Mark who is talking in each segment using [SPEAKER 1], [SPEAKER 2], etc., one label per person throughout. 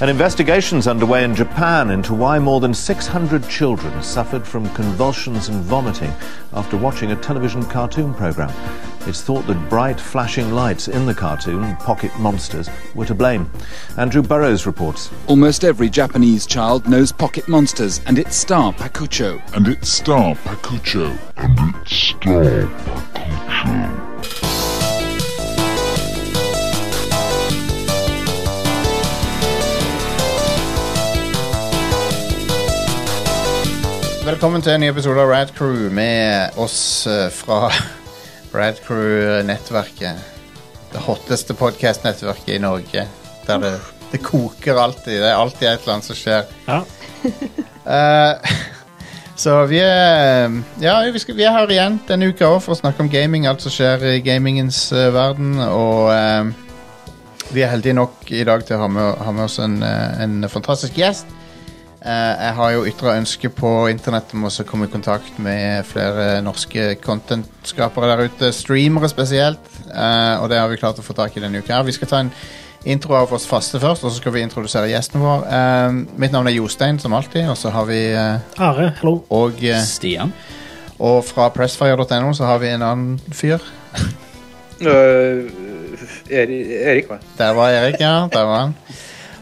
[SPEAKER 1] An investigation's underway in Japan into why more than 600 children suffered from convulsions and vomiting after watching a television cartoon program. It's thought that bright flashing lights in the cartoon, Pocket Monsters, were to blame. Andrew Burrows reports.
[SPEAKER 2] Almost every Japanese child knows Pocket Monsters and its star Pakucho.
[SPEAKER 3] And its star Pakucho.
[SPEAKER 4] And its star Pakucho.
[SPEAKER 5] Velkommen til en ny episode av Rad Crew med oss eh, fra Rad Crew-nettverket. Det hotteste podkast-nettverket i Norge. Der det, det koker alltid. Det er alltid et eller annet som skjer.
[SPEAKER 6] Ja.
[SPEAKER 5] Eh, så vi er eh, Ja, vi, skal, vi er her igjen denne uka òg for å snakke om gaming. Alt som skjer i gamingens eh, verden. Og eh, vi er heldige nok i dag til å ha med, ha med oss en, eh, en fantastisk gjest. Eh, jeg har jo ytra ønske på internett om også å komme i kontakt med flere norske content-skapere der ute. Streamere spesielt. eh, og det har vi klart å få tak i denne uka. her. Vi skal ta en intro av oss faste først, og så skal vi introdusere gjesten vår. Eh, mitt navn er Jostein, som alltid, og så har vi eh,
[SPEAKER 6] Are, hallo.
[SPEAKER 5] og, eh,
[SPEAKER 7] Stian.
[SPEAKER 5] og fra pressfire.no så har vi en annen fyr.
[SPEAKER 8] Øh, Eri- Erik, hva?
[SPEAKER 5] Der var Erik, ja. Der var han.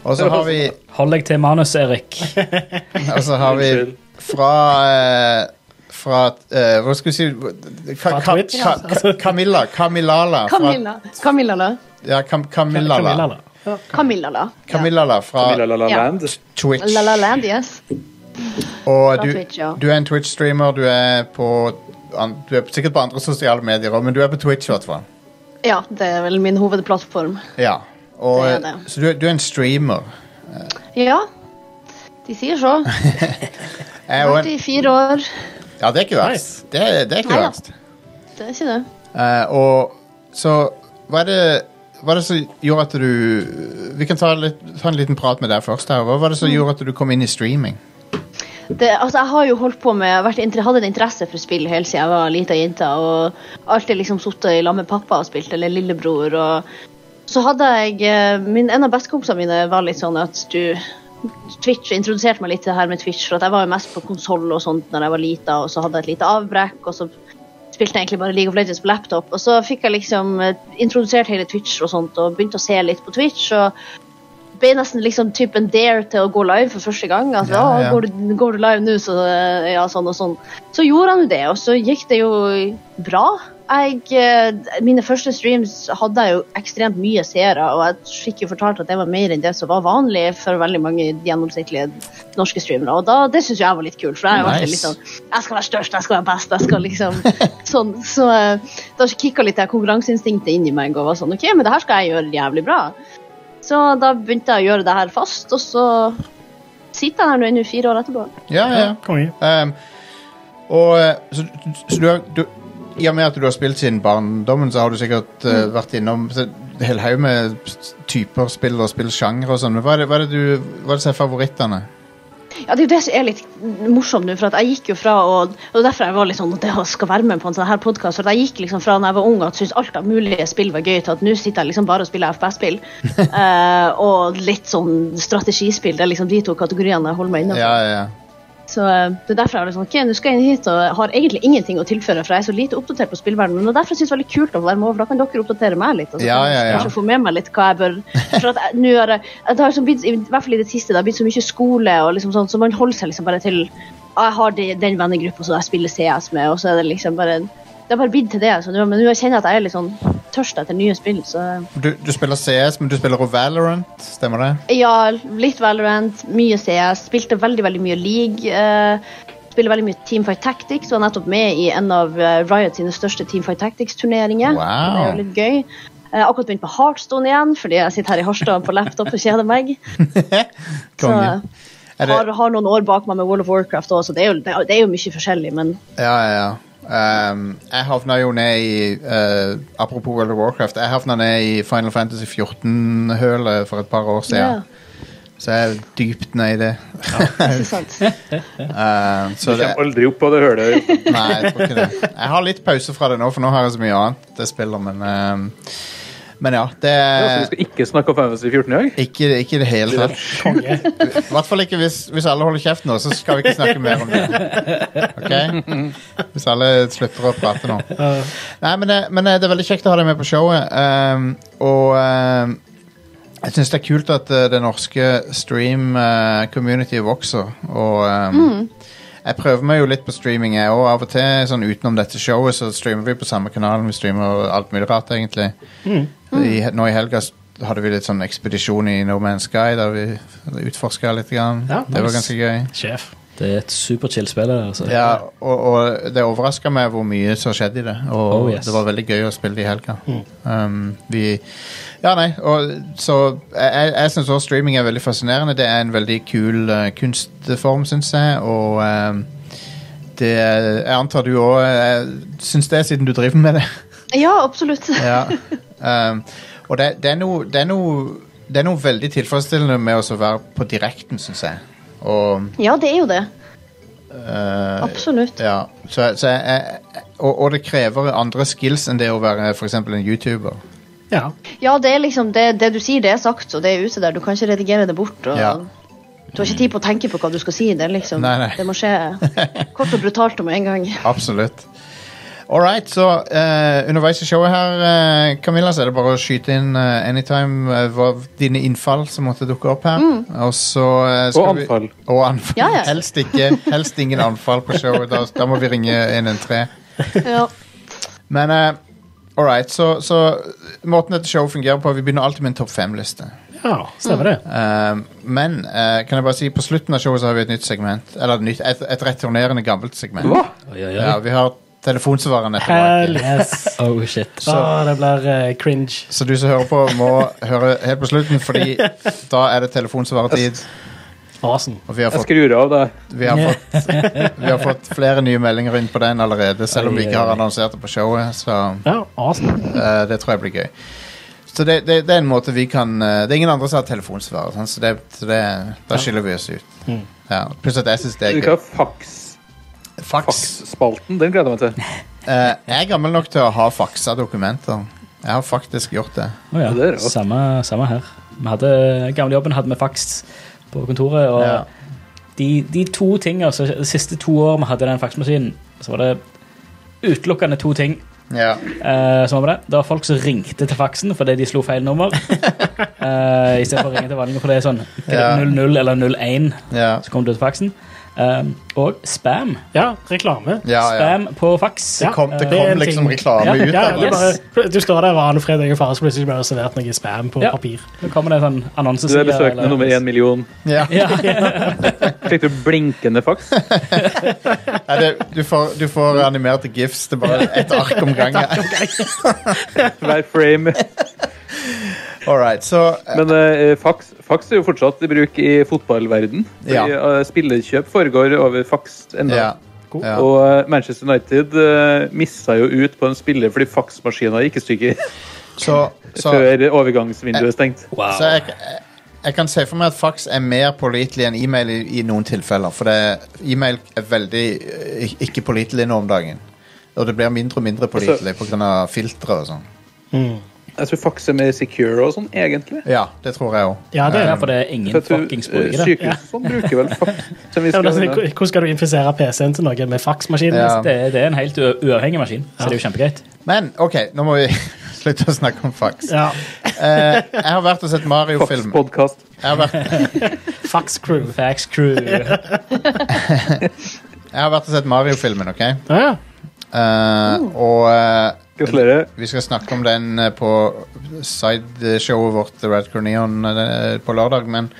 [SPEAKER 5] Og så har vi,
[SPEAKER 7] Hold deg til manus, Erik.
[SPEAKER 5] og så har vi
[SPEAKER 8] Unnskyld.
[SPEAKER 5] fra eh, fra eh, Hva skal vi si Ka-
[SPEAKER 6] Fra
[SPEAKER 5] Ka-
[SPEAKER 6] Twitch? Altså,
[SPEAKER 5] Ka- Ka- Camilla. Camilala. Fra,
[SPEAKER 9] Camilla. Camilla, da.
[SPEAKER 5] ja, Cam, Camillala.
[SPEAKER 6] Camilla,
[SPEAKER 9] Camilla, da.
[SPEAKER 5] Camillala fra
[SPEAKER 8] Camilla La La
[SPEAKER 9] Ja.
[SPEAKER 8] Land.
[SPEAKER 5] Twitch.
[SPEAKER 9] La La Land, yes.
[SPEAKER 5] Og
[SPEAKER 9] Fra
[SPEAKER 5] du,
[SPEAKER 9] Twitch, ja.
[SPEAKER 5] du er en Twitch-streamer. Du er på an- du er sikkert på andre sosiale medier òg, men du er på Twitch i hvert fall.
[SPEAKER 9] Ja, det er vel min hovedplattform.
[SPEAKER 5] Ja. Og,
[SPEAKER 9] Det er det.
[SPEAKER 5] så du, er- du er en streamer.
[SPEAKER 9] Ja. De sier så.
[SPEAKER 5] Jeg er jo en,
[SPEAKER 9] 44 år.
[SPEAKER 5] ja, det er ikke verst.
[SPEAKER 6] Nice.
[SPEAKER 5] Det, er- det er ikke
[SPEAKER 9] Neida.
[SPEAKER 5] verst.
[SPEAKER 9] Det er ikke det.
[SPEAKER 5] Eh, og så hva er, det, hva er det som gjorde at du Vi kan ta, litt, ta en liten prat med deg først. her Hva var det som gjorde at du kom inn i streaming?
[SPEAKER 9] det, altså jeg har jo holdt på med vært, inter- hadde en interesse for spill helt siden jeg var lita jente. Og alltid liksom sittet i lag med pappa og spilt, eller lillebror. Og så hadde jeg eh, min, En av bestekompisene mine var litt sånn at du Twitch introduserte meg litt til det her med Twitch, for at jeg var jo mest på konsoll og sånt når jeg var lita, og så hadde jeg et lite avbrekk, og så spilte jeg egentlig bare League of Legends på laptop. Og så fikk jeg liksom eh, introdusert hele Twitch og sånt, og begynte å se litt på Twitch. og ble nesten liksom typ en dare til å gå live for første gang. Altså,
[SPEAKER 5] Ja,
[SPEAKER 9] «Å,
[SPEAKER 5] ja.
[SPEAKER 9] Går, du, går du live nå, så eh, ja, sånn og sånn. Så gjorde han jo det, og så gikk det jo bra. Jeg, eh, mine første streams hadde jeg jo ekstremt mye seere, og jeg fikk jo fortalt at det var mer enn det som var vanlig for veldig mange gjennomsnittlige norske streamere. Og da, det syns jeg var litt kult, for jeg, har alltid
[SPEAKER 5] Nice.
[SPEAKER 9] litt sånn, jeg skal være størst, jeg skal være best, jeg skal liksom sånn. Så eh, da kicka litt det konkurranseinstinktet inn i meg og var sånn OK, men det her skal jeg gjøre jævlig bra. Så da begynte jeg å gjøre det her fast, og så sitter jeg her nå ennå fire år etterpå.
[SPEAKER 5] Ja, ja, ja.
[SPEAKER 6] Konge.
[SPEAKER 5] Ehm, og eh, så, så du, har- du I og med at du har spilt siden barndommen, så har du sikkert eh, vært innom så, en hel haug med s- typer spill og spillsjangre og sånn. Men hva er det, hva er det du Hva er det som er favorittene?
[SPEAKER 9] Ja, Det er jo det som er litt morsomt nå, for at jeg gikk jo fra å Og derfor jeg var litt sånn det å skal være med på en sånn her podkast. Jeg gikk liksom fra da jeg var ung at syntes alt av mulige spill var gøy, til at nå sitter jeg liksom bare og spiller FPS-spill. Eh, og litt sånn strategispill. Det er liksom de to kategoriene jeg holder meg innafor.
[SPEAKER 5] Ja, ja, ja.
[SPEAKER 9] Så eh, det er derfor jeg var litt sånn, ok, nå skal jeg inn hit og har egentlig ingenting å tilføre, for jeg er så lite oppdatert på spillverdenen. Men det er derfor jeg synes det er veldig kult å være med over, da kan dere oppdatere meg litt. og så
[SPEAKER 5] Ja,
[SPEAKER 9] kan jeg
[SPEAKER 5] ja, ja.
[SPEAKER 9] Kanskje få med meg litt hva jeg bør For at jeg, nå har jeg, det har liksom blitt, i hvert fall i det siste, det har blitt så mye skole og liksom sånn, så man holder seg liksom bare til ah, Jeg har de, den vennegruppa som jeg spiller CS med, og så er det liksom bare Det har bare blitt til det. Så nå, men nå kjenner jeg at jeg er litt sånn tørst etter nye spill, så
[SPEAKER 5] Du, du spiller CS, men du spiller også Valorant, stemmer det?
[SPEAKER 9] ja, litt Valorant, mye CS. Spilte veldig veldig mye League. eh, spiller veldig mye Teamfight Tactics. Var nettopp med i en av eh, Riot sine største Teamfight Tactics-turneringer.
[SPEAKER 5] Wow.
[SPEAKER 9] Det er jo litt gøy. Jeg har akkurat begynt på Heartstone igjen, fordi jeg sitter her i Harstad på laptop og kjeder meg. Så
[SPEAKER 5] Konge. Er det-
[SPEAKER 9] har, har noen år bak meg med World of Warcraft òg, så det er, jo, det, er, det er jo mye forskjellig, men
[SPEAKER 5] Ja, ja, ja. Ehm, jeg havna jo ned i eh, Apropos World of Warcraft. Jeg havna ned i Final Fantasy 14-hølet for et par år siden.
[SPEAKER 9] ja.
[SPEAKER 5] Så jeg er dypt ned i det.
[SPEAKER 9] ikke sant.
[SPEAKER 5] Ehm,
[SPEAKER 8] Du
[SPEAKER 5] så det
[SPEAKER 8] kommer aldri opp av det
[SPEAKER 5] Eh.
[SPEAKER 8] hølet.
[SPEAKER 5] Nei, jeg tror ikke det. Jeg har litt pause fra det nå, for nå har jeg så mye annet jeg spiller, men ehm, Men ja, det
[SPEAKER 8] Ja, så vi
[SPEAKER 5] er
[SPEAKER 8] skal ikke snakke om Final Fantasy 14 i dag?
[SPEAKER 5] ikke, ikke i det hele tatt.
[SPEAKER 7] Konge.
[SPEAKER 5] I hvert fall ikke hvis, hvis alle holder kjeft nå, så skal vi ikke snakke mer om det. Ok? Hvis alle slutter å prate nå. Nei, men, det- men eh, det er veldig kjekt å ha deg med på showet. ehm, og ehm, jeg syns det er kult at eh, det norske stream-communityet vokser. Og ehm, jeg prøver meg jo litt på streaming, jeg òg. Av og til sånn utenom dette showet så streamer vi på samme kanalen. Vi streamer alt mulig rart, egentlig.
[SPEAKER 7] Mm.
[SPEAKER 5] I, nå i helga s- hadde vi litt sånn ekspedisjon i No Man's Sky, der vi utforska litt. Grann.
[SPEAKER 7] Ja,
[SPEAKER 5] Det var
[SPEAKER 7] nice.
[SPEAKER 5] ganske gøy.
[SPEAKER 7] Sjef.
[SPEAKER 6] Det er et superchill spill. det der, Altså.
[SPEAKER 5] Ja, og, og det overraska meg hvor mye som skjedde i det. Og
[SPEAKER 6] Oh, yes. Mm.
[SPEAKER 5] det var veldig gøy å spille det i helga. Um, vi Ja, nei, og så Jeg, jeg- jeg syns også streaming er veldig fascinerende. Det er en veldig kul eh, kunstform, syns jeg, og um, det Jeg antar du òg syns det, siden du driver med det.
[SPEAKER 9] Ja, absolutt.
[SPEAKER 5] Ja. Um, og det, det, er noe, det er noe Det er noe veldig tilfredsstillende med å så være på direkten, syns jeg. Og
[SPEAKER 9] Ja, det er jo det.
[SPEAKER 5] eh,
[SPEAKER 9] Absolutt.
[SPEAKER 5] Ja, så, så jeg, jeg, og, og det krever andre skills enn det å være for eksempel en YouTuber.
[SPEAKER 7] Ja.
[SPEAKER 9] Ja, det er liksom det, det du sier, det er sagt, og det er ute der. Du kan ikke redigere det bort. Og
[SPEAKER 5] Ja.
[SPEAKER 9] Du har ikke tid på å tenke på hva du skal si. Det, er liksom,
[SPEAKER 5] Nei, nei.
[SPEAKER 9] det må skje kort og brutalt om en gang.
[SPEAKER 5] Absolutt. All right, så eh, underveis i showet her, eh, Camilla, så er det bare å skyte inn eh, anytime eh, hva, dine innfall som måtte dukke opp her. Og så eh, skal
[SPEAKER 8] Og
[SPEAKER 5] vi-
[SPEAKER 8] anfall.
[SPEAKER 5] Og anfall.
[SPEAKER 9] Mm. Ja, ja.
[SPEAKER 5] Helst ikke. Helst ingen anfall på showet. Da, da må vi ringe 113.
[SPEAKER 9] Ja.
[SPEAKER 5] Men uh, all right, så, så måten dette showet fungerer på Vi begynner alltid med en topp fem-liste.
[SPEAKER 7] ja, stemmer det.
[SPEAKER 5] Um, men eh, kan jeg bare si på slutten av showet så har vi et nytt segment. Eller et, nytt, et, et returnerende gammelt segment.
[SPEAKER 6] Oi, oi, oi.
[SPEAKER 5] Ja, Vi har telefonsvareren
[SPEAKER 7] Hell
[SPEAKER 5] etterpå.
[SPEAKER 7] yes.
[SPEAKER 6] Oh shit.
[SPEAKER 7] Så det blir eh, cringe.
[SPEAKER 5] Så du som hører på, må høre helt på slutten, Fordi da er det telefonsvaretid.
[SPEAKER 7] Awesome.
[SPEAKER 5] Og vi har
[SPEAKER 8] Jeg
[SPEAKER 5] fått,
[SPEAKER 8] skrur av, da.
[SPEAKER 5] vi har fått, vi har fått flere nye meldinger inn på den allerede, selv om vi ikke har annonsert det på showet. Så
[SPEAKER 7] Ja, awesome.
[SPEAKER 5] eh, det tror jeg blir gøy. Så det, det, det er en måte vi kan eh, Det er ingen andre som har telefonsvarer, sånn, så, det, så det, da skiller vi oss ut. Ja, Pluss at jeg syns det er
[SPEAKER 8] Vi skal
[SPEAKER 5] gøy.
[SPEAKER 8] ha faks-
[SPEAKER 5] Fax.
[SPEAKER 8] faksspalten. Den gleder jeg meg til.
[SPEAKER 5] Eh, jeg er gammel nok til å ha faksa dokumenter. Jeg har faktisk gjort det.
[SPEAKER 6] Å ja.
[SPEAKER 8] Det er rått.
[SPEAKER 6] samme, samme her. Vi hadde gamlejobben hadde vi faks på kontoret. Og
[SPEAKER 5] Ja.
[SPEAKER 6] de, de to tingene, så de siste to år vi hadde den faksmaskinen, så var det utelukkende to ting.
[SPEAKER 5] Ja.
[SPEAKER 6] eh, som var med det. det var folk som ringte til faksen fordi de slo feil nummer. Eh, I stedet for å ringe til vanlige, for det er sånn
[SPEAKER 5] Ja.
[SPEAKER 6] 00 eller 01,
[SPEAKER 5] Ja.
[SPEAKER 6] så kom du til faksen. Eh, og spam.
[SPEAKER 7] Ja, reklame.
[SPEAKER 5] Ja, ja.
[SPEAKER 6] Spam på faks.
[SPEAKER 5] Det kom, det
[SPEAKER 7] Det er
[SPEAKER 5] kom
[SPEAKER 7] en
[SPEAKER 5] liksom
[SPEAKER 7] ting.
[SPEAKER 5] reklame ut
[SPEAKER 7] Ja,
[SPEAKER 5] av
[SPEAKER 7] det
[SPEAKER 5] det.
[SPEAKER 7] er bare, du står der hver annen fredag og fare, så plutselig blir det servert noe spam på
[SPEAKER 6] Ja.
[SPEAKER 7] papir.
[SPEAKER 6] Nå kommer det en sånn
[SPEAKER 8] Du
[SPEAKER 6] annonseside.
[SPEAKER 8] er besøkende
[SPEAKER 6] eller-
[SPEAKER 8] nummer én million.
[SPEAKER 5] Ja.
[SPEAKER 6] Ja.
[SPEAKER 8] Fikk du blinkende faks?
[SPEAKER 5] Nei, det, du, får, du får animerte gifs. Det er bare et ark om gangen.
[SPEAKER 8] Hver frame.
[SPEAKER 5] All right, så
[SPEAKER 8] Men eh, faks, faks er jo fortsatt i bruk i fotballverden. Fordi
[SPEAKER 5] Ja.
[SPEAKER 8] eh, Spillerkjøp foregår over faks ennå.
[SPEAKER 5] ja. Ja.
[SPEAKER 8] Og eh, Manchester United uh, missa jo ut på en spiller fordi faksmaskina gikk i stykker
[SPEAKER 5] Så, så,
[SPEAKER 8] før overgangsvinduet er stengt.
[SPEAKER 5] så jeg, jeg- jeg kan se for meg at fax er mer pålitelig enn e-mail i, i noen tilfeller. For det, e-mail er veldig eh, ikke pålitelig nå om dagen. Og det blir mindre og mindre pålitelig pga. filtre og sånn.
[SPEAKER 8] Jeg tror faks er mer secure og sånn, egentlig.
[SPEAKER 5] Ja, det tror jeg òg.
[SPEAKER 7] Ja, det
[SPEAKER 6] Det
[SPEAKER 7] er
[SPEAKER 6] er derfor det er ingen
[SPEAKER 8] For jeg tror,
[SPEAKER 6] fuckings
[SPEAKER 8] eh,
[SPEAKER 6] bruker det.
[SPEAKER 8] Sykehus og sånn bruker vel faks. Som vi
[SPEAKER 7] Ja, men
[SPEAKER 8] skal,
[SPEAKER 7] altså, h- Hvordan skal du infisere PC-en til noe med faksmaskinen?
[SPEAKER 5] Ja.
[SPEAKER 6] Det, er- det er en helt u- uavhengig maskin, så det er jo kjempegreit.
[SPEAKER 5] Men OK, nå må vi slutte å snakke om fax.
[SPEAKER 7] Ja,
[SPEAKER 5] Eh, jeg har vært og sett Mario-film.
[SPEAKER 8] Faks-podkast.
[SPEAKER 5] Jeg, har vært-
[SPEAKER 7] Fax-crew.
[SPEAKER 6] Fax crew.
[SPEAKER 5] jeg har vært og sett Mario-filmen, OK?
[SPEAKER 7] Ja, ja.
[SPEAKER 5] Eh, Og eh,
[SPEAKER 8] Gratulerer.
[SPEAKER 5] vi skal snakke om den eh, på sideshowet vårt, The Red Corneon, eh, på lørdag, men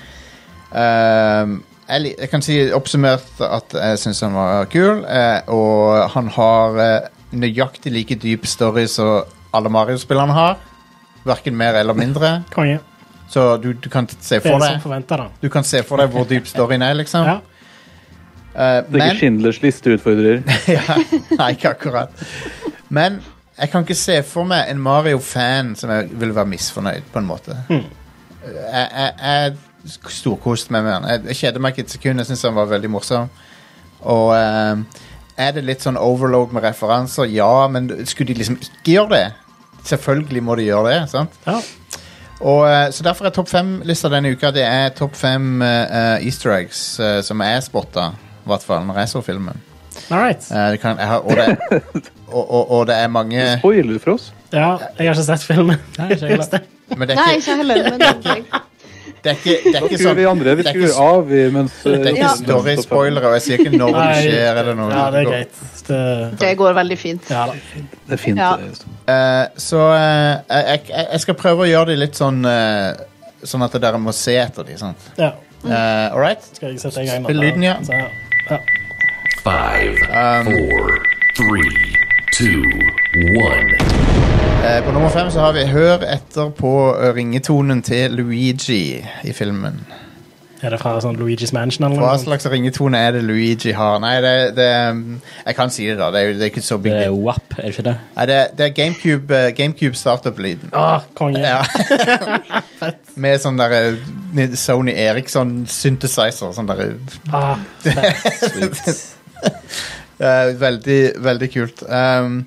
[SPEAKER 5] eh, jeg, li- jeg kan si oppsummert at jeg syns han var kul, eh, og han har eh, nøyaktig like dyp story som alle Mario-spillerne har. Verken mer eller mindre.
[SPEAKER 7] Konge.
[SPEAKER 5] Så du, du kan se
[SPEAKER 7] Det
[SPEAKER 5] for
[SPEAKER 7] er som
[SPEAKER 5] deg
[SPEAKER 7] forventa, da.
[SPEAKER 5] Du kan se for deg hvor dyp storyen er, liksom.
[SPEAKER 7] Ja.
[SPEAKER 5] Eh,
[SPEAKER 8] Det er ikke
[SPEAKER 5] men
[SPEAKER 8] Schindlers listeutfordrer.
[SPEAKER 5] ja, Nei, ikke akkurat. Men jeg kan ikke se for meg en Mario-fan som jeg vil være misfornøyd, på en måte. Jeg, jeg, jeg storkoste meg med han. Jeg, jeg kjeder meg ikke et sekund. Jeg syns han var veldig morsom. Og eh, er det litt sånn overload med referanser? Ja, men skulle de liksom ikke gjøre det? Selvfølgelig må de gjøre det. sant?
[SPEAKER 7] Ja.
[SPEAKER 5] Og, eh, så derfor er topp fem-lista denne uka Det er topp fem eh, eh, easter eggs eh, som jeg spotta, i hvert fall når jeg så filmen.
[SPEAKER 7] All right.
[SPEAKER 5] Eh, det kan, jeg har, og, det, og, og, og det er mange
[SPEAKER 8] Spoiler for oss.
[SPEAKER 7] Ja, jeg har ikke sett filmen.
[SPEAKER 6] Nei, ikke heller.
[SPEAKER 5] Men det
[SPEAKER 9] Nei,
[SPEAKER 5] er ikke,
[SPEAKER 9] ikke heller. Men det er ikke.
[SPEAKER 5] det er ikke, det er
[SPEAKER 8] Da
[SPEAKER 5] ikke
[SPEAKER 8] skrur
[SPEAKER 5] sånn
[SPEAKER 8] vi andre vi
[SPEAKER 5] det er
[SPEAKER 8] skrur
[SPEAKER 5] ikke-
[SPEAKER 8] av vi, mens eh,
[SPEAKER 5] Det er ikke
[SPEAKER 9] Ja.
[SPEAKER 5] story-spoilere, og jeg sier ikke når det
[SPEAKER 7] Nei.
[SPEAKER 5] skjer. eller noe.
[SPEAKER 7] Ja, det er greit. Det,
[SPEAKER 9] det går veldig fint.
[SPEAKER 7] ja da.
[SPEAKER 8] Det er fint.
[SPEAKER 9] Ja.
[SPEAKER 8] det.
[SPEAKER 5] Eh, så eh, jeg, jeg, jeg skal prøve å gjøre de litt sånn eh, Sånn at dere må se etter de, sant?
[SPEAKER 7] Ja,
[SPEAKER 8] Mm.
[SPEAKER 5] Eh, all right?
[SPEAKER 7] skal jeg sette i gang. da?
[SPEAKER 5] Spill lyden, ja.
[SPEAKER 7] Så, ja. ja.
[SPEAKER 10] Five, four, three, two, one.
[SPEAKER 5] Eh, på nummer fem så har vi Hør etter på eh, ringetonen til Luigi i filmen.
[SPEAKER 7] Er det fra sånn Luigi's Mansion eller
[SPEAKER 5] Hva
[SPEAKER 7] noe? sånt?
[SPEAKER 5] slags ringetone er det Luigi har? Nei, det, det mm, Jeg kan si det, da. Det er, jo- det er ikke så big
[SPEAKER 6] Det er
[SPEAKER 5] deal.
[SPEAKER 6] WAP, er det ikke det?
[SPEAKER 5] Nei, det, det er GameCube, eh, GameCube startup-lyden.
[SPEAKER 7] Ah, konge.
[SPEAKER 5] Ja. Med sånn der eh, ni- Sony Eriksson synthesizer. Sånn der,
[SPEAKER 7] Ah,
[SPEAKER 5] eh, veldig, veldig kult. Um,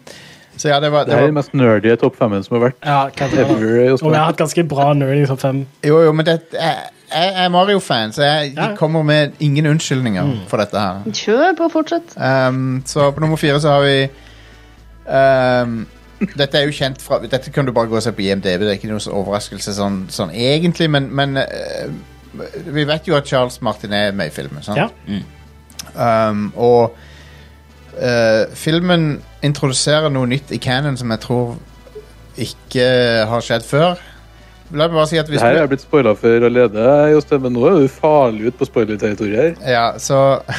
[SPEAKER 5] så ja, det var,
[SPEAKER 8] Det
[SPEAKER 5] det
[SPEAKER 8] er den
[SPEAKER 5] var
[SPEAKER 8] mest nerdy topp femmen som har vært
[SPEAKER 7] ja, hva det var.
[SPEAKER 8] ever. i
[SPEAKER 7] Og vi har
[SPEAKER 8] Oscar.
[SPEAKER 7] hatt ganske bra nerdy topp fem.
[SPEAKER 5] Jo, jo, men det, jeg, jeg er Mario-fan, så jeg
[SPEAKER 7] Ja.
[SPEAKER 5] kommer med ingen unnskyldninger for dette her.
[SPEAKER 9] Kjør på, fortsett.
[SPEAKER 5] Um, så på nummer fire så har vi um, Dette er jo kjent fra Dette kan du bare gå og se på IMDb, det er ikke noen sånn overraskelse sånn, sånn egentlig, men, men eh, Vi vet jo at Charles Martin er med i filmen, sant?
[SPEAKER 7] Ja.
[SPEAKER 5] Um, og eh, filmen introduserer noe nytt i canon som jeg tror ikke har skjedd før. La meg bare si at hvis
[SPEAKER 8] Det her
[SPEAKER 5] du
[SPEAKER 8] er blitt spoila for allerede, Jostein, men nå er du farlig ut på spoiler-territoriet her.
[SPEAKER 5] Ja, så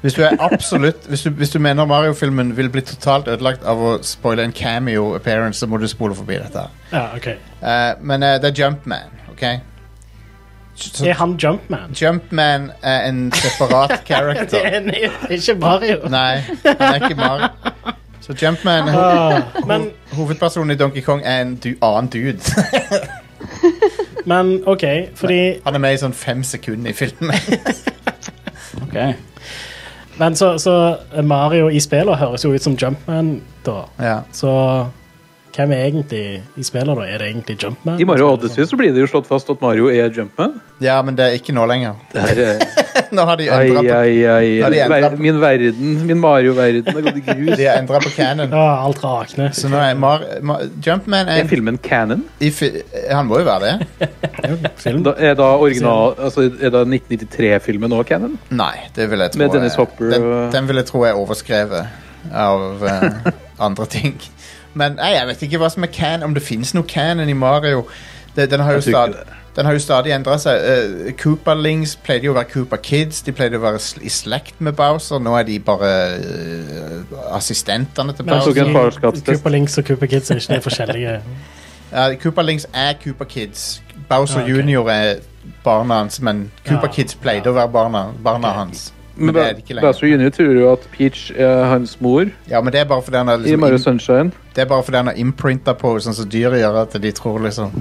[SPEAKER 5] Hvis du er absolutt Hvis du, hvis du mener Mario-filmen vil bli totalt ødelagt av å spoile en cameo appearance, så må du spole forbi dette. her.
[SPEAKER 7] Ja, ok.
[SPEAKER 5] Eh, men eh, det er Jumpman, OK? Så,
[SPEAKER 7] Er han Jumpman?
[SPEAKER 5] Jumpman er en separat
[SPEAKER 7] Det
[SPEAKER 5] character.
[SPEAKER 7] er en- det er ikke Mario.
[SPEAKER 5] Nei, han er ikke Mario. Så Jumpman, ho
[SPEAKER 7] Ah, men,
[SPEAKER 5] hovedpersonen i Donkey Kong, er en du annen dude.
[SPEAKER 7] men OK, fordi
[SPEAKER 5] Han er med i sånn fem sekunder i filmen.
[SPEAKER 6] Ok.
[SPEAKER 7] Men så, så Mario i spillet høres jo ut som Jumpman, da.
[SPEAKER 5] ja.
[SPEAKER 7] Så hvem er egentlig i spillet, da? Er det egentlig Jumpman?
[SPEAKER 8] I Mario Odyssey så blir det jo slått fast at Mario er Jumpman.
[SPEAKER 5] ja, men det er ikke nå lenger.
[SPEAKER 8] Det her er...
[SPEAKER 5] Nå har de
[SPEAKER 8] Ai,
[SPEAKER 5] endret på,
[SPEAKER 8] ai, ai.
[SPEAKER 5] Da er det endret
[SPEAKER 8] Ver- Min verden, min Mario-verden, har gått i grus.
[SPEAKER 5] de har endret på canon.
[SPEAKER 7] Ja, alt rakner.
[SPEAKER 5] Så nå er Mar Mar Jumpman er
[SPEAKER 8] Er
[SPEAKER 5] en
[SPEAKER 8] filmen canon?
[SPEAKER 5] I fi han må jo være det.
[SPEAKER 7] Film.
[SPEAKER 8] Da, er da, original, altså, er da 1993-filmen òg canon?
[SPEAKER 5] Nei, det vil jeg tro
[SPEAKER 8] Med
[SPEAKER 5] er-
[SPEAKER 8] Dennis Hopper
[SPEAKER 5] den,
[SPEAKER 8] og-
[SPEAKER 5] den vil jeg tro er overskrevet av eh, andre ting. Men nei, jeg vet ikke hva som er can, om det fins noe canon i Mario. Det, den, har jo
[SPEAKER 8] Jeg tror ikke
[SPEAKER 5] stadig, den har jo stadig endra seg. Uh, Cooperlings pleide jo å være Cooper Kids. De pleide å være sl i slekt med Bowser. Nå er de bare eh, assistentene til
[SPEAKER 7] Men
[SPEAKER 8] Jeg
[SPEAKER 7] altså,
[SPEAKER 5] Bowser.
[SPEAKER 8] tok en farskapstest.
[SPEAKER 7] Cooper Links og Cooper Kids er ikke det forskjellige.
[SPEAKER 5] Ja, Cooperlings er Cooper Kids. Bowser
[SPEAKER 7] Ah, ok.
[SPEAKER 5] junior er barna hans, men Cooper
[SPEAKER 7] Ja,
[SPEAKER 5] Kids pleide å være barna, barna hans. Men
[SPEAKER 8] Men
[SPEAKER 5] det er det ikke lenger.
[SPEAKER 8] Bowser Jr. tror jo at Peach er hans mor
[SPEAKER 5] Ja, men det er bare fordi han har,
[SPEAKER 8] i
[SPEAKER 5] liksom,
[SPEAKER 8] Mario
[SPEAKER 5] im-
[SPEAKER 8] Sunshine.
[SPEAKER 5] det er bare fordi han har imprinta på sånn som dyret gjør, at de tror liksom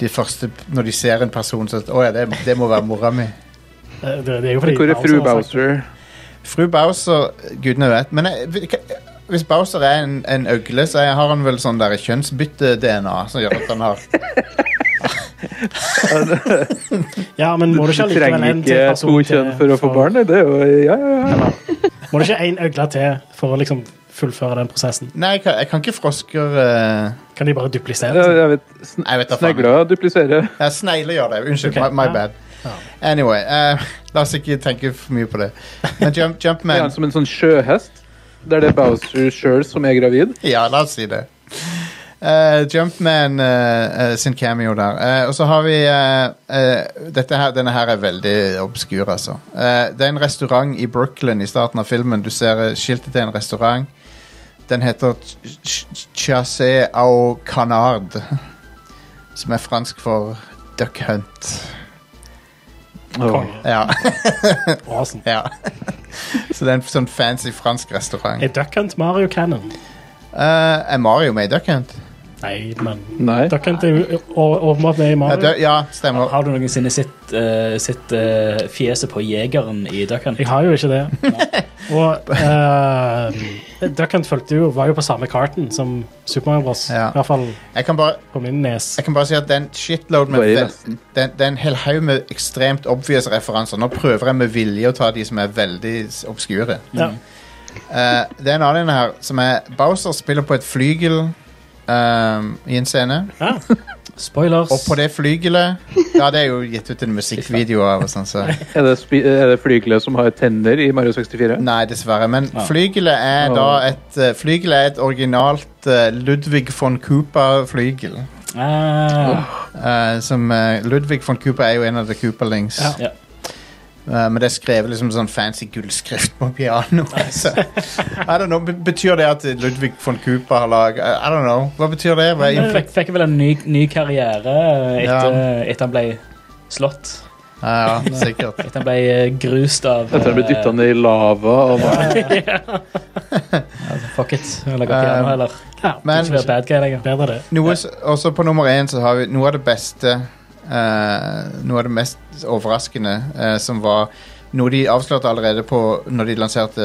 [SPEAKER 5] De første, Når de ser en person, så Å ja, det, det må være mora mi.
[SPEAKER 7] Eh, Det, det er jo fordi
[SPEAKER 8] Hvor er fru
[SPEAKER 7] har sagt det.
[SPEAKER 8] Bowser?
[SPEAKER 5] Fru Bowser Gudene vet. Men jeg, hvis Bowser er en, en øgle, så er- har han vel sånn der kjønnsbytte-DNA som gjør at han har
[SPEAKER 7] Ja, men må
[SPEAKER 8] Du
[SPEAKER 7] du ikke allikevel
[SPEAKER 8] trenger
[SPEAKER 7] en til
[SPEAKER 8] ikke
[SPEAKER 7] person
[SPEAKER 8] to
[SPEAKER 7] til
[SPEAKER 8] kjønn for å få barn. Det er jo, ja, ja, ja.
[SPEAKER 7] Må du ikke en øgle til for å liksom fullføre den prosessen?
[SPEAKER 5] Nei, jeg kan, jeg kan ikke frosker eh,
[SPEAKER 7] Kan de bare duplisere?
[SPEAKER 8] Jeg,
[SPEAKER 7] seg?
[SPEAKER 8] jeg vet, sn
[SPEAKER 5] Jeg vet da faen.
[SPEAKER 8] Snegla dupliserer.
[SPEAKER 5] Ja, snegler gjør det. Unnskyld.
[SPEAKER 7] Ok,
[SPEAKER 5] my my
[SPEAKER 7] ja.
[SPEAKER 5] bad. Anyway, eh, la oss ikke tenke for mye på det. Men jump,
[SPEAKER 8] Er han
[SPEAKER 5] Jumpman
[SPEAKER 8] som en sånn sjøhest? Der det er Bowser sjøl som er gravid?
[SPEAKER 5] Ja, la oss si det. Eh, Jumpman eh, eh, sin cameo der. Eh, og så har vi eh, eh, dette her, Denne her er veldig obskur, altså. Eh, det er en restaurant i Brooklyn i starten av filmen. Du ser eh, skiltet til en restaurant. Den heter Ch- Ch- Chassé au Canard. Som er fransk for Duck Hunt.
[SPEAKER 8] Åh.
[SPEAKER 5] Ja.
[SPEAKER 7] Awesome.
[SPEAKER 5] Ja. Så det er en sånn fancy fransk restaurant.
[SPEAKER 7] Er Duck Hunt Mario Cannon?
[SPEAKER 5] Eh, er Mario med i Duck Hunt?
[SPEAKER 7] Nei, men
[SPEAKER 8] Nei.
[SPEAKER 7] Dere kan ikke åpne opp med i
[SPEAKER 5] Ja,
[SPEAKER 7] Mario.
[SPEAKER 5] det, ja stemmer.
[SPEAKER 6] Har du noensinne sett, eh, sett eh, fjeset på jegeren i Duck Hunt?
[SPEAKER 7] Jeg har jo ikke det. Og uh, Duck Hunt fulgte jo, var jo på samme karten som Super Mario Bros.
[SPEAKER 5] Ja.
[SPEAKER 7] I hvert fall
[SPEAKER 5] Jeg kan bare
[SPEAKER 7] på min nes.
[SPEAKER 5] Jeg kan bare si at den shitload med
[SPEAKER 8] Bare i
[SPEAKER 5] vel-
[SPEAKER 8] Vesten.
[SPEAKER 5] den, den hel haug med ekstremt obvious referanser. Nå prøver jeg med vilje å ta de som er veldig s- obskure.
[SPEAKER 7] Ja.
[SPEAKER 5] Eh, det er en annen her som er Bowser spiller på et flygel ehm, i en scene.
[SPEAKER 6] Spoilers.
[SPEAKER 5] Og på det flygelet Ja, det er jo gitt ut en musikkvideo av. og Sånn, så.
[SPEAKER 8] Er det, spi- er det flygelet som har tenner i Mario 64?
[SPEAKER 5] Nei, dessverre. Men flygelet er
[SPEAKER 8] Ja.
[SPEAKER 5] da et eh, Flygelet er et originalt eh, Ludvig von Cooper-flygel.
[SPEAKER 6] Ah,
[SPEAKER 5] Eh, som eh, Ludvig von Cooper er jo en av The Cooperlings.
[SPEAKER 7] Ja.
[SPEAKER 6] Ja.
[SPEAKER 5] Eh, men det er skrevet liksom sånn fancy gullskrift på piano. Så, I don't know, be- betyr det at Ludvig von Cooper har laget I I don't know. Hva betyr det? Hva er
[SPEAKER 6] Men
[SPEAKER 5] infekt?
[SPEAKER 6] fikk, fikk vel en ny, ny karriere eh, etter,
[SPEAKER 5] Ja.
[SPEAKER 6] etter han ble slått.
[SPEAKER 5] Ah, ja, sikkert.
[SPEAKER 6] Etter han ble eh, grust av
[SPEAKER 8] Etter at han ble
[SPEAKER 6] eh,
[SPEAKER 8] dytta ned i lava og
[SPEAKER 6] Fuck it. Jeg lager piano,
[SPEAKER 5] Eh,
[SPEAKER 6] eller
[SPEAKER 5] Men
[SPEAKER 6] ikke være bad guy lenger.
[SPEAKER 7] Bedre det.
[SPEAKER 5] noe, s- også på nummer én så har vi noe av det beste eh, Noe av det mest overraskende eh, som var noe de avslørte allerede på når de lanserte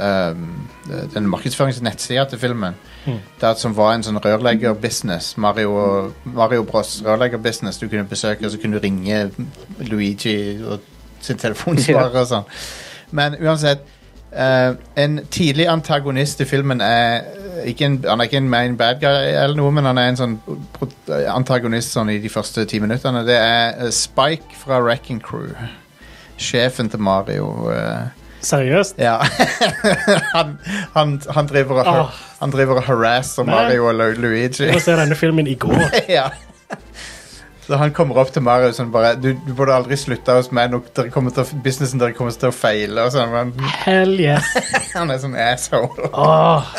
[SPEAKER 5] eh, den markedsføringsnettsida til filmen. Det som var en sånn rørleggerbusiness. Mario, Mario Bros. rørleggerbusiness du kunne besøke, og så kunne du ringe Luigi og sin telefonsvarer og sånn. Men uansett eh, En tidlig antagonist i filmen er eh, ikke en, Han er ikke en main bad guy, eller noe, men han er en sånn pro- antagonist sånn i de første ti minuttene. Det er eh, Spike fra Wrecking Crew. Sjefen til Mario. eh,
[SPEAKER 7] Seriøst?
[SPEAKER 5] ja. han, han, han, driver og, har-
[SPEAKER 7] Åh.
[SPEAKER 5] han driver og harasser
[SPEAKER 7] Nei.
[SPEAKER 5] Mario og Lu- Luigi.
[SPEAKER 7] Jeg så denne filmen i går.
[SPEAKER 5] ja. Så han kommer opp til Mario og sånn bare du, du burde aldri slutte hos meg. Nok, dere kommer til, å- businessen dere kommer til å feile. Og sånn, men,
[SPEAKER 7] Hell yes.
[SPEAKER 5] han er sånn asshole.
[SPEAKER 7] Åh,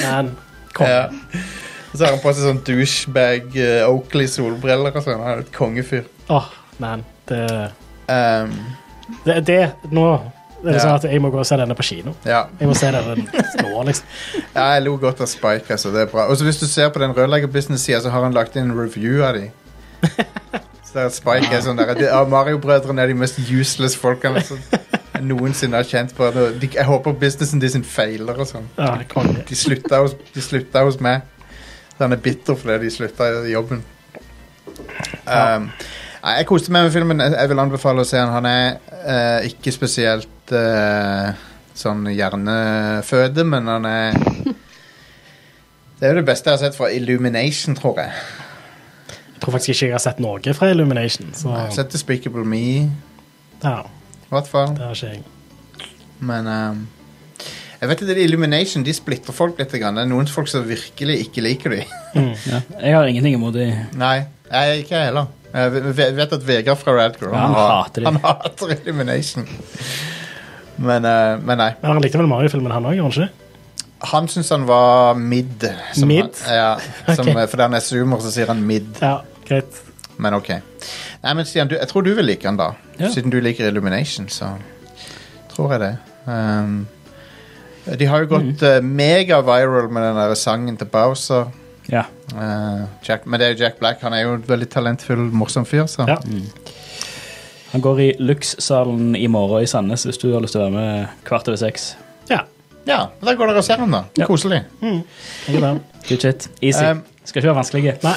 [SPEAKER 7] man. Kom.
[SPEAKER 5] Ja. Og så har han på seg sånn douchebag eh, Oakley-solbriller og sånn. Han er et kongefyr.
[SPEAKER 7] Åh, man. Det,
[SPEAKER 5] Um,
[SPEAKER 7] det, det Nå er det
[SPEAKER 5] Ja.
[SPEAKER 7] sånn at jeg må gå og se denne på kino.
[SPEAKER 5] ja.
[SPEAKER 7] Jeg må se den nå, liksom.
[SPEAKER 5] ja, jeg lo godt av Spike. Altså, det er bra. Og så hvis du ser på den rørleggerbusiness-sida, så har han lagt inn en review av de. Så der Spike er sånn der, ja, Mario-brødrene er de mest useless folkene som noensinne har kjent på. det. De, jeg håper businessen de sin feiler og sånn.
[SPEAKER 7] Ja, konge.
[SPEAKER 5] De slutta hos, de slutta hos meg. Så han er bitter fordi de slutta i jobben. Um, nei, jeg koste meg med filmen. Jeg, jeg vil anbefale å se den. Han er eh, ikke spesielt eh, sånn hjerneføde, men han er Det er jo det beste jeg har sett fra Illumination, tror jeg.
[SPEAKER 7] Jeg tror faktisk ikke jeg har sett noe fra Illumination. Så
[SPEAKER 5] Jeg har sett Despicable Me, i
[SPEAKER 7] ja,
[SPEAKER 5] hvert fall.
[SPEAKER 7] det har ikke jeg.
[SPEAKER 5] Men um, jeg vet at Illumination de splitter folk litt. Grann. Det er noen folk som virkelig ikke liker dem.
[SPEAKER 6] Ja. Jeg har ingenting imot det.
[SPEAKER 5] Nei, jeg, ikke jeg heller. Jeg ve- ve- vet at Vegard fra Radcrow
[SPEAKER 6] Ja, han hater de.
[SPEAKER 5] han hater Illumination. Men, eh, men nei.
[SPEAKER 7] Men han likte vel Mario-filmen, han òg, gjorde han ikke?
[SPEAKER 5] Han syns han var mid. som
[SPEAKER 7] Mid?
[SPEAKER 5] Han, ja, som,
[SPEAKER 7] Ok.
[SPEAKER 5] eh, Fordi han er zoomer, så sier han mid.
[SPEAKER 7] Ja, greit.
[SPEAKER 5] Men ok. Nei, men Stian, du, jeg tror du vil like han da.
[SPEAKER 6] Ja.
[SPEAKER 5] Siden du liker Illumination, så tror jeg det. Um, de har jo
[SPEAKER 6] Mhm.
[SPEAKER 5] gått eh, mega-viral med den der sangen til Bowser.
[SPEAKER 6] Ja.
[SPEAKER 5] Eh, Jack, men det er jo Jack Black. Han er jo en veldig talentfull, morsom fyr, så
[SPEAKER 7] Ja.
[SPEAKER 6] Mm. Han går i Lux-salen i morgen i Sandnes hvis du har lyst til å være med kvart over seks.
[SPEAKER 7] ja.
[SPEAKER 5] Ja, men da går dere og ser den, da.
[SPEAKER 6] Ja.
[SPEAKER 5] Koselig.
[SPEAKER 7] det er det.
[SPEAKER 6] Good shit. Easy.
[SPEAKER 5] Um,
[SPEAKER 6] Skal ikke være vanskelig. Nei.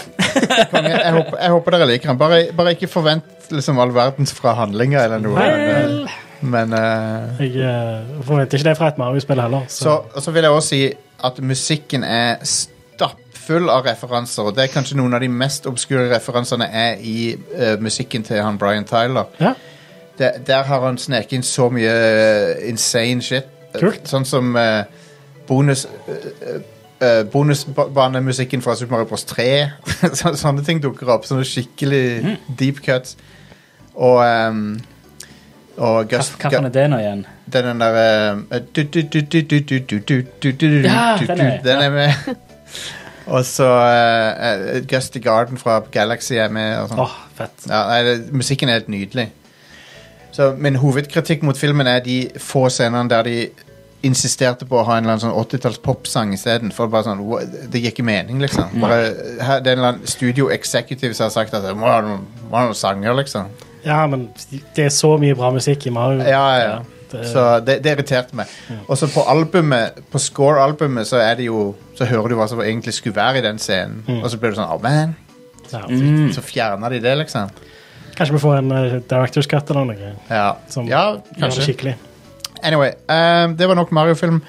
[SPEAKER 5] Konge, jeg, håper, jeg håper dere liker den. Bare, bare ikke forvent liksom, all verdens fra handlinger eller noe. Men,
[SPEAKER 7] Vel,
[SPEAKER 5] eh, men eh,
[SPEAKER 7] jeg eh, forventer ikke det fra et Mario-spill heller. Så.
[SPEAKER 5] så, og så vil jeg også si at musikken er stappfull av referanser. Og det er kanskje noen av de mest obskure referansene er i eh, musikken til han Brian Tyler.
[SPEAKER 7] Ja.
[SPEAKER 5] Der, der har han sneket inn så mye eh, insane shit.
[SPEAKER 7] Kult.
[SPEAKER 5] Sånn som eh, bonus... eh, eh, bonusbanemusikken fra Super Mario Bros. 3. Så, sånne ting dukker opp. Sånne skikkelig
[SPEAKER 6] Mm.
[SPEAKER 5] deep cuts. Og ehm, Og Gus
[SPEAKER 6] Hvilken er det nå igjen?
[SPEAKER 5] det er den eh, derre
[SPEAKER 6] Ja, den er-
[SPEAKER 5] Den er med. Og så eh, eh, Gus the Garden fra Galaxy er med. Og sånn.
[SPEAKER 7] Åh, fett.
[SPEAKER 5] Ja, nei, det, musikken er helt nydelig. Så min hovedkritikk mot filmen er de få scenene der de insisterte på å ha en eller annen sånn 80-talls popsang isteden. For bare sånn, wha- det gir ikke mening, liksom. Bare, her, det er en eller annen studio executive som har sagt at det må ha noen, må ha noen sanger, liksom.
[SPEAKER 7] Ja, men det er så mye bra musikk i Mario.
[SPEAKER 5] Ja, ja, ja.
[SPEAKER 7] det,
[SPEAKER 5] Så det, det irriterte meg. Og så på albumet, på score-albumet, så er det jo Så hører du hva som egentlig skulle være i den scenen. Og så blir du sånn oh man.
[SPEAKER 7] ja.
[SPEAKER 6] Mm.
[SPEAKER 5] Så fjerner de det, liksom.
[SPEAKER 7] Kanskje vi får en eh, Directors Cut eller noe.
[SPEAKER 5] Ja,
[SPEAKER 7] Som
[SPEAKER 5] ja
[SPEAKER 7] Gjør det
[SPEAKER 5] kanskje.
[SPEAKER 7] skikkelig.
[SPEAKER 5] Anyway, ehm, det var nok Mario-film.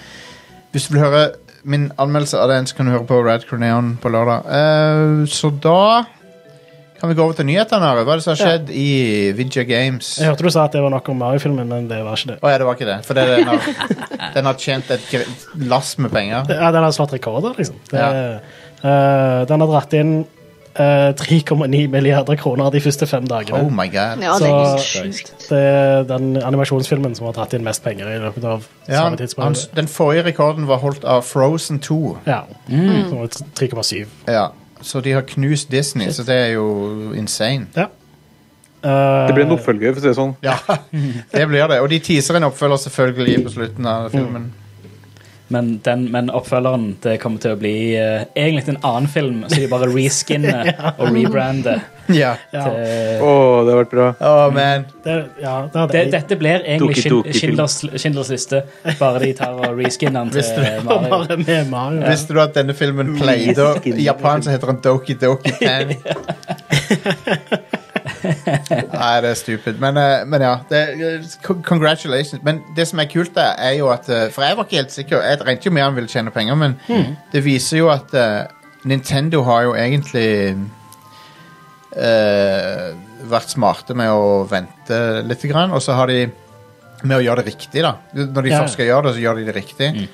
[SPEAKER 5] Hvis du vil høre min anmeldelse av den, så kan du høre på Rad Croneon på lørdag. Eh, så da kan vi gå over til nyhetene. Are. Hva er det som har skjedd i Vidja Games?
[SPEAKER 7] Jeg hørte du sa at det var nok om Mario-filmen, men det var ikke det.
[SPEAKER 5] Å ja, det var ikke det. For det, den, har, den har tjent et gre- lass med penger.
[SPEAKER 7] Ja, den har slått rekorder, liksom. Det, eh, den har dratt inn eh, 3,9 milliarder kroner de første fem dagene.
[SPEAKER 5] Oh my god.
[SPEAKER 9] Ja, det er helt
[SPEAKER 7] Så-
[SPEAKER 9] sjukt.
[SPEAKER 7] Det er den animasjonsfilmen som har dratt inn mest penger i løpet av
[SPEAKER 5] Ja, han,
[SPEAKER 7] samme tidsperiode.
[SPEAKER 5] den forrige rekorden var holdt av Frozen 2.
[SPEAKER 7] Ja.
[SPEAKER 6] Mm.
[SPEAKER 7] Som var 3,7.
[SPEAKER 5] Ja. Så de har knust Disney, så det er jo insane.
[SPEAKER 7] Ja.
[SPEAKER 8] Det blir en oppfølger, for å si det sånn.
[SPEAKER 5] Ja, det blir det. Og de teaser en oppfølger selvfølgelig på slutten av filmen.
[SPEAKER 6] Men, den, men oppfølgeren det kommer til å bli eh, egentlig en annen film, så de bare reskinner og rebrander.
[SPEAKER 5] Ja.
[SPEAKER 7] Ja.
[SPEAKER 6] til-
[SPEAKER 8] Å, det har vært bra.
[SPEAKER 5] Oh, man.
[SPEAKER 7] Eh, Det, ja, det hadde
[SPEAKER 6] det,
[SPEAKER 7] jeg.
[SPEAKER 6] dette blir egentlig
[SPEAKER 8] Doki Doki
[SPEAKER 6] Schind- Schindlers, Schindlers liste, bare de tar og reskinner den
[SPEAKER 5] Visste
[SPEAKER 6] til
[SPEAKER 7] var
[SPEAKER 6] Mario.
[SPEAKER 7] bare med Mario.
[SPEAKER 5] Visste du at denne filmen played og I Japan så heter den Doki Doki Panic. Nei, det er stupid. Men, eh, men ja. Det, con- congratulations. Men det som er kult, der, er jo at eh, For jeg var ikke helt sikker. Jeg regnet jo med han ville tjene penger, men det viser jo at eh, Nintendo har jo egentlig eh, vært smarte med å vente litt, grann, og så har de med å gjøre det riktig, da. Når de
[SPEAKER 7] Ja.
[SPEAKER 5] først skal gjøre det, så gjør de det riktig.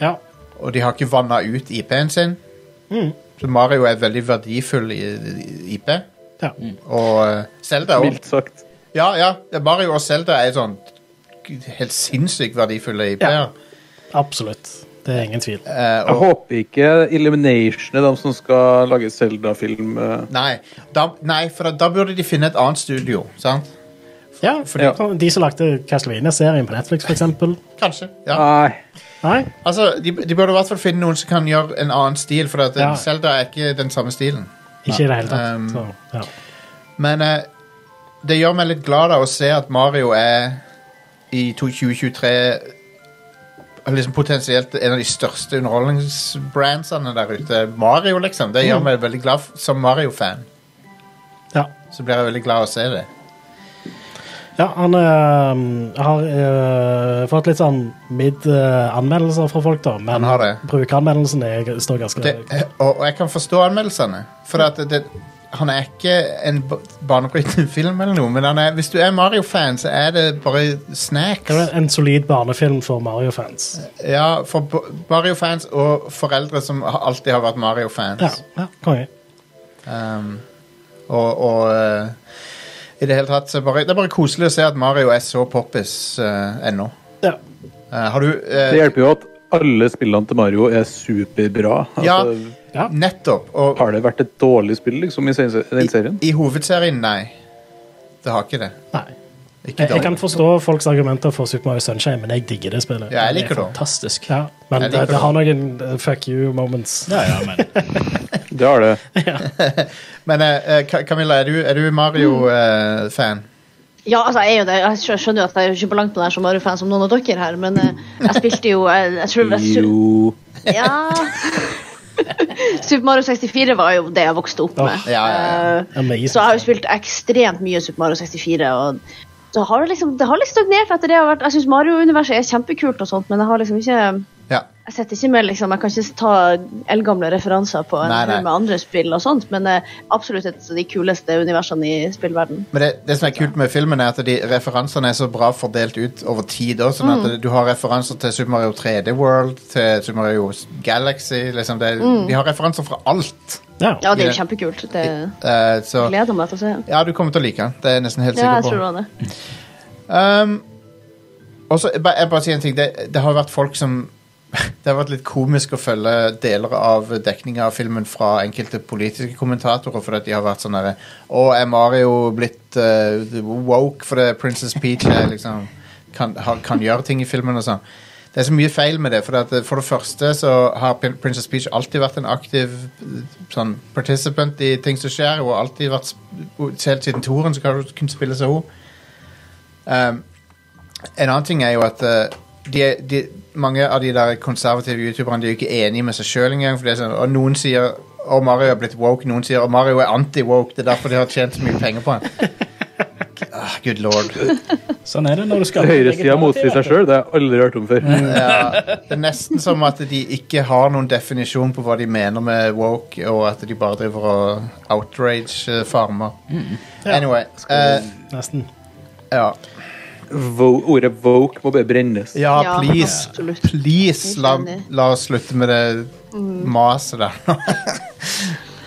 [SPEAKER 7] Ja.
[SPEAKER 5] Og de har ikke vanna ut IP-en sin.
[SPEAKER 7] Mm.
[SPEAKER 5] Så Mario er veldig verdifull i, i IP.
[SPEAKER 7] Ja.
[SPEAKER 6] Mm.
[SPEAKER 5] Og eh, Zelda òg.
[SPEAKER 8] Mildt sagt.
[SPEAKER 5] Ja, ja. det er Mario og Zelda er sånn gud, helt sinnssykt verdifulle IP-er.
[SPEAKER 7] Absolutt. Det er ingen tvil.
[SPEAKER 5] Eh,
[SPEAKER 8] Jeg
[SPEAKER 5] og,
[SPEAKER 8] håper ikke Illumination er de som skal lage Zelda-film. eh.
[SPEAKER 5] nei, da, nei, for da, da burde de finne et annet studio, sant?
[SPEAKER 7] Ja, for
[SPEAKER 8] Ja.
[SPEAKER 7] de, de som lagde Castlevania-serien på Netflix, for eksempel.
[SPEAKER 5] Kanskje. ja.
[SPEAKER 8] Nei.
[SPEAKER 7] Nei?
[SPEAKER 5] Altså, de, de burde i hvert fall finne noen som kan gjøre en annen stil, for at eh,
[SPEAKER 7] Ja.
[SPEAKER 5] Zelda er ikke den samme stilen.
[SPEAKER 7] Ikke i det hele tatt.
[SPEAKER 5] Um,
[SPEAKER 7] Så, ja.
[SPEAKER 5] Men eh, det gjør meg litt glad da, å se at Mario er i to- 2023 er liksom potensielt en av de største underholdningsbrandsene der ute. Mario, liksom. Det
[SPEAKER 7] Mm.
[SPEAKER 5] gjør meg veldig glad f- som Mario-fan.
[SPEAKER 7] Ja.
[SPEAKER 5] Så blir jeg veldig glad å se det.
[SPEAKER 7] ja, han øhm, har øh, fått litt sånn midd-anmeldelser fra folk, da. Men
[SPEAKER 5] Han har det.
[SPEAKER 7] brukeranmeldelsen er, står ganske
[SPEAKER 5] det eh, og, og jeg kan forstå anmeldelsene. For at det, han er ikke en ba- banebrytende film eller noe, men han er, hvis du er Mario-fan, så er det bare
[SPEAKER 7] Det
[SPEAKER 5] snacks.
[SPEAKER 7] er en solid barnefilm for Mario-fans.
[SPEAKER 5] Ja, for b- Mario-fans og foreldre som ha- alltid har vært Mario-fans.
[SPEAKER 7] Ja, ja, konge.
[SPEAKER 5] Um, og og eh, i det hele tatt så er bare, Det er bare koselig å se at Mario er så poppis eh, ennå.
[SPEAKER 7] Ja.
[SPEAKER 5] Eh, har du eh,
[SPEAKER 8] Det hjelper jo at alle spillene til Mario er superbra.
[SPEAKER 5] Ja.
[SPEAKER 8] Altså,
[SPEAKER 7] Ja.
[SPEAKER 5] Nettopp. Og
[SPEAKER 8] har det vært et dårlig spill liksom, i se- den
[SPEAKER 5] i,
[SPEAKER 8] serien?
[SPEAKER 5] i hovedserien, nei. Det har ikke det.
[SPEAKER 7] Nei.
[SPEAKER 5] Ikke
[SPEAKER 7] Jeg, jeg
[SPEAKER 5] dårlig.
[SPEAKER 7] kan forstå folks argumenter for Super Mario Sunshine, men jeg digger det spillet.
[SPEAKER 5] Ja, jeg liker det.
[SPEAKER 6] Fantastisk.
[SPEAKER 7] Ja, men
[SPEAKER 5] Jeg
[SPEAKER 7] det,
[SPEAKER 5] liker
[SPEAKER 7] det har noen eh, fuck you moments.
[SPEAKER 6] Ja, ja, men
[SPEAKER 8] Det har det.
[SPEAKER 5] Men eh, eh, Ka- Camilla, er du, er du eh, Mario-fan?
[SPEAKER 9] Ja, altså, jeg er jo det. Jeg skjø- skjønner jo at jeg er ikke på langt på der som Mario-fan som noen av dere her, men eh, jeg spilte jo Jeg, jeg tror jeg, su-
[SPEAKER 8] Jo
[SPEAKER 9] Ja Super Mario 64 var jo det jeg vokste opp med.
[SPEAKER 5] Ja, ja,
[SPEAKER 9] Eh,
[SPEAKER 7] Amazing.
[SPEAKER 9] Så jeg har jo spilt ekstremt mye Super Mario 64. og så har det, liksom, det har litt stagnert etter det. Jeg har vært- Jeg syns Mario-universet er kjempekult, og sånt, men jeg har liksom ikke
[SPEAKER 5] Ja.
[SPEAKER 9] jeg setter ikke med, liksom, jeg kan ikke ta eldgamle referanser på en
[SPEAKER 5] Nei, nei.
[SPEAKER 9] haug med andre spill, og sånt, men eh, absolutt et av de kuleste universene i spillverden.
[SPEAKER 5] Men det, det som er kult med filmen, er at de referansene er så bra fordelt ut over tid. Også, sånn at Du har referanser til Super Mario 3D World, til Super Mario Galaxy liksom det, De har referanser fra alt.
[SPEAKER 7] Ja.
[SPEAKER 9] Ja, det er
[SPEAKER 5] Ja.
[SPEAKER 9] jo kjempekult. Det
[SPEAKER 5] Eh, så
[SPEAKER 9] jeg gleder meg til å se.
[SPEAKER 5] Ja, du kommer til å like den. Det er jeg nesten helt
[SPEAKER 9] Ja, jeg
[SPEAKER 5] sikker
[SPEAKER 9] tror det
[SPEAKER 5] på.
[SPEAKER 9] var det.
[SPEAKER 5] Um, og så jeg bare, jeg bare sier en ting. Det, det har vært folk som Det har vært litt komisk å følge deler av dekninga av filmen fra enkelte politiske kommentatorer fordi at de har vært sånn derre Å, er Mario blitt eh, woke fordi Princess Peach er liksom kan, har, kan gjøre ting i filmen og sånn. det er så mye feil med det. For, at, eh, for det første så har Prin- Princess Peach alltid vært en aktiv eh, sånn, participant i ting som skjer. Hun har alltid vært sp- Helt siden toren så kan hun kunne spille seg hun. Um, en annen ting er jo at eh, de, de, mange av de der konservative youtuberne De er jo ikke enige med seg sjøl engang. For det er sånn, og noen sier at Mario er blitt woke, noen sier at Mario er anti-woke. Det er derfor de har tjent så mye penger på han. Ah, good lord.
[SPEAKER 6] Sånn er det når du skal
[SPEAKER 8] Høyresida motsier seg sjøl, det har jeg aldri hørt om før.
[SPEAKER 5] Ja, det er nesten som at de ikke har noen definisjon på hva de mener med woke, og at de bare driver og outrage eh, farmer. Anyway. eh,
[SPEAKER 7] Nesten.
[SPEAKER 5] ja.
[SPEAKER 8] Vo ordet woke må bare brennes.
[SPEAKER 5] ja,
[SPEAKER 9] Ja,
[SPEAKER 5] please.
[SPEAKER 9] absolutt.
[SPEAKER 5] Please, la,
[SPEAKER 9] Helt enig. Mm.
[SPEAKER 5] la oss slutte med det maset der nå.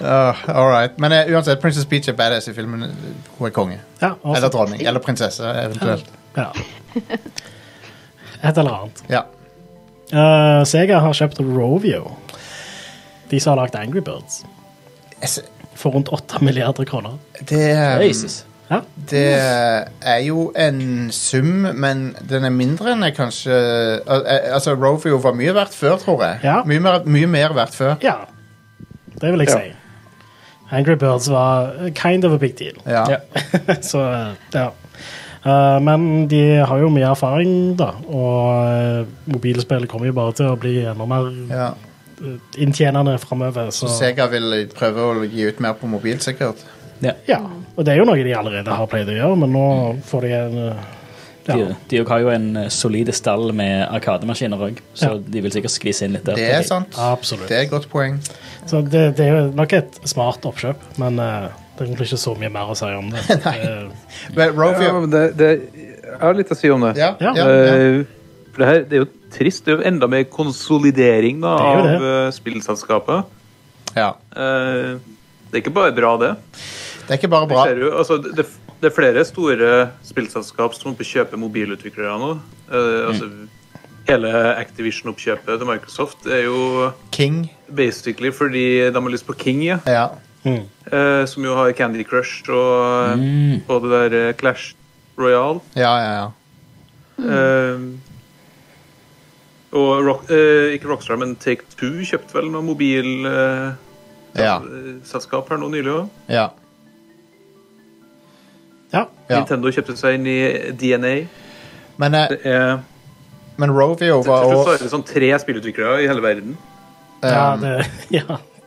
[SPEAKER 5] Uh, all right. Men eh, uansett, Princess Peach er badass i filmen. Hun er konge.
[SPEAKER 7] Ja, og
[SPEAKER 5] Eller
[SPEAKER 7] så-
[SPEAKER 5] dronning. Eller prinsesse, eventuelt.
[SPEAKER 7] ja. Et eller annet.
[SPEAKER 5] Ja.
[SPEAKER 7] Eh, Sega har kjøpt Rovio. De som har lagd Angry Birds.
[SPEAKER 5] Jeg s-
[SPEAKER 7] For rundt 8 milliarder kroner.
[SPEAKER 5] Det eh,
[SPEAKER 6] Jesus.
[SPEAKER 7] Ja.
[SPEAKER 5] Det er jo en sum, men den er mindre enn jeg kanskje al- al- Altså, Rovio var mye verdt før, tror jeg.
[SPEAKER 7] Ja.
[SPEAKER 5] Mye, mer, mye mer verdt før.
[SPEAKER 7] ja. Det vil jeg
[SPEAKER 8] Ja.
[SPEAKER 7] si. Angry Birds var kind of a big deal.
[SPEAKER 5] Ja.
[SPEAKER 6] Ja.
[SPEAKER 7] Så eh, ja. Eh, men de har jo mye erfaring, da. Og uh, mobilspillet kommer jo bare til å bli enda mer
[SPEAKER 5] Ja.
[SPEAKER 7] eh, inntjenende framover. Så,
[SPEAKER 5] Sega vil prøve å gi ut mer på mobil, sikkert.
[SPEAKER 7] ja. Og det er jo noe de allerede har pleid å gjøre, men nå får de en eh, ja.
[SPEAKER 6] De, de har jo en eh, solide stall med arkademaskiner òg, så
[SPEAKER 7] Ja.
[SPEAKER 6] de vil sikkert skvise inn litt der.
[SPEAKER 5] Det er sant.
[SPEAKER 7] Absolutt.
[SPEAKER 5] Det er et godt poeng.
[SPEAKER 7] Så det, det er jo nok et smart oppkjøp, men eh, det er egentlig ikke så mye mer å si om det. Eh,
[SPEAKER 5] Men
[SPEAKER 8] Ja,
[SPEAKER 5] Rovio
[SPEAKER 8] men det, det, jeg har litt å si om det.
[SPEAKER 5] Ja. ja,
[SPEAKER 7] Ja.
[SPEAKER 5] ja,
[SPEAKER 8] Eh, For det her det er jo trist. Det er jo enda mer konsolidering da,
[SPEAKER 7] Det er jo
[SPEAKER 8] av
[SPEAKER 7] det.
[SPEAKER 8] eh, spillselskapet.
[SPEAKER 5] ja.
[SPEAKER 8] Eh, Det er ikke bare bra, det.
[SPEAKER 5] Det er ikke bare
[SPEAKER 8] Vi
[SPEAKER 5] bra.
[SPEAKER 8] ser jo, altså, det, det er flere store spillselskap som kjøper mobilutviklere nå. Eh, altså, Hele Activision-oppkjøpet til Microsoft er jo
[SPEAKER 5] King.
[SPEAKER 8] basically fordi de har lyst på King, ja.
[SPEAKER 5] Ja.
[SPEAKER 7] mm.
[SPEAKER 8] Eh, som jo har Candy Crush og, og det der eh, Clash Royale.
[SPEAKER 5] Ja, ja, ja.
[SPEAKER 8] Eh, Ehm, og Rock, eh, ikke Rockstar, men Take Two kjøpte vel noe mobilselskap
[SPEAKER 5] Ja.
[SPEAKER 8] her nå nylig òg.
[SPEAKER 5] ja.
[SPEAKER 7] ja.
[SPEAKER 5] Ja.
[SPEAKER 8] Nintendo kjøpte seg inn i DNA.
[SPEAKER 5] Men, eh,
[SPEAKER 8] Det er,
[SPEAKER 5] men Rovio
[SPEAKER 8] til
[SPEAKER 5] var
[SPEAKER 8] slutt så er
[SPEAKER 5] også eh,
[SPEAKER 8] det sånn tre spillutviklere i hele verden.
[SPEAKER 7] Ja, det, ja,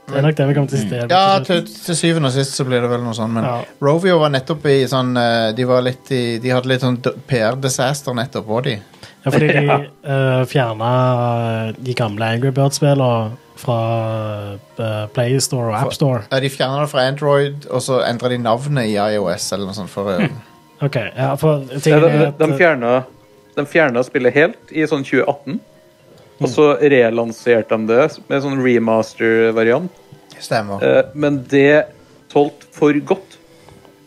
[SPEAKER 7] det er nok det vi kommer til å sitte
[SPEAKER 5] Mm. Ja, til, til syvende og sist så blir det vel noe sånn, men
[SPEAKER 7] Ja.
[SPEAKER 5] Rovio var nettopp i sånn eh, De, var litt i, de hadde litt sånn d- PR-disaster nettopp, var de?
[SPEAKER 7] Ja, fordi de uh, fjerna de gamle Angry Bird-spillene fra eh, Play Store og App Store.
[SPEAKER 5] Ja, de fjerna det fra Android, og så endra de navnet i iOS eller noe sånt. For, eh,
[SPEAKER 7] Ok, ja, for
[SPEAKER 8] Ja,
[SPEAKER 7] tingen
[SPEAKER 8] de,
[SPEAKER 7] er
[SPEAKER 8] de, de,
[SPEAKER 7] at
[SPEAKER 8] fjerna, de fjerna spillet helt i sånn 2018. Og så relanserte de det med sånn remaster-variant.
[SPEAKER 5] stemmer.
[SPEAKER 8] Eh, Men det solgte for godt.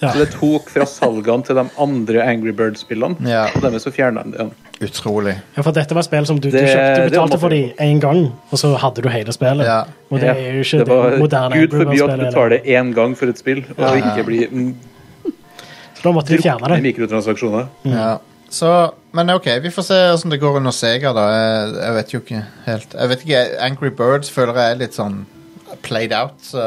[SPEAKER 7] Ja.
[SPEAKER 8] Så det tok fra salgene til de andre Angry Bird-spillene.
[SPEAKER 5] Ja.
[SPEAKER 8] Og dermed så fjerna de det. igjen.
[SPEAKER 5] Utrolig.
[SPEAKER 7] ja, for dette var spill som du, du,
[SPEAKER 8] Det-
[SPEAKER 7] kjøpte, du
[SPEAKER 8] det var
[SPEAKER 7] betalte for dem én gang, og så hadde du hele spillet.
[SPEAKER 5] Ja.
[SPEAKER 7] Og det er jo ikke
[SPEAKER 8] Det
[SPEAKER 7] det,
[SPEAKER 8] var
[SPEAKER 7] moderne
[SPEAKER 8] Gud forby at du
[SPEAKER 7] Bird-spillet.
[SPEAKER 8] betaler én gang for et spill, og ikke blir mm,
[SPEAKER 7] Så Da måtte de fjerne
[SPEAKER 8] druknet i
[SPEAKER 7] det.
[SPEAKER 8] mikrotransaksjoner.
[SPEAKER 5] Ja. Mm. Så, men OK, vi får se åssen det går under Sega, da. Jeg, jeg vet jo ikke helt. Jeg vet ikke, Angry Birds føler jeg er litt sånn played out. Så.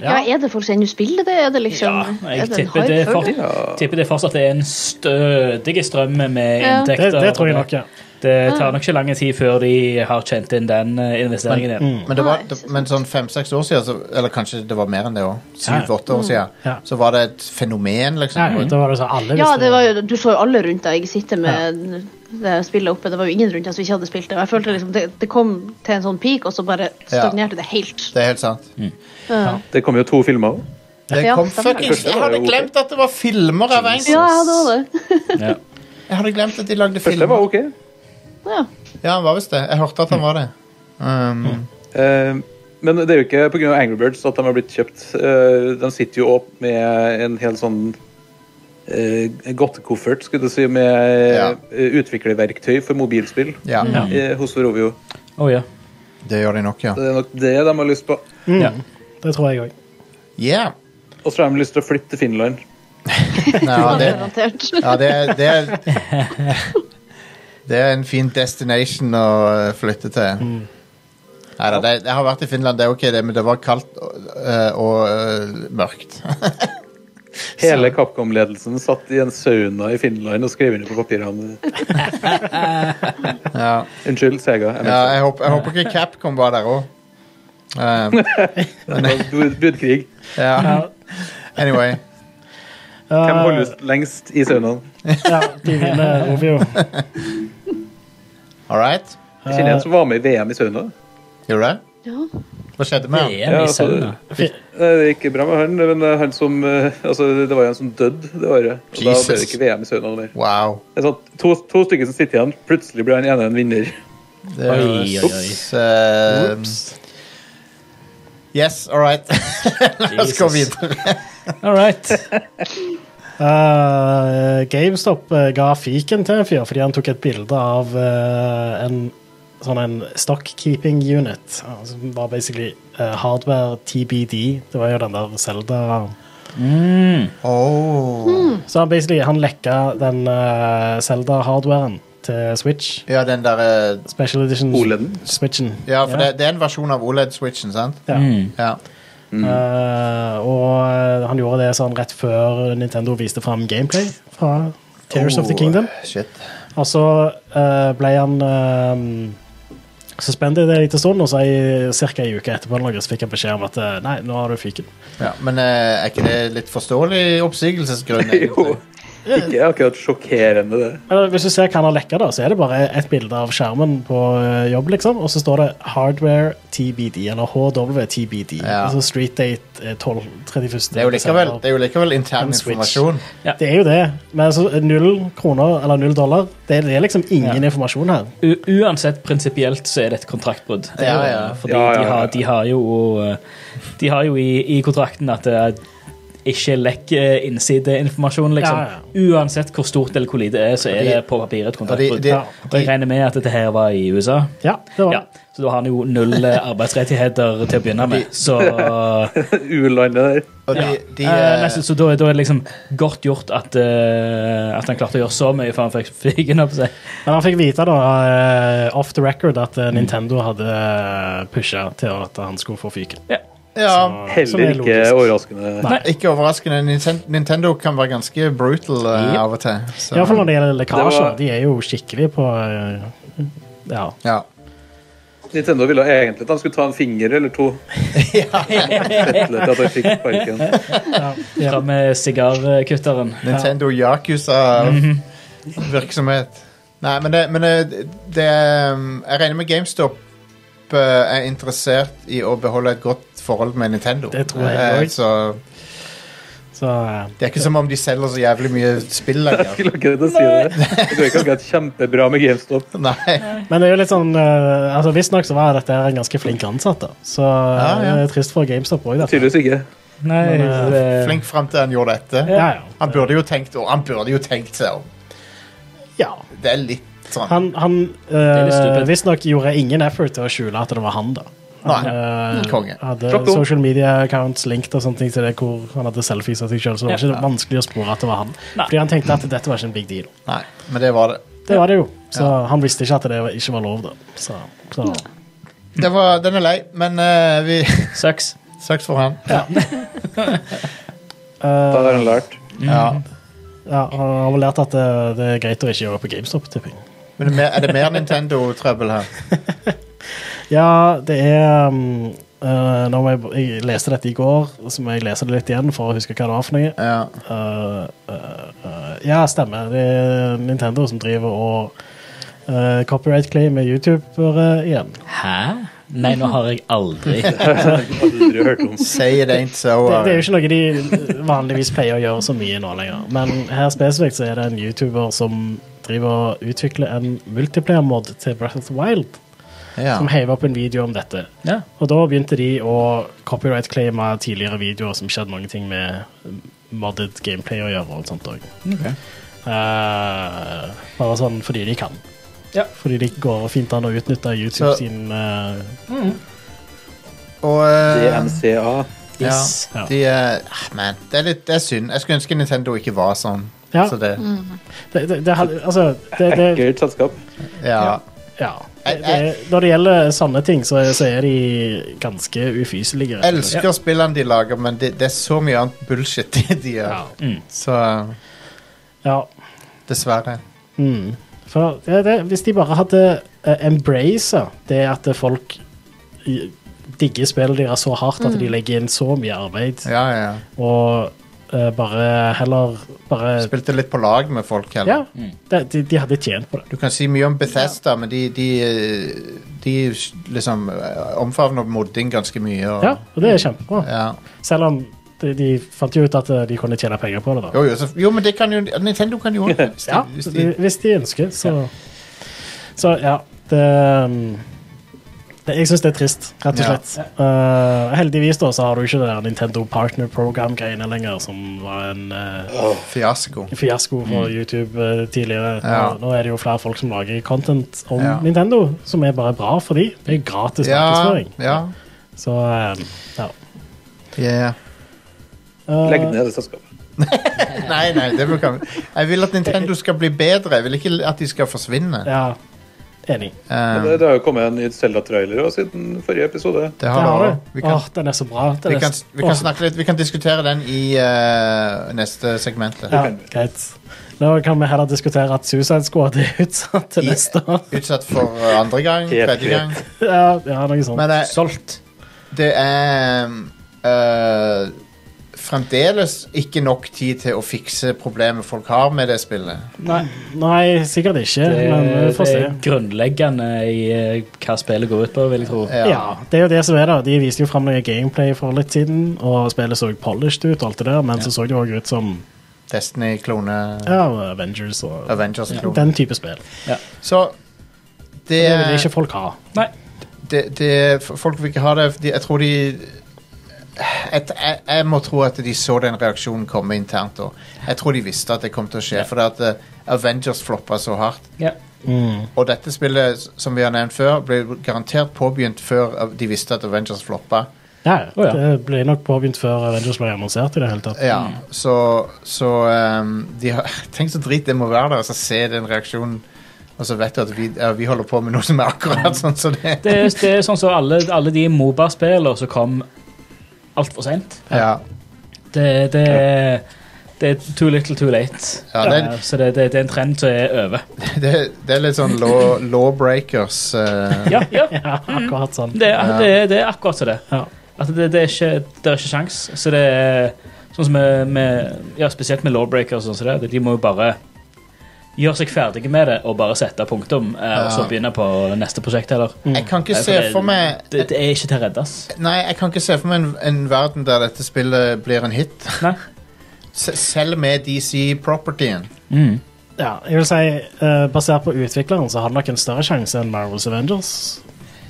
[SPEAKER 9] Ja, er det folk som ennå spiller det? Er det liksom
[SPEAKER 6] Ja,
[SPEAKER 9] er
[SPEAKER 6] jeg
[SPEAKER 9] det en
[SPEAKER 6] tipper
[SPEAKER 9] hype
[SPEAKER 6] det,
[SPEAKER 9] for
[SPEAKER 6] for,
[SPEAKER 9] det?
[SPEAKER 6] tipper det fortsatt er en stødig strøm med
[SPEAKER 9] Ja.
[SPEAKER 7] Det,
[SPEAKER 6] inntekter.
[SPEAKER 7] det tror jeg nok, ja.
[SPEAKER 6] Det tar nok ikke lang tid før de har tjent inn den eh, investeringen
[SPEAKER 7] Mm.
[SPEAKER 6] igjen.
[SPEAKER 5] Men, det var,
[SPEAKER 9] Nei,
[SPEAKER 5] det, men sånn fem-seks år siden, så, eller kanskje det var mer enn det òg, syv-åtte år
[SPEAKER 7] Ja.
[SPEAKER 5] siden, så var det et fenomen,
[SPEAKER 7] Ja,
[SPEAKER 5] liksom.
[SPEAKER 7] Da var det sånn alle
[SPEAKER 9] Ja,
[SPEAKER 7] visste
[SPEAKER 9] det var jo, du så jo alle rundt deg sitte med det spillet oppe. Det var jo ingen rundt deg som ikke hadde spilt det. Og jeg følte liksom, det, det kom til en sånn peak, og så bare stagnerte det helt.
[SPEAKER 5] Det er helt sant.
[SPEAKER 7] Mm.
[SPEAKER 8] Det kom jo to filmer òg.
[SPEAKER 5] Det
[SPEAKER 9] Ja,
[SPEAKER 5] kom
[SPEAKER 9] stemmer.
[SPEAKER 5] fuckings Jeg
[SPEAKER 8] Første var
[SPEAKER 5] hadde
[SPEAKER 8] jo-
[SPEAKER 5] glemt at det var filmer av en
[SPEAKER 9] Ja, jeg hadde også det.
[SPEAKER 6] Ja.
[SPEAKER 5] Jeg hadde glemt at de lagde
[SPEAKER 8] Første
[SPEAKER 5] filmer.
[SPEAKER 8] var OK.
[SPEAKER 9] Ja.
[SPEAKER 5] Ja, han var visst det. Jeg hørte at
[SPEAKER 7] Mm.
[SPEAKER 5] han var det. Um,
[SPEAKER 8] Eh, Men det er jo ikke pga. Angry Birds at de har blitt kjøpt. Eh, De sitter jo opp med en hel sånn eh, godtekoffert, skulle du si, med
[SPEAKER 5] Ja.
[SPEAKER 8] eh, utviklerverktøy for mobilspill
[SPEAKER 5] ja,
[SPEAKER 7] Mm.
[SPEAKER 8] eh, hos Rovio.
[SPEAKER 6] Oh, ja.
[SPEAKER 5] det gjør de nok, ja.
[SPEAKER 8] Så Det er nok det de har lyst på.
[SPEAKER 6] Ja.
[SPEAKER 7] Det tror jeg òg.
[SPEAKER 5] Yeah.
[SPEAKER 8] Og så har de lyst til å flytte til Finland.
[SPEAKER 5] Nei, ja, det,
[SPEAKER 9] Garantert.
[SPEAKER 5] ja, det, det Det er en fin destination å eh, flytte til.
[SPEAKER 6] Mm.
[SPEAKER 5] Neida, det, jeg har vært i Finland, det er ok, det, men det var kaldt og, eh, og eh, mørkt.
[SPEAKER 8] Hele Capcom-ledelsen satt i en sauna i Finland og skrev under på papirene.
[SPEAKER 5] ja.
[SPEAKER 8] Unnskyld, Sega. Jeg
[SPEAKER 5] Ja, jeg, håper, jeg håper ikke Capcom var der Um, òg.
[SPEAKER 8] mente bud- budkrig.
[SPEAKER 5] ja. Anyway.
[SPEAKER 8] Hvem holder ut lengst i saunaen?
[SPEAKER 7] Eh, Ja, de vinner Rovio.
[SPEAKER 5] All right.
[SPEAKER 8] Jeg kjenner en som var med i VM i sauna.
[SPEAKER 5] Gjorde du det?
[SPEAKER 9] Ja.
[SPEAKER 5] Hva skjedde med han?
[SPEAKER 6] VM
[SPEAKER 8] Ja,
[SPEAKER 6] i
[SPEAKER 8] altså,
[SPEAKER 6] sauna.
[SPEAKER 8] Nei, Det gikk bra med han, men eh, han som eh, Altså, det var jo en som døde det året. Og da ble
[SPEAKER 5] Jesus.
[SPEAKER 8] det ikke VM i sauna mer.
[SPEAKER 5] Wow.
[SPEAKER 8] Det er sånn, to, to stykker som sitter igjen, plutselig blir han ene en vinner.
[SPEAKER 5] Det
[SPEAKER 6] Oi,
[SPEAKER 5] høres-
[SPEAKER 6] oi, oi.
[SPEAKER 5] eh, Yes, all right. La oss gå
[SPEAKER 6] Jesus.
[SPEAKER 5] videre.
[SPEAKER 6] All right.
[SPEAKER 7] Eh, GameStop eh, ga fiken til en fyr fordi han tok et bilde av eh, en sånn en stockkeeping unit. eh, Som var basically eh, hardware TBD. Det var jo den der Zelda
[SPEAKER 5] Oh.
[SPEAKER 7] Så han basically han lekka den eh, Zelda-hardwaren til Switch.
[SPEAKER 5] Ja, den eh, derre
[SPEAKER 7] Special Edition
[SPEAKER 8] OLED-en.
[SPEAKER 7] Switchen.
[SPEAKER 5] Ja, for Det, det er en versjon av OLED-switchen, sant?
[SPEAKER 7] Ja.
[SPEAKER 5] Ja. Mm.
[SPEAKER 7] Eh, og eh, han gjorde det sånn rett før Nintendo viste fram gameplay fra Tears of the
[SPEAKER 5] Oh,
[SPEAKER 7] Kingdom.
[SPEAKER 5] Shit.
[SPEAKER 7] Og så eh, ble han uh, suspended en liten stund, og så ca. ei uke etterpå eller noe, så fikk jeg beskjed om at eh, nei, nå har du fyken.
[SPEAKER 5] Ja, men eh, er ikke det litt forståelig oppsigelsesgrunn?
[SPEAKER 8] Jo.
[SPEAKER 5] egentlig?
[SPEAKER 8] Ikke akkurat sjokkerende, det.
[SPEAKER 7] Eller, hvis du ser hva han har lekka, da, så er det bare et bilde av skjermen på eh, jobb, liksom, og så står det 'Hardware TBD', eller HWTBD.
[SPEAKER 5] Ja.
[SPEAKER 7] Altså Street Date eh, 12, 31.
[SPEAKER 5] Det er jo likevel, det er jo likevel intern
[SPEAKER 7] En switch.
[SPEAKER 5] informasjon.
[SPEAKER 7] Det er jo det, men altså, null kroner eller null dollar, det, det er liksom ingen informasjon her.
[SPEAKER 6] U uansett, prinsipielt så er det et kontraktbrudd. Det er
[SPEAKER 5] Ja,
[SPEAKER 6] jo-
[SPEAKER 5] ja.
[SPEAKER 6] Fordi
[SPEAKER 8] Ja, ja,
[SPEAKER 6] De, har,
[SPEAKER 8] ja.
[SPEAKER 6] de har jo eh, De har jo i, i kontrakten at det er ikke lekk eh, innsideinformasjon, liksom.
[SPEAKER 7] Ja,
[SPEAKER 6] Uansett hvor stort eller hvor lite det er, så er
[SPEAKER 5] Og de-
[SPEAKER 6] det på papiret et
[SPEAKER 5] Og de,
[SPEAKER 6] kontraktbrudd.
[SPEAKER 5] de,
[SPEAKER 6] Og jeg regner med at dette her var i USA.
[SPEAKER 7] Ja, det var
[SPEAKER 6] Ja, så da har han jo null eh, arbeidsrettigheter til å begynne med. Så,
[SPEAKER 8] U-landet der.
[SPEAKER 5] og de,
[SPEAKER 6] ja.
[SPEAKER 5] de,
[SPEAKER 6] Eh,
[SPEAKER 5] eh,
[SPEAKER 6] nesten, så da, er- da er det liksom godt gjort at, eh, at han klarte å gjøre så mye før han fikk fyken opp seg.
[SPEAKER 7] Men han fikk vite da, eh, off the record at eh, Nintendo hadde pusha til at han skulle få fyken.
[SPEAKER 5] ja,
[SPEAKER 7] Som er
[SPEAKER 8] Heller ikke
[SPEAKER 7] logisk.
[SPEAKER 8] overraskende.
[SPEAKER 5] ikke overraskende. Ninten- Nintendo kan være ganske brutal eh, av og til. så-
[SPEAKER 7] Iallfall når det gjelder lekkasjer.
[SPEAKER 8] Det var-
[SPEAKER 7] De er jo skikkelig på eh, Ja.
[SPEAKER 5] ja.
[SPEAKER 8] Nintendo ville egentlig at han skulle ta en finger eller to. Etter at han fikk sparken.
[SPEAKER 6] Fra med sigarkutteren.
[SPEAKER 5] Nintendo Yakuza-virksomhet.
[SPEAKER 7] Mm-hmm.
[SPEAKER 5] Nei, men det, men det, det um, Jeg regner med GameStop uh, er interessert i å beholde et godt forhold med Nintendo.
[SPEAKER 7] Det tror jeg
[SPEAKER 5] Eh,
[SPEAKER 7] også.
[SPEAKER 5] Så
[SPEAKER 7] Så eh,
[SPEAKER 5] Det er ikke som om de selger så jævlig mye spill
[SPEAKER 8] Jeg
[SPEAKER 5] lenger.
[SPEAKER 8] skulle akkurat si det. Det går ikke akkurat kjempebra med GameStop.
[SPEAKER 5] Nei.
[SPEAKER 7] Men det er jo litt sånn eh, altså Visstnok så var dette en ganske flink ansatt, da. Så
[SPEAKER 5] Ja, ja.
[SPEAKER 7] det er trist for GameStop òg, dette.
[SPEAKER 8] Tydeligvis ikke.
[SPEAKER 6] Nei, eh,
[SPEAKER 7] Men,
[SPEAKER 6] det-
[SPEAKER 5] Flink fram til han gjorde dette.
[SPEAKER 7] Ja, ja.
[SPEAKER 5] Han burde jo tenkt, og han burde jo tenkt seg om.
[SPEAKER 7] ja.
[SPEAKER 5] Det er litt sånn.
[SPEAKER 7] Han, han
[SPEAKER 6] er litt
[SPEAKER 7] uh,
[SPEAKER 6] stupid.
[SPEAKER 7] visstnok gjorde ingen effort til å skjule at det var han, da. Han,
[SPEAKER 5] Nei.
[SPEAKER 7] eh,
[SPEAKER 5] Konge.
[SPEAKER 7] hadde
[SPEAKER 8] Slapp opp.
[SPEAKER 7] social media accounts linked og sånne ting til det hvor han hadde selfies av seg sjøl, så det var ikke vanskelig å spore at det var han.
[SPEAKER 6] Nei.
[SPEAKER 7] Fordi han tenkte at dette var ikke en big deal.
[SPEAKER 5] Nei, men det var det.
[SPEAKER 7] Det var det jo. Så han visste ikke at det var- ikke var lov, da. Så, så.
[SPEAKER 5] det var, den er lei, men eh, vi
[SPEAKER 6] Sucks.
[SPEAKER 5] Søks for han.
[SPEAKER 8] Da har han lært.
[SPEAKER 5] Ja.
[SPEAKER 7] Eh, Ja, han har vel lært at det, det er greit å ikke gjøre på GameStop, tipper jeg.
[SPEAKER 5] Men er det mer- er det mer Nintendo-trøbbel her?
[SPEAKER 7] Ja, det er um, eh, nå må jeg, jeg leste dette i går, så må jeg lese det litt igjen for å huske hva det var for noe.
[SPEAKER 5] Ja.
[SPEAKER 7] Eh, eh, eh, ja, stemmer. Det er Nintendo som driver og eh, copyright claim med youtubere igjen.
[SPEAKER 6] Hæ? Nei, nå har jeg aldri
[SPEAKER 8] Aldri hørt om.
[SPEAKER 5] Say it ain't so.
[SPEAKER 7] Det, det er
[SPEAKER 5] Ari.
[SPEAKER 7] jo ikke noe de vanligvis pleier å gjøre så mye nå lenger. Men her spesifikt så er det en YouTuber som driver og utvikler en multiplayer-mod til Breath of the Wild,
[SPEAKER 5] eh, Ja.
[SPEAKER 7] som heiv opp en video om dette.
[SPEAKER 6] Ja.
[SPEAKER 7] Og da begynte de å copyright-claime tidligere videoer som ikke hadde noen ting med modded gameplay å gjøre. og sånt også. Eh, bare sånn fordi de kan.
[SPEAKER 6] Ja.
[SPEAKER 7] Fordi de går fint an å utnytte YouTube
[SPEAKER 5] Så-
[SPEAKER 7] sin eh,
[SPEAKER 5] Og eh,
[SPEAKER 8] DMCA.
[SPEAKER 6] Yes.
[SPEAKER 7] ja.
[SPEAKER 5] de eh, ah, Man, det er litt det er synd. Jeg skulle ønske Nintendo ikke var sånn.
[SPEAKER 7] Ja.
[SPEAKER 5] Så det,
[SPEAKER 7] det, det, det, hadde- altså, det, det,
[SPEAKER 8] Ekkelt selskap.
[SPEAKER 5] Ja.
[SPEAKER 7] Ja. Det,
[SPEAKER 5] Jeg-
[SPEAKER 7] det, når det gjelder sånne ting, så, er- så er de ganske ufyselige. rett og slett.
[SPEAKER 5] Elsker spillene de lager, men det, det er så mye annet bullshit de- de
[SPEAKER 7] Ja.
[SPEAKER 5] gjør. Så eh,
[SPEAKER 7] Ja.
[SPEAKER 5] dessverre.
[SPEAKER 7] Mm. For det, det, hvis de bare hadde uh, embracet det at folk i- digger spillet deres så hardt at de legger inn så mye arbeid,
[SPEAKER 5] Ja, ja, ja.
[SPEAKER 7] og eh, bare heller bare
[SPEAKER 5] Spilte litt på lag med folk
[SPEAKER 7] Ja,
[SPEAKER 5] heller.
[SPEAKER 7] det, de, de hadde tjent på det.
[SPEAKER 5] Du kan si mye om Bethesda, men de, de, eh, de liksom eh, omfavner modding ganske mye. Og,
[SPEAKER 7] Ja, og det er kjempebra.
[SPEAKER 5] Ja.
[SPEAKER 7] Selv om de, de fant jo ut at eh, de kunne tjene penger på det. da.
[SPEAKER 5] Jo, jo, så, jo, men det kan jo Nintendo kan jo også det, hvis de-
[SPEAKER 7] Ja,
[SPEAKER 5] hvis
[SPEAKER 7] så
[SPEAKER 5] de-
[SPEAKER 7] de, hvis de ønsker, så Så ja, det, um, det Jeg syns det er trist, rett og
[SPEAKER 5] Ja.
[SPEAKER 7] slett. Uh, heldigvis da, så har du ikke det der Nintendo Partner Program-greiene lenger, som var en uh,
[SPEAKER 5] Fiasko.
[SPEAKER 7] fiasko for YouTube uh, tidligere.
[SPEAKER 5] Mm. Ja.
[SPEAKER 7] Nå, nå er det jo flere folk som lager content om
[SPEAKER 5] Ja.
[SPEAKER 7] Nintendo, som er bare bra for de. Det er gratis
[SPEAKER 5] Ja,
[SPEAKER 7] markedsføring.
[SPEAKER 5] ja.
[SPEAKER 7] Så um, ja.
[SPEAKER 5] Yeah.
[SPEAKER 7] Uh,
[SPEAKER 8] Legg ned det selskapet.
[SPEAKER 5] Nei, nei, det vil kan... Jeg vil at Nintendo skal bli bedre. Jeg vil ikke at de skal forsvinne.
[SPEAKER 7] Ja, enig.
[SPEAKER 8] Men
[SPEAKER 5] Um,
[SPEAKER 8] Det, det har jo kommet en ny Zelda-trailer også siden forrige episode.
[SPEAKER 5] det
[SPEAKER 7] Det har
[SPEAKER 5] har det.
[SPEAKER 7] du.
[SPEAKER 5] Vi kan,
[SPEAKER 7] Åh, den er så bra. Den
[SPEAKER 5] vi
[SPEAKER 7] er
[SPEAKER 5] kan,
[SPEAKER 7] så-
[SPEAKER 5] vi kan
[SPEAKER 7] Åh.
[SPEAKER 5] snakke litt Vi kan diskutere den i eh, neste segment. da.
[SPEAKER 7] Ja, greit. Nå kan vi heller diskutere at Suicide Squad er utsatt til
[SPEAKER 5] I-
[SPEAKER 7] neste år.
[SPEAKER 5] Utsatt for eh, andre gang,
[SPEAKER 8] Helt
[SPEAKER 5] tredje gang.
[SPEAKER 7] Ja, ja noe sånt.
[SPEAKER 5] Men eh,
[SPEAKER 6] Solgt.
[SPEAKER 5] det er eh, fremdeles ikke nok tid til å fikse problemet folk har med det spillet.
[SPEAKER 7] nei, nei, sikkert ikke,
[SPEAKER 6] Det,
[SPEAKER 7] men vi
[SPEAKER 6] Eh, det
[SPEAKER 7] får se.
[SPEAKER 6] er grunnleggende i eh, hva spillet går ut på, vil jeg tro.
[SPEAKER 5] Ja.
[SPEAKER 7] Ja, det er jo det som er da. De viste jo fram noe gameplay for litt siden, og spillet så polished ut, og alt det der, men så så det òg ut som
[SPEAKER 5] Destiny-klone,
[SPEAKER 7] ja, Avengers og
[SPEAKER 5] Avengers-klone.
[SPEAKER 7] den type spill.
[SPEAKER 5] Så det,
[SPEAKER 7] Det vil ikke folk ha.
[SPEAKER 6] Nei.
[SPEAKER 5] det, det Folk vil ikke ha det. De, jeg tror de et, jeg, jeg må tro at de så den reaksjonen komme internt. Og jeg tror de visste at det kom til å skje, for at eh, Avengers floppa så hardt.
[SPEAKER 6] Ja.
[SPEAKER 7] Mm.
[SPEAKER 5] Og dette spillet, s- som vi har nevnt før, ble garantert påbegynt før eh, de visste at Avengers floppa.
[SPEAKER 7] Ja,
[SPEAKER 6] Å, ja.
[SPEAKER 7] Det ble nok påbegynt før Avengers ble annonsert i det hele tatt.
[SPEAKER 5] Ja, så, så ehm, de har, Tenk så drit det må være der, og så se den reaksjonen. Og så vet du at vi, ja, vi holder på med noe som er akkurat sånn som det.
[SPEAKER 6] Det, er- det er sånn som alle, alle de Moba-spillene som kom altfor seint.
[SPEAKER 5] Ja,
[SPEAKER 6] Det, det, er- det er too little, too late.
[SPEAKER 5] Ja, det er-
[SPEAKER 6] Eh, Så det, det, det er en trend som er over.
[SPEAKER 5] det, det er litt sånn law, lawbreakers. eh,
[SPEAKER 6] Ja, ja.
[SPEAKER 7] Ja, akkurat sånn.
[SPEAKER 6] Det er, det, er- det er akkurat som det.
[SPEAKER 7] Ja.
[SPEAKER 6] At det, det, er ikke, det er ikke sjans. Så det er sånn som med, med Ja, spesielt med lawbreakers og sånn som det. De må jo bare gjøre seg ferdige med det og bare sette punktum, eh, og så begynne på neste prosjekt heller.
[SPEAKER 5] Jeg kan ikke
[SPEAKER 6] Eh,
[SPEAKER 5] se
[SPEAKER 6] det-
[SPEAKER 5] for meg
[SPEAKER 6] det, det er ikke til å reddes.
[SPEAKER 5] Nei, jeg kan ikke se for meg en, en verden der dette spillet blir en hit.
[SPEAKER 6] Nei.
[SPEAKER 5] Se- Selv med DC-propertyen.
[SPEAKER 7] Mm. Ja, jeg vil si, eh, basert på utvikleren, så har det nok en større sjanse enn Marvels Avengers.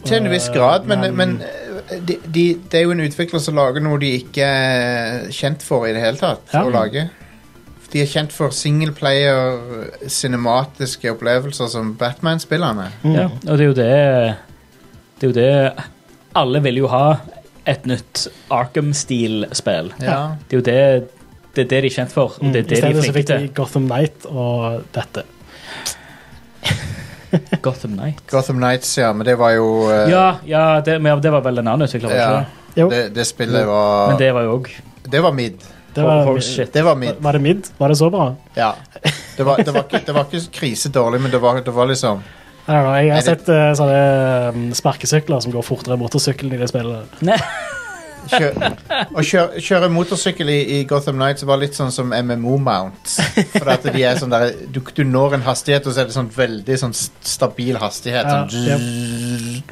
[SPEAKER 5] Til en viss
[SPEAKER 7] Eh,
[SPEAKER 5] grad, men,
[SPEAKER 7] men-
[SPEAKER 5] men eh, de, de, det er jo en utvikler som lager noe de ikke er kjent for i det hele tatt
[SPEAKER 7] Ja.
[SPEAKER 5] å lage. De er kjent for singleplayer, cinematiske opplevelser som Batman-spillerne.
[SPEAKER 7] mm.
[SPEAKER 6] Ja, og det er jo det Det er jo det Alle vil jo ha et nytt Arkham-stil-spill.
[SPEAKER 5] Ja.
[SPEAKER 6] Det er jo det det, er det de er kjent for. og Det er det
[SPEAKER 7] I
[SPEAKER 6] de
[SPEAKER 7] stedet
[SPEAKER 6] er
[SPEAKER 7] Mm. så
[SPEAKER 6] flinke
[SPEAKER 7] fikk de
[SPEAKER 6] til.
[SPEAKER 7] Gotham Knight og dette.
[SPEAKER 6] Gotham Knight.
[SPEAKER 5] Gotham Nights, ja, men det var jo eh,
[SPEAKER 6] Ja, ja det, men det var vel en annen utvikler. var det
[SPEAKER 5] ja,
[SPEAKER 6] ikke det?
[SPEAKER 7] Jo,
[SPEAKER 5] Det, det spillet
[SPEAKER 6] Men
[SPEAKER 5] var
[SPEAKER 6] det var jo òg
[SPEAKER 5] Det var mid.
[SPEAKER 7] det var,
[SPEAKER 6] Holy shit.
[SPEAKER 5] Det var mid,
[SPEAKER 7] var det mid? Var det så bra?
[SPEAKER 5] ja. Det var, det var, ikke, det var ikke krisedårlig, men det var, det var liksom
[SPEAKER 7] I don't know, jeg
[SPEAKER 5] Er
[SPEAKER 7] har
[SPEAKER 5] det-
[SPEAKER 7] sett eh, sånne mm, sparkesykler som går fortere enn motorsykkelen i det spillet.
[SPEAKER 5] kjø, Å kjøre, kjøre motorsykkel i, i Gotham Nights var litt sånn som MMO-mounts. For at de er sånn der du, du når en hastighet, og så er det sånn veldig sånn st- stabil hastighet.
[SPEAKER 7] Ja,
[SPEAKER 5] Sånn,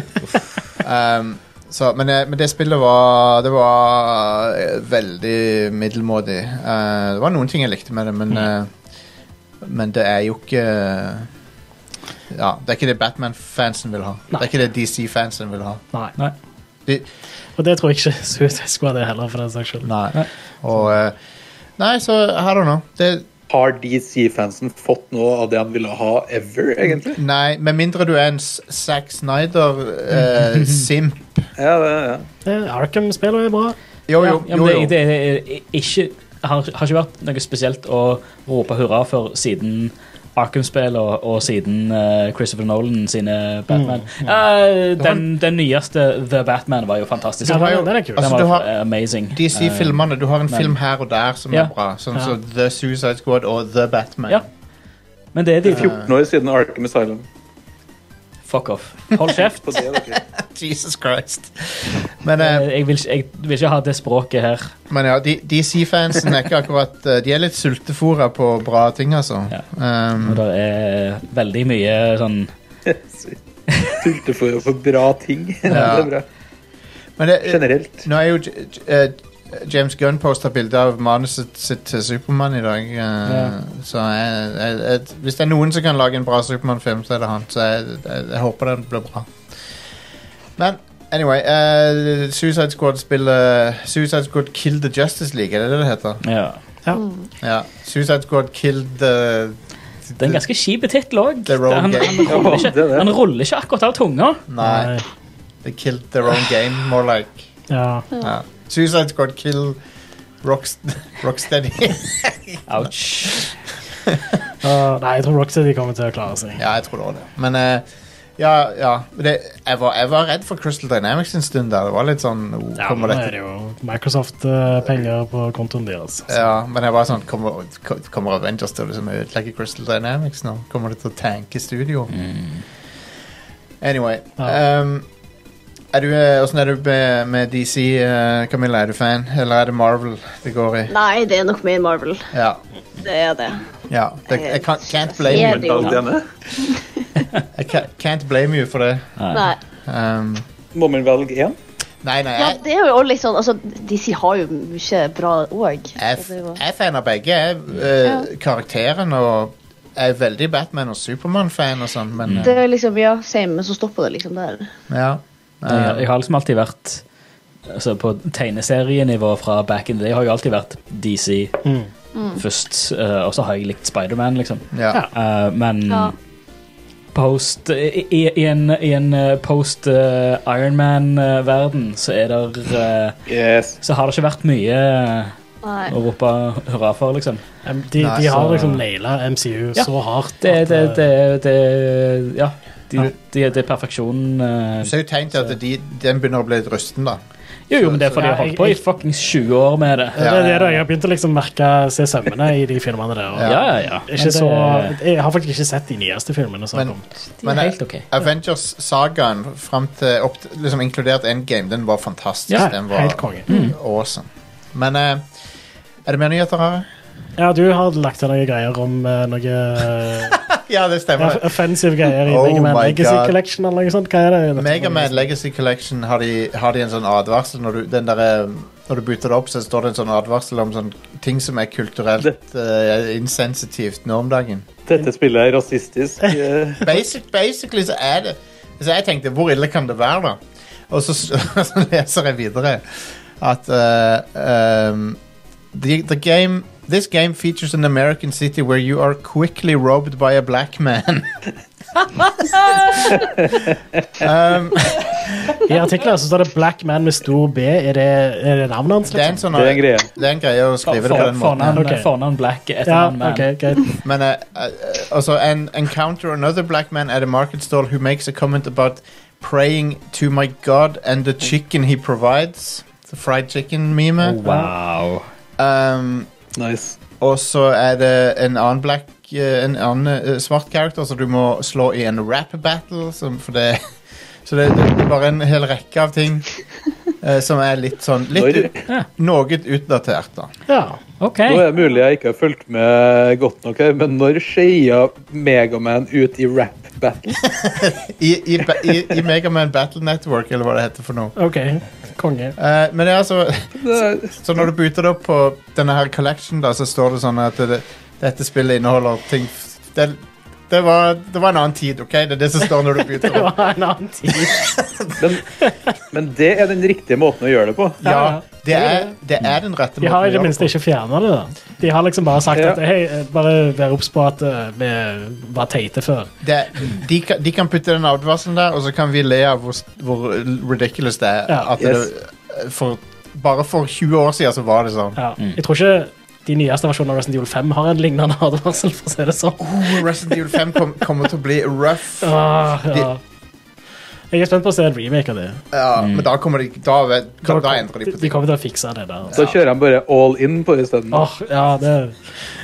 [SPEAKER 7] Eh, ja.
[SPEAKER 5] um, så, men, eh, men det spillet var Det var eh, veldig middelmådig. Eh, det var noen ting jeg likte med det, men
[SPEAKER 7] Mm.
[SPEAKER 5] eh, Men det er jo ikke Ja, det er ikke det Batman-fansen vil ha. Det er ikke det DC-fansen vil ha.
[SPEAKER 7] Nei.
[SPEAKER 6] Nei.
[SPEAKER 5] De-
[SPEAKER 7] Og det tror jeg ikke Suicide Squad er heller, for den saks skyld.
[SPEAKER 5] Nei. Og eh, Nei, så I don't know. Det,
[SPEAKER 8] Har DC-fansen fått noe av det han ville ha ever, egentlig?
[SPEAKER 5] nei, med mindre du er en S- Zack eh, Snyder-simp.
[SPEAKER 8] Ja, det, ja.
[SPEAKER 7] Eh, Arkham-spillet er bra.
[SPEAKER 5] jo, jo,
[SPEAKER 6] Ja,
[SPEAKER 5] jo,
[SPEAKER 6] men det,
[SPEAKER 5] jo.
[SPEAKER 6] det er ikke har, har ikke vært noe spesielt å rope hurra for siden Arkham-spill og, og siden eh, Christopher Nolan sine Batman.
[SPEAKER 5] Mm,
[SPEAKER 6] Eh, den, den nyeste The Batman var jo fantastisk.
[SPEAKER 7] Ja,
[SPEAKER 6] Den
[SPEAKER 7] den,
[SPEAKER 6] var,
[SPEAKER 7] er- den er kul.
[SPEAKER 5] Altså, du har-
[SPEAKER 6] amazing. Eh,
[SPEAKER 5] DC-filmene. Du har en
[SPEAKER 6] men-
[SPEAKER 5] film her og der som
[SPEAKER 6] Ja.
[SPEAKER 5] er bra. Sånn
[SPEAKER 7] Ja.
[SPEAKER 5] som The Suicide Squad og The Batman.
[SPEAKER 6] Ja. Men det er de
[SPEAKER 8] 14 år siden Arkham Asylum.
[SPEAKER 6] Fuck off. Hold kjeft.
[SPEAKER 8] På det, dere.
[SPEAKER 5] Jesus Christ. Men,
[SPEAKER 6] Eh,
[SPEAKER 5] eh,
[SPEAKER 6] Jeg vil, ikke- jeg vil ikke ha det språket her.
[SPEAKER 5] men ja, de- DC-fansen er ikke akkurat eh, De er litt sultefòra på bra ting, altså.
[SPEAKER 6] Ja. Og
[SPEAKER 5] Um,
[SPEAKER 6] det er veldig mye sånn
[SPEAKER 8] Tulte for å få bra ting. det
[SPEAKER 5] Ja.
[SPEAKER 8] er bra.
[SPEAKER 5] men det,
[SPEAKER 8] Generelt.
[SPEAKER 5] nå er jo J- J- eh, James Gunn posta bilde av manuset sitt til Supermann i dag. eh, Så jeg, jeg, jeg, hvis det er noen som kan lage en bra Supermann-film, så er det han. Så jeg, jeg, jeg håper den blir bra. Men anyway eh, Suicide Squad spiller Suicide Squad Kill the Justice League, er det det det heter?
[SPEAKER 6] ja.
[SPEAKER 5] Ja. Suicide Squad Kill the
[SPEAKER 6] Det er en ganske kjip tittel òg.
[SPEAKER 5] The Rogue
[SPEAKER 6] Han, han,
[SPEAKER 5] Game.
[SPEAKER 6] ruller
[SPEAKER 8] Ja, det
[SPEAKER 6] ikke-
[SPEAKER 8] er det.
[SPEAKER 6] han ruller ikke akkurat av tunga.
[SPEAKER 5] Nei. They killed their own game, more like.
[SPEAKER 7] Ja.
[SPEAKER 5] Ja. Suicide Squad kill Rocks Rocksteady.
[SPEAKER 6] Ouch.
[SPEAKER 7] Uh, nei, jeg tror Rocksteady kommer til å klare seg.
[SPEAKER 5] ja, jeg tror det var det. Men eh, ja, ja. Det, jeg, var, jeg var redd for Crystal Dynamics en stund der. Det var litt sånn oh,
[SPEAKER 7] Ja,
[SPEAKER 5] kommer
[SPEAKER 7] men nå
[SPEAKER 5] dette-
[SPEAKER 7] er det jo Microsoft-penger på kontoen deres. Så.
[SPEAKER 5] Ja, men jeg var sånn Kommer, ko- kommer Avengers til å liksom ødelegge Crystal Dynamics nå? Kommer det til å tanke studio? Anyway
[SPEAKER 7] Mm. Ja.
[SPEAKER 5] ehm, er du, eh, Hvordan er du med, med DC, eh, Camilla? Er du fan, eller er det Marvel det går i?
[SPEAKER 9] Nei, det er nok mer Marvel.
[SPEAKER 5] Ja.
[SPEAKER 9] Det er det.
[SPEAKER 5] ja. Det, jeg kan, can't blame you.
[SPEAKER 9] Jeg er det jo.
[SPEAKER 8] Alt igjen, eh?
[SPEAKER 5] Jeg ca- can't blame you for det.
[SPEAKER 9] Nei.
[SPEAKER 5] Um,
[SPEAKER 8] Må man velge én?
[SPEAKER 5] nei, nei,
[SPEAKER 9] Ja,
[SPEAKER 5] jeg,
[SPEAKER 9] det er jo også litt sånn Altså, DC har jo mye bra òg.
[SPEAKER 5] jeg, f- jeg er fan av begge. Jeg, eh, karakteren og jeg er veldig Batman- og Supermann-fan og sånn, men eh,
[SPEAKER 9] Det er liksom, ja, same, men så stopper det liksom der.
[SPEAKER 5] ja.
[SPEAKER 6] Jeg, jeg har liksom alltid vært altså På tegneserienivå fra back in the day har jeg alltid vært DC først, eh, og så har jeg likt Spiderman, liksom.
[SPEAKER 5] ja.
[SPEAKER 6] Eh, men
[SPEAKER 9] Ja.
[SPEAKER 6] post i, i, i en, i en eh, post eh, Iron Ironman-verden så er der eh,
[SPEAKER 8] Yes.
[SPEAKER 6] Så har det ikke vært mye eh,
[SPEAKER 9] Nei.
[SPEAKER 6] å rope hurra for, liksom.
[SPEAKER 7] Em, De,
[SPEAKER 5] Nei,
[SPEAKER 7] de har
[SPEAKER 6] så-
[SPEAKER 7] liksom naila MCU
[SPEAKER 6] Ja.
[SPEAKER 7] så hardt.
[SPEAKER 6] Det
[SPEAKER 7] at,
[SPEAKER 6] det,
[SPEAKER 7] eh,
[SPEAKER 6] det, det Ja. Det de, det er perfeksjonen. eh,
[SPEAKER 5] Du ser jo tegn til at de, den begynner å bli litt rusten, da.
[SPEAKER 6] jo, jo, men det er fordi
[SPEAKER 7] Ja,
[SPEAKER 6] de har holdt
[SPEAKER 7] jeg-
[SPEAKER 6] på i
[SPEAKER 7] jeg-
[SPEAKER 6] fuckings 20 år med det.
[SPEAKER 7] det, er det, da. jeg har begynt å liksom merke se sømmene i de filmene der. Og
[SPEAKER 6] Ja, ja, ja. Men
[SPEAKER 7] ikke
[SPEAKER 6] det-
[SPEAKER 7] så, jeg har faktisk ikke sett de nyeste filmene. som har
[SPEAKER 5] Men- eh,
[SPEAKER 7] kommet.
[SPEAKER 6] De er
[SPEAKER 5] jeg-
[SPEAKER 6] helt ok.
[SPEAKER 5] Avengers-sagaen, fram til opp, til- liksom inkludert Endgame, den var fantastisk.
[SPEAKER 7] Ja,
[SPEAKER 5] den var
[SPEAKER 7] helt konge.
[SPEAKER 5] awesome. Men eh, er det mer nyheter her?
[SPEAKER 7] Ja, du har lagt til noen greier om uh, noe
[SPEAKER 5] Ja, det
[SPEAKER 7] ja,
[SPEAKER 5] stemmer.
[SPEAKER 7] offensive greier i
[SPEAKER 5] Oh
[SPEAKER 7] Mega Man
[SPEAKER 5] my
[SPEAKER 7] Legacy
[SPEAKER 5] God.
[SPEAKER 7] Collection eller noe sånt. Hva er det?
[SPEAKER 5] Megaman Legacy Collection har de, har de en sånn advarsel når du, den der, eh, når du bytter det opp, så står det en sånn advarsel om sånn ting som er kulturelt eh, insensitivt nå om dagen.
[SPEAKER 8] Dette spillet er rasistisk. eh,
[SPEAKER 5] Basic, basically så er det Så jeg tenkte, hvor ille kan det være, da? Og så, så leser jeg videre at eh, um, the, the game This game features an American city where you are quickly robbed by a black man.
[SPEAKER 7] I artikkelen så står det 'Black Man med stor B'. Er det, er det navnet hans?
[SPEAKER 5] Det er en
[SPEAKER 7] Liksom?
[SPEAKER 5] sånn
[SPEAKER 8] Det er en greie.
[SPEAKER 5] det er en greie å skrive det på den måten.
[SPEAKER 6] Fornavn
[SPEAKER 7] måten, ja. Ok.
[SPEAKER 6] fornavn Black,
[SPEAKER 7] Ja,
[SPEAKER 6] etternavn Man.
[SPEAKER 7] ok, greit.
[SPEAKER 5] Men uh, uh, also, an encounter another black man at a market stall who makes a comment about praying to my god and the chicken he provides. The fried chicken meme.
[SPEAKER 6] Wow.
[SPEAKER 5] Um,
[SPEAKER 8] Nice.
[SPEAKER 5] og så er det en annen black uh, En annen uh, svart karakter som du må slå i en rap battle. Som, for det, så det, det er bare en hel rekke av ting uh, som er litt sånn litt,
[SPEAKER 8] Nå
[SPEAKER 5] Noe utdatert, da.
[SPEAKER 7] Ja.
[SPEAKER 6] OK.
[SPEAKER 8] er det mulig jeg ikke har fulgt med godt nok her, men når skeia Megaman ut i rap battle?
[SPEAKER 5] I, i, ba- i, i Megaman Battle Network, eller hva det heter for noe.
[SPEAKER 7] OK. Konge.
[SPEAKER 5] Uh, men det er altså
[SPEAKER 8] Det er-
[SPEAKER 5] Så når du bytter det opp på denne her collection, da, så står det sånn at det, dette spillet inneholder ting f- det, det, var, det var en annen tid, OK? Det er det som står når du bytter
[SPEAKER 7] Det
[SPEAKER 5] opp.
[SPEAKER 7] var en annen tid.
[SPEAKER 8] Men, men det er den riktige måten å gjøre det på.
[SPEAKER 5] Ja, det er, det er den rette
[SPEAKER 7] De har i
[SPEAKER 5] måten
[SPEAKER 7] det minste ikke fjerna det. da. De har liksom bare sagt
[SPEAKER 8] Ja.
[SPEAKER 7] at hei, eh, bare vær obs på at eh, vi var teite før.
[SPEAKER 5] Det, de, kan- de kan putte den advarselen der, og så kan vi le av hvor, s- hvor ridiculous det er.
[SPEAKER 7] Ja.
[SPEAKER 5] At det, for, bare for 20 år siden så var det sånn.
[SPEAKER 7] Mm. Ja. Jeg tror ikke de nyeste versjonene av Resident Evil 5 har en lignende advarsel, for å si det sånn.
[SPEAKER 5] Oh, Resident Evil 5 kom, kommer til å bli rough.
[SPEAKER 7] Ah, ja. Jeg er spent på å se en remake av det.
[SPEAKER 5] Ja, Men da kommer de Da, vet, da, da endrer de
[SPEAKER 7] de,
[SPEAKER 5] på
[SPEAKER 7] de
[SPEAKER 5] ting.
[SPEAKER 7] kommer til å fikse det der. altså.
[SPEAKER 8] Da kjører han bare all in på det isteden.
[SPEAKER 7] Åh, ja, det,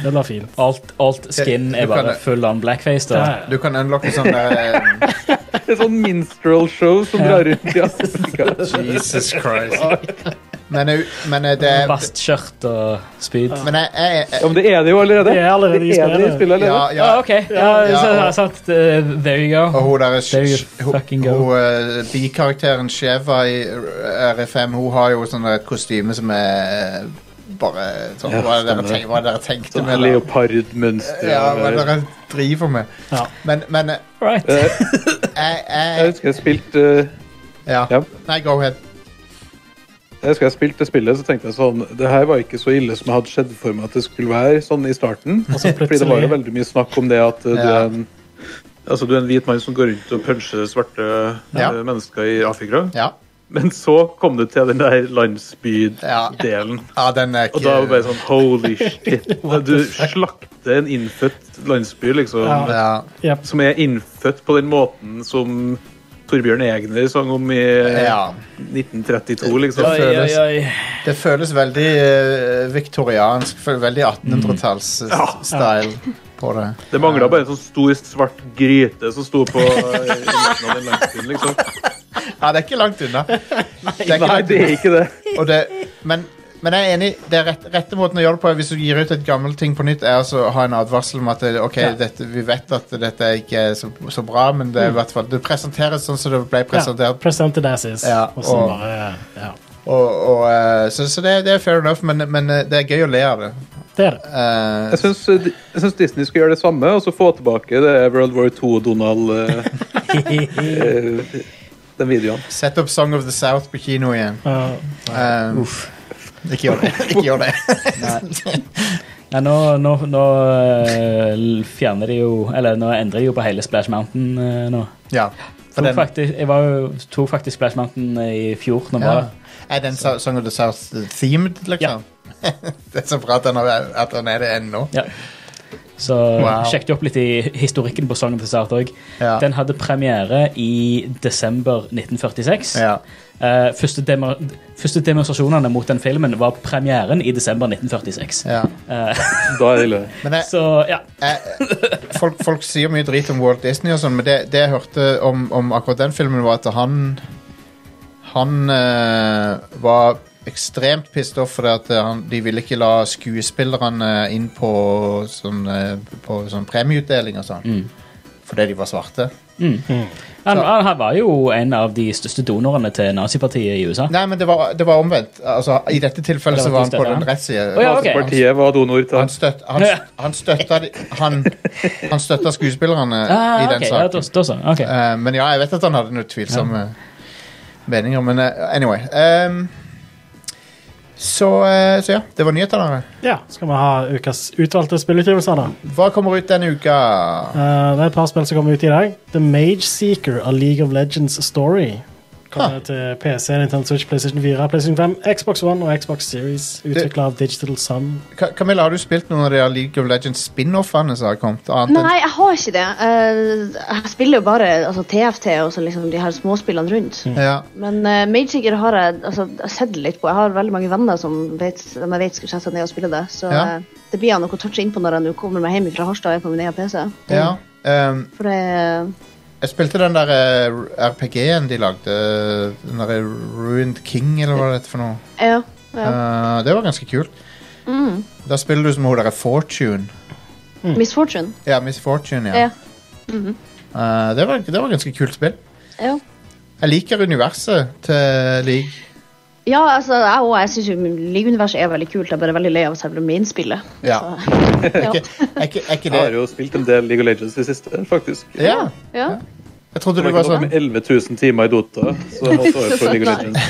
[SPEAKER 7] det blir fint.
[SPEAKER 6] Alt, alt skin
[SPEAKER 5] Du
[SPEAKER 6] er
[SPEAKER 5] kan
[SPEAKER 6] bare
[SPEAKER 5] det.
[SPEAKER 6] full on blackface.
[SPEAKER 7] Ja,
[SPEAKER 6] da.
[SPEAKER 7] ja.
[SPEAKER 5] Du kan unlocke sånn der
[SPEAKER 8] Det er sånn minstrel-show som drar rundt i Afrika.
[SPEAKER 5] Jesus Christ. Men, eh, men eh, det er
[SPEAKER 6] Bastskjørt og spyd.
[SPEAKER 5] Men jeg, jeg, jeg
[SPEAKER 8] Ja, men det er det jo allerede.
[SPEAKER 7] Det er allerede i
[SPEAKER 8] Det er det
[SPEAKER 7] spillet.
[SPEAKER 8] i spillet
[SPEAKER 5] Ja, Oh,
[SPEAKER 8] allerede.
[SPEAKER 5] ja.
[SPEAKER 6] Ah, OK. Ja,
[SPEAKER 5] Ja,
[SPEAKER 6] så-
[SPEAKER 5] og-
[SPEAKER 6] ja, sant. Eh, There you go.
[SPEAKER 5] Og hun der
[SPEAKER 6] There you
[SPEAKER 5] sh- sh- hun-
[SPEAKER 6] fucking go.
[SPEAKER 5] hun, eh, bikarakteren Sheva i RFM, hun har jo sånn et kostyme som er eh, bare sånn
[SPEAKER 8] Ja,
[SPEAKER 5] Hva er det dere
[SPEAKER 8] stemmer.
[SPEAKER 5] tenk- hva er det dere tenkte
[SPEAKER 8] Sånn
[SPEAKER 5] med det?
[SPEAKER 8] leopardmønster.
[SPEAKER 5] Ja, hva er det dere driver med?
[SPEAKER 7] Ja.
[SPEAKER 5] Men, men eh,
[SPEAKER 6] Right.
[SPEAKER 5] jeg,
[SPEAKER 8] Jeg
[SPEAKER 5] jeg
[SPEAKER 8] husker jeg spilte eh,
[SPEAKER 5] Ja.
[SPEAKER 8] Ja.
[SPEAKER 5] Nei, go ahead.
[SPEAKER 8] Jeg husker jeg spilte det spillet, så tenkte jeg sånn Det her var ikke så ille som jeg hadde sett for meg at det skulle være sånn i starten.
[SPEAKER 7] så
[SPEAKER 8] Fordi det var jo veldig mye snakk om det at eh, du
[SPEAKER 5] Ja.
[SPEAKER 8] er en Altså, du er en hvit mann som går rundt og puncher svarte
[SPEAKER 5] Ja.
[SPEAKER 8] eh, mennesker i Afrika.
[SPEAKER 5] Ja.
[SPEAKER 8] Men så kom du til den der landsbydelen.
[SPEAKER 5] ja, den er
[SPEAKER 8] Og da var det bare
[SPEAKER 5] ikke
[SPEAKER 8] sånn Holy shit. Du slakter en innfødt landsby, liksom.
[SPEAKER 7] Ja.
[SPEAKER 5] ja.
[SPEAKER 7] Jep.
[SPEAKER 8] Som er innfødt på den måten som Torbjørn Egner sang om i
[SPEAKER 5] ja.
[SPEAKER 8] 1932, liksom.
[SPEAKER 6] Oi, oi,
[SPEAKER 5] føles-
[SPEAKER 6] oi.
[SPEAKER 5] Det føles veldig eh, viktoriansk. føles Veldig 1800-talls-style på det.
[SPEAKER 8] Det mangla bare en sånn stor, svart gryte som sto på eh, midten av den landsbyen, liksom.
[SPEAKER 5] Ja, det er ikke langt unna. Det er ikke
[SPEAKER 8] Nei,
[SPEAKER 5] langt
[SPEAKER 8] det er ikke det.
[SPEAKER 5] Og det, men, men jeg er enig, det er rett, rette måten å gjøre det på hvis du gir ut et gammelt ting på nytt, er altså å ha en advarsel om at det, ok, dette, vi vet at dette er ikke er så, så bra, men det er i hvert fall Det presenteres sånn som det ble
[SPEAKER 7] Ja,
[SPEAKER 5] presentert.
[SPEAKER 7] presented as is.
[SPEAKER 5] Ja,
[SPEAKER 7] og så
[SPEAKER 5] og-
[SPEAKER 7] bare Ja.
[SPEAKER 5] Og, og, eh, så så det, det er fair enough, men, men eh, det er gøy å le av det.
[SPEAKER 7] Det er det.
[SPEAKER 5] Eh,
[SPEAKER 8] Jeg syns, eh, jeg syns Disney skulle gjøre det samme, og så få tilbake det World War II-Donald eh, Den videoen.
[SPEAKER 5] Sett opp Song of the South på kino igjen.
[SPEAKER 7] Ja.
[SPEAKER 5] Eh, Ikke gjør det. Ikke gjør det.
[SPEAKER 6] Ja, nå, nå, nå eh, l- fjerner de jo Eller nå endrer de jo på hele Splash Mountain eh, nå.
[SPEAKER 5] Ja. For
[SPEAKER 6] Tok
[SPEAKER 5] den,
[SPEAKER 6] faktisk, jeg var jo, tok faktisk Splash Mountain eh, i fjor. Når jeg
[SPEAKER 5] ja.
[SPEAKER 6] var der.
[SPEAKER 5] Er den Sou- Song of the South themed, liksom? det er så bra at den, er, at den er det ennå.
[SPEAKER 6] Så
[SPEAKER 5] Wow.
[SPEAKER 6] sjekket opp litt i historikken på Song of the South òg.
[SPEAKER 5] Ja.
[SPEAKER 6] Den hadde premiere i desember 1946.
[SPEAKER 5] Ja.
[SPEAKER 6] Eh, første, demo, første demonstrasjonene mot den filmen var premieren i desember 1946.
[SPEAKER 5] Ja.
[SPEAKER 6] Eh,
[SPEAKER 8] Da er det ille.
[SPEAKER 5] Men jeg,
[SPEAKER 6] så ja.
[SPEAKER 5] jeg, folk, folk sier mye drit om Walt Disney, og sånn, men det, det jeg hørte om, om akkurat den filmen, var at han Han eh, var ekstremt pissed off fordi at han, de ville ikke la skuespillerne inn på sånn, eh, på sånn premieutdeling og sånn. Fordi de var svarte.
[SPEAKER 6] Han, han, han var jo en av de største donorene til nazipartiet i USA.
[SPEAKER 5] Nei, men det var, det var omvendt. Altså, I dette tilfellet
[SPEAKER 6] Det var
[SPEAKER 5] så var han
[SPEAKER 6] til
[SPEAKER 5] på
[SPEAKER 6] stede,
[SPEAKER 5] den
[SPEAKER 6] ja.
[SPEAKER 5] rette siden.
[SPEAKER 6] Å, ja, ok.
[SPEAKER 8] Partiet var donor til
[SPEAKER 5] Han, støt, han,
[SPEAKER 6] Ja.
[SPEAKER 5] han, støtta, de- han, han støtta skuespillerne
[SPEAKER 6] Ah,
[SPEAKER 5] i den
[SPEAKER 6] ok, ja,
[SPEAKER 5] saken.
[SPEAKER 6] da, da så. ok.
[SPEAKER 5] Eh, men ja, jeg vet at han hadde noen tvilsomme meninger, men eh, anyway. ehm, så, eh, så ja, det var nyheter, dere.
[SPEAKER 7] ja. Skal vi ha ukas utvalgte spillutgivelser, da?
[SPEAKER 5] Hva kommer ut denne uka?
[SPEAKER 7] Eh, det er et par spill som kommer ut i dag. The Mage Seeker av League of Legends Story. Kommer
[SPEAKER 5] Huh.
[SPEAKER 7] til PC, Nintendo Switch, PlayStation 4, PlayStation 5, Xbox One og Xbox Series. Utvikla av Digital Sun.
[SPEAKER 5] Ka- Camilla, har du spilt noen av de der League of Legends spin-offene som har kommet? Annet
[SPEAKER 9] Nei, jeg har ikke det. Eh, jeg spiller jo bare altså, TFT og så liksom de her småspillene rundt.
[SPEAKER 5] enn ja.
[SPEAKER 9] Men uh, Magiker har jeg, altså, jeg har sett litt på. Jeg har veldig mange venner som, vet, som jeg vet skulle sette seg ned og spille det. Så
[SPEAKER 5] Ja.
[SPEAKER 9] eh, det blir jeg nok å touche inn på når jeg nå kommer meg hjem fra Harstad og er på min egen PC.
[SPEAKER 5] ja. ehm,
[SPEAKER 9] For det
[SPEAKER 5] jeg spilte den der eh, RPG-en de lagde. Den der Ruined King, eller hva det heter for noe.
[SPEAKER 9] Ja. ja.
[SPEAKER 5] Eh, det var ganske kult.
[SPEAKER 9] Mm.
[SPEAKER 5] Da spiller du som hun der Fortune.
[SPEAKER 9] Miss Fortune.
[SPEAKER 5] Ja, Miss Fortune, Mm. ja.
[SPEAKER 9] Ja. Mhm.
[SPEAKER 5] Eh, det, var, det var ganske kult spill.
[SPEAKER 9] ja.
[SPEAKER 5] Jeg liker universet til League.
[SPEAKER 9] Ja, altså, jeg, og jeg syns League-universet er veldig kult. Jeg er bare veldig lei av selve mainspillet.
[SPEAKER 5] Ja.
[SPEAKER 9] Så,
[SPEAKER 5] Er ikke, er ikke, er ikke
[SPEAKER 8] Jeg har
[SPEAKER 5] det
[SPEAKER 8] jo spilt en del League of Legends i det siste, faktisk.
[SPEAKER 5] Ja.
[SPEAKER 9] ja.
[SPEAKER 5] Jeg trodde
[SPEAKER 8] Jeg
[SPEAKER 5] du
[SPEAKER 8] var
[SPEAKER 5] var
[SPEAKER 8] ikke noe
[SPEAKER 5] sånn
[SPEAKER 8] med 11 000 timer i Dota, så jeg måtte over på League of Legends.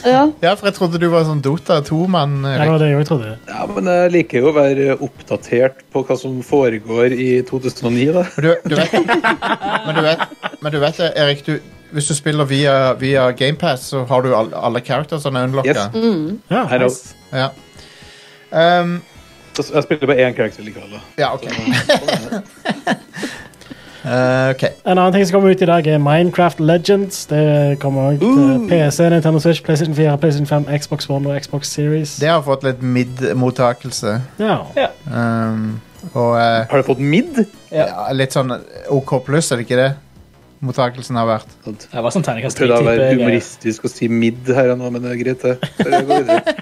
[SPEAKER 8] så-
[SPEAKER 9] ja.
[SPEAKER 5] Ja, for jeg trodde du var sånn Dota 2-mann.
[SPEAKER 7] Ja, det var det jeg også trodde.
[SPEAKER 8] Ja, men jeg liker jo å være oppdatert på hva som foregår i 2009, da.
[SPEAKER 5] Men du, du vet Men du vet, men du vet det, Erik, du, hvis du spiller via, via GamePass, så har du all, alle charactersene unlocka.
[SPEAKER 8] Yes.
[SPEAKER 7] Ja,
[SPEAKER 8] I know.
[SPEAKER 7] nice.
[SPEAKER 5] Ja. Um,
[SPEAKER 8] Jeg jeg spiller bare én karakter likevel. da.
[SPEAKER 5] Ja, OK. Eh, OK.
[SPEAKER 7] En annen ting som kommer ut i dag, er Minecraft Legends. Det kommer også til PC, Nintendo Switch, PlayStation 4, PlayStation 5, Xbox One og Xbox Series.
[SPEAKER 5] Det har fått litt midd-mottakelse.
[SPEAKER 7] Ja.
[SPEAKER 5] Um, og eh,
[SPEAKER 8] Har du fått midd?
[SPEAKER 5] ja. litt sånn OK pluss, er det ikke det? Mottakelsen har vært.
[SPEAKER 6] Det var sånn
[SPEAKER 8] Jeg
[SPEAKER 6] terningkast
[SPEAKER 8] prøvde å være
[SPEAKER 6] tre-type.
[SPEAKER 8] humoristisk og si midd her og nå, men det er greit, det. Så jeg går videre.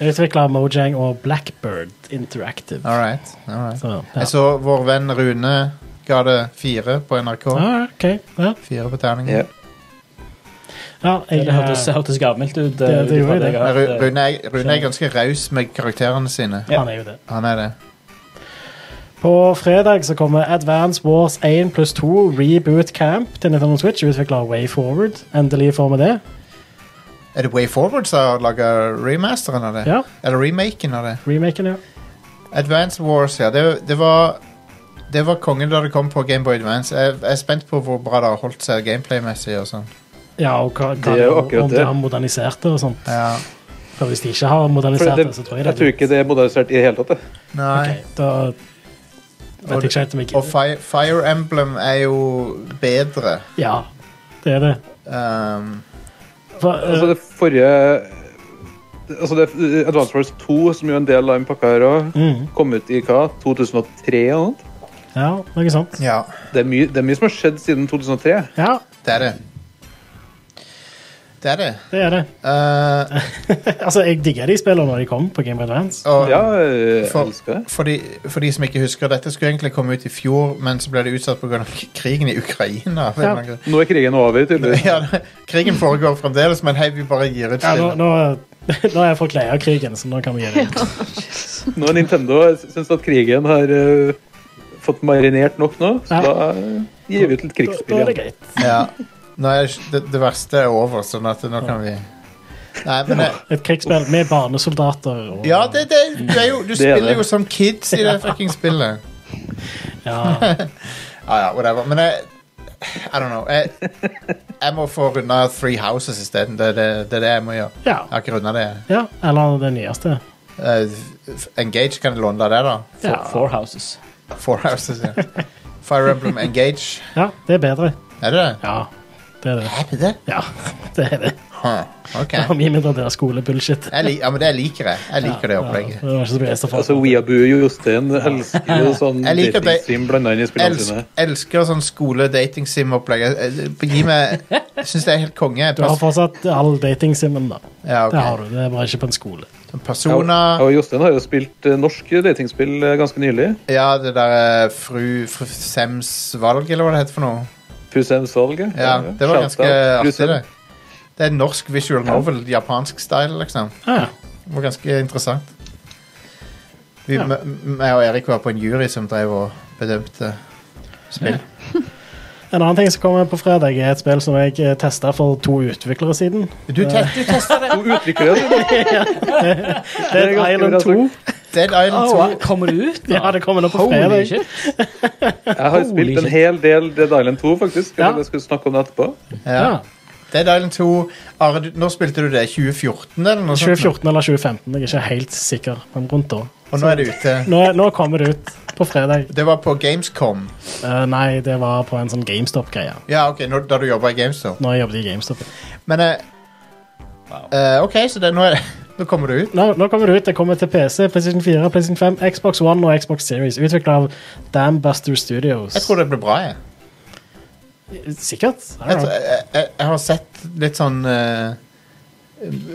[SPEAKER 7] Utvikla av Mojang og Blackbird Interactive.
[SPEAKER 5] All right. All right.
[SPEAKER 7] Så, ja.
[SPEAKER 5] Jeg så vår venn Rune ga det fire på NRK.
[SPEAKER 7] Ah, ok. Ja,
[SPEAKER 5] Fire på terningen.
[SPEAKER 8] Ja.
[SPEAKER 7] ja jeg,
[SPEAKER 6] Det hørtes,
[SPEAKER 7] eh,
[SPEAKER 6] hørtes gavmilt ut.
[SPEAKER 7] det
[SPEAKER 6] eh, ut ifra
[SPEAKER 7] gjorde det.
[SPEAKER 6] jeg
[SPEAKER 5] Nei,
[SPEAKER 6] har
[SPEAKER 5] Ru-
[SPEAKER 6] hørt, eh.
[SPEAKER 5] Rune, er, Rune er ganske raus med karakterene sine.
[SPEAKER 7] han er jo det.
[SPEAKER 5] Han er det.
[SPEAKER 7] På fredag så kommer Advance Wars 1 pluss 2 Reboot Camp til Nintendo Switch, utvikla Way Forward. Endelig får vi det.
[SPEAKER 5] Er det Way Forward som har laga remasteren av det?
[SPEAKER 7] Ja,
[SPEAKER 5] Eller remaken av det?
[SPEAKER 7] Remaken, ja.
[SPEAKER 5] Advance Wars, ja. Det, det var det var kongen da det kom på Gameboy Advance. Jeg, jeg er spent på hvor bra det har holdt seg gameplay-messig. og sånn.
[SPEAKER 7] Ja, og hva, hva,
[SPEAKER 8] Det er jo akkurat
[SPEAKER 7] om de
[SPEAKER 8] det.
[SPEAKER 7] har modernisert det og sånt.
[SPEAKER 5] Ja.
[SPEAKER 7] For hvis de ikke har
[SPEAKER 8] For
[SPEAKER 7] modernisert
[SPEAKER 8] det,
[SPEAKER 7] det, så tror jeg det
[SPEAKER 8] jeg tror ikke det er modernisert i det hele tatt. det.
[SPEAKER 5] Nei.
[SPEAKER 7] Ok, Da vet jeg ikke helt om
[SPEAKER 5] Og
[SPEAKER 7] jeg
[SPEAKER 5] Fire, Fire Emblem er jo bedre.
[SPEAKER 7] Ja, det er det.
[SPEAKER 5] Um,
[SPEAKER 7] For,
[SPEAKER 8] Altså,
[SPEAKER 7] eh,
[SPEAKER 8] det forrige Altså, det eh, Advance Wars 2, som jo er en del av en pakke her òg,
[SPEAKER 7] mm,
[SPEAKER 8] kom ut i hva? 2003 og noe?
[SPEAKER 7] ja, noe sånt.
[SPEAKER 5] ja,
[SPEAKER 8] Det er, mye, det er mye som har skjedd siden 2003.
[SPEAKER 7] Ja,
[SPEAKER 5] det er det. Det er det.
[SPEAKER 7] det er det.
[SPEAKER 5] Uh,
[SPEAKER 7] altså, jeg digger de spillene når de kom på Game Boy Advance.
[SPEAKER 5] og
[SPEAKER 8] Ja, jeg
[SPEAKER 5] For-
[SPEAKER 8] elsker det.
[SPEAKER 5] for, de, for de som ikke husker, dette skulle egentlig komme ut i fjor, men så ble det utsatt pga. krigen i Ukraina.
[SPEAKER 7] Ja.
[SPEAKER 5] Ja.
[SPEAKER 8] Nå er krigen over, tydeligvis.
[SPEAKER 5] Ja, krigen foregår fremdeles, men hei, vi bare gir ut
[SPEAKER 7] Ja, nå,
[SPEAKER 5] stille.
[SPEAKER 7] nå, nå er jeg folk lei av krigen, så nå kan vi gjøre det.
[SPEAKER 8] Nå er Nintendo syns at krigen har eh, fått marinert nok nå, så
[SPEAKER 7] Ja.
[SPEAKER 8] da eh, gir vi ut litt
[SPEAKER 7] Da, da
[SPEAKER 8] krigsspill
[SPEAKER 7] er det
[SPEAKER 8] igjen.
[SPEAKER 7] greit.
[SPEAKER 5] Ja. Nå er det, det verste er over, sånn at nå kan vi Nei, men jeg,
[SPEAKER 7] Et krigsspill med barnesoldater og
[SPEAKER 5] Ja, det, det, du, er jo, du
[SPEAKER 8] er
[SPEAKER 5] spiller
[SPEAKER 8] det.
[SPEAKER 5] jo som kids i det fucking spillet.
[SPEAKER 7] Ja,
[SPEAKER 5] Ja, ja, whatever. Men jeg I don't know. Jeg, jeg må få runda Three Houses isteden. Det, er det, det er det jeg må gjøre.
[SPEAKER 7] ja.
[SPEAKER 5] Jeg har ikke runda det.
[SPEAKER 7] ja. Eller det nyeste.
[SPEAKER 5] Eh, f- Engage kan jeg låne deg det, da.
[SPEAKER 7] Ja.
[SPEAKER 6] Four, four Houses.
[SPEAKER 5] Four Houses, ja. Fire Emblem Engage.
[SPEAKER 7] ja, det er bedre.
[SPEAKER 5] Er det det?
[SPEAKER 7] Ja, det er det.
[SPEAKER 5] Er det det?
[SPEAKER 7] Ja, det er det.
[SPEAKER 5] Huh. OK.
[SPEAKER 7] Om i mindre det er skolebullshit.
[SPEAKER 5] Jeg, lik- ja, men det liker jeg. Jeg liker det
[SPEAKER 7] Ja,
[SPEAKER 5] opplegget.
[SPEAKER 7] det var ikke så begeistra for.
[SPEAKER 8] Altså, Weabu og Jostein elsker jo sånn
[SPEAKER 5] Jeg liker at det-
[SPEAKER 8] datingstream blanda inn i spillene
[SPEAKER 5] Elsk,
[SPEAKER 8] sine.
[SPEAKER 5] elsker sånn skole-dating-sim-opplegg. Jeg- jeg- Gi meg Jeg syns det er helt konge.
[SPEAKER 7] Du har
[SPEAKER 5] Pers
[SPEAKER 7] fortsatt all datingsimmen, da.
[SPEAKER 5] ja,
[SPEAKER 7] Det har
[SPEAKER 5] ok.
[SPEAKER 7] du. Det er bare ikke på en skole.
[SPEAKER 5] Persona
[SPEAKER 8] Ja, og Jostein har jo spilt eh, norsk datingspill eh, ganske nylig.
[SPEAKER 5] Ja, det der eh, fru, fru Sems valg, eller hva det heter for noe.
[SPEAKER 8] Prusemsvalget.
[SPEAKER 5] Ja, Det var ganske artig, det. Det er en norsk visual novel, japansk style, liksom.
[SPEAKER 7] Ja,
[SPEAKER 5] Det var ganske interessant. Vi, ja. Jeg og Erik var på en jury som drev og bedømte spill.
[SPEAKER 7] En annen ting som kommer på fredag, er et spill som jeg testa for to utviklere siden.
[SPEAKER 5] Du, te du testa det!
[SPEAKER 8] To utviklere. det.
[SPEAKER 7] Dead
[SPEAKER 8] ganske
[SPEAKER 7] Island
[SPEAKER 8] bra
[SPEAKER 7] 2.
[SPEAKER 5] Dead Island 2.
[SPEAKER 6] Kommer det ut? nå?
[SPEAKER 7] Ja, det kommer nå på
[SPEAKER 6] Holy
[SPEAKER 7] fredag.
[SPEAKER 6] shit.
[SPEAKER 8] Jeg har
[SPEAKER 6] Holy
[SPEAKER 8] spilt en
[SPEAKER 6] shit.
[SPEAKER 8] hel del Dead Island 2, faktisk.
[SPEAKER 7] Ja.
[SPEAKER 8] Jeg tenkte jeg skulle snakke om det etterpå.
[SPEAKER 5] Ja. Dead Island 2 Are, du, når spilte du det? 2014, eller noe sånt?
[SPEAKER 7] 2014 Altså, eller 2015, jeg er ikke helt sikker. Men rundt da.
[SPEAKER 5] nå? Og nå er det ute.
[SPEAKER 7] Nå, nå kommer det ut på fredag.
[SPEAKER 5] Det var på Gamescom.
[SPEAKER 7] Eh, nei, det var på en sånn GameStop-greie.
[SPEAKER 5] Ja, ok, nå, da du jobba i GameStop.
[SPEAKER 7] Når jeg jobbet i GameStop.
[SPEAKER 5] Men eh, eh, OK, så det, nå, er, nå kommer det ut.
[SPEAKER 7] Nå, nå kommer det ut. Det kommer til PC, PlayStation 4, PlayStation 5, Xbox One og Xbox Series. Utvikla av Dambuster Studios.
[SPEAKER 5] Jeg tror det blir bra. Jeg,
[SPEAKER 7] Sikkert.
[SPEAKER 5] jeg,
[SPEAKER 7] I
[SPEAKER 5] tror-
[SPEAKER 7] don't know.
[SPEAKER 5] jeg, jeg, jeg har sett litt sånn eh,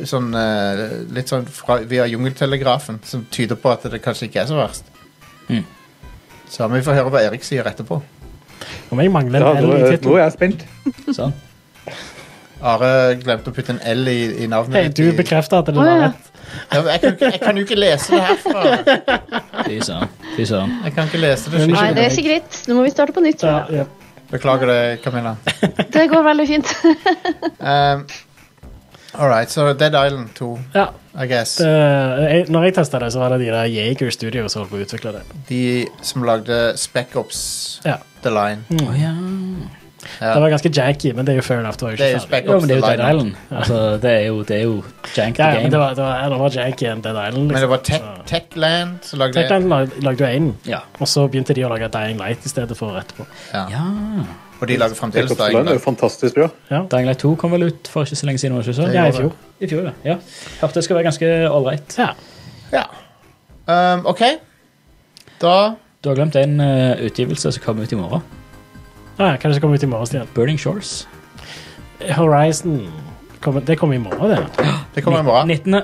[SPEAKER 5] Sånn eh, Litt sånn fra, via Jungeltelegrafen som tyder på at det kanskje ikke er så verst.
[SPEAKER 6] Mm.
[SPEAKER 5] Så vi får høre hva Erik sier etterpå.
[SPEAKER 7] Om jeg mangler
[SPEAKER 8] Ja,
[SPEAKER 7] en
[SPEAKER 8] nå,
[SPEAKER 7] L i
[SPEAKER 8] er- nå
[SPEAKER 7] tittelen.
[SPEAKER 8] er jeg spent.
[SPEAKER 6] Sånn.
[SPEAKER 5] Are glemte å putte en L i, i navnet.
[SPEAKER 7] Hei,
[SPEAKER 5] ditt
[SPEAKER 7] du
[SPEAKER 5] i-
[SPEAKER 7] bekrefter at det
[SPEAKER 9] Å,
[SPEAKER 7] var
[SPEAKER 9] ja.
[SPEAKER 7] rett.
[SPEAKER 5] Ja, men jeg, kan, jo ikke- jeg kan jo ikke lese det herfra.
[SPEAKER 6] Fy søren. Fy søren.
[SPEAKER 5] Jeg kan ikke lese det.
[SPEAKER 9] Nei,
[SPEAKER 5] skikkelig.
[SPEAKER 9] det er ikke greit. Nå må vi starte på nytt.
[SPEAKER 7] Ja, ja.
[SPEAKER 5] Beklager det, Camilla.
[SPEAKER 9] Det går veldig fint.
[SPEAKER 5] Um, All right, så Dead Island 2,
[SPEAKER 7] ja
[SPEAKER 5] I guess.
[SPEAKER 7] det, jeg, når jeg testa det, så var det de der Jaeger Studios som holdt på å utvikle det.
[SPEAKER 5] De som lagde Spec Ops
[SPEAKER 7] Ja.
[SPEAKER 6] Mm.
[SPEAKER 5] The Line.
[SPEAKER 6] Å ja.
[SPEAKER 7] Det var ganske janky, men det er jo fair enough. Det var jo
[SPEAKER 5] Det er jo
[SPEAKER 7] ikke ferdig.
[SPEAKER 5] Spec
[SPEAKER 6] Jo,
[SPEAKER 5] Ops
[SPEAKER 6] men det
[SPEAKER 5] The
[SPEAKER 6] er jo Dead
[SPEAKER 5] Line.
[SPEAKER 6] Island. Altså, det er jo, det er jo jank the
[SPEAKER 7] Ja, ja, men
[SPEAKER 6] game.
[SPEAKER 7] det var, det var, ja, det var janky enn Dead Island.
[SPEAKER 5] Men det var
[SPEAKER 7] liksom.
[SPEAKER 5] Tech, Techland som lagde det.
[SPEAKER 7] Techland lag- lagde jo én,
[SPEAKER 6] Ja.
[SPEAKER 7] og så begynte de å lage Dying Light i stedet for etterpå.
[SPEAKER 5] Ja.
[SPEAKER 6] ja.
[SPEAKER 5] Og de lager fremdeles
[SPEAKER 8] Black Ops Line er jo fantastisk bra.
[SPEAKER 6] Dying Light 2 kom vel ut for ikke så lenge siden? var det ikke så?
[SPEAKER 5] Det
[SPEAKER 7] Ja, i
[SPEAKER 5] gjorde
[SPEAKER 7] fjor.
[SPEAKER 6] I fjor, ja. ja. Hørte det skal være ganske ålreit.
[SPEAKER 7] Ja.
[SPEAKER 5] Ja. Um, OK. Da
[SPEAKER 6] Du har glemt en eh, utgivelse som kommer ut i morgen.
[SPEAKER 7] Ja, ja, kanskje det kommer ut i morgen, Stian.
[SPEAKER 6] Burning Shores.
[SPEAKER 7] Horizon kommer- Det kommer i morgen, det.
[SPEAKER 5] Det kommer i morgen.
[SPEAKER 6] 19.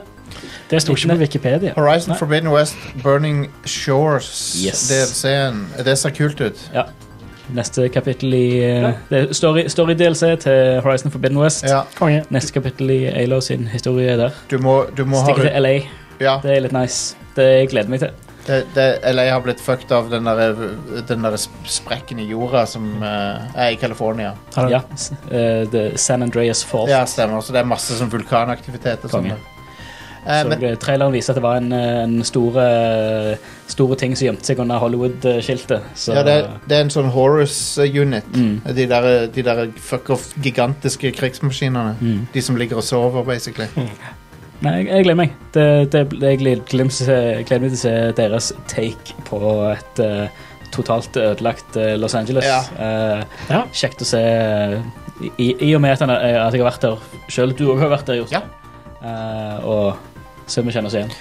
[SPEAKER 7] Det sto ikke på Wikipedia.
[SPEAKER 5] Horizon Forbidden West, Burning Shores,
[SPEAKER 6] Yes.
[SPEAKER 5] DLC-en. Det ser kult ut.
[SPEAKER 6] Ja. Neste kapittel i eh, det er story, story DLC til Horizon Forbidden West.
[SPEAKER 5] Ja,
[SPEAKER 7] Konge.
[SPEAKER 6] Neste kapittel i Aylo sin historie der.
[SPEAKER 5] du må, du må ha
[SPEAKER 6] Stikke til LA.
[SPEAKER 5] ja,
[SPEAKER 6] Det er litt nice. Det gleder jeg meg til.
[SPEAKER 5] det, det, Eller jeg har blitt fucked av den derre den der sp- sprekken i jorda som eh, er i California.
[SPEAKER 7] Har du-
[SPEAKER 6] Ja. s- eh, The San Andreas Fault.
[SPEAKER 5] Ja, stemmer. Så det er masse sånn vulkanaktivitet og sånn.
[SPEAKER 6] Konge.
[SPEAKER 5] Eh,
[SPEAKER 6] Så
[SPEAKER 5] men
[SPEAKER 6] det- Traileren viser at det var en, eh, en stor, eh, store ting som gjemte seg under Hollywood-skiltet. Så Mm.
[SPEAKER 5] ja, det, det er en sånn Horus-unit. De der, de der fuck off gigantiske krigsmaskinene. De som ligger og sover, basically.
[SPEAKER 6] Mm. Nei, jeg, jeg gleder meg. Det, det, jeg gleder, gleder, jeg gleder meg til å se deres take på et eh, totalt ødelagt eh, Los Angeles.
[SPEAKER 5] Ja.
[SPEAKER 6] Eh,
[SPEAKER 7] Ja.
[SPEAKER 6] Kjekt å se eh, I, I og med at, han, er- eh, at jeg har vært der sjøl. Du òg har vært der, Jost.
[SPEAKER 5] Ja.
[SPEAKER 6] Eh, og så vi kjenner oss igjen.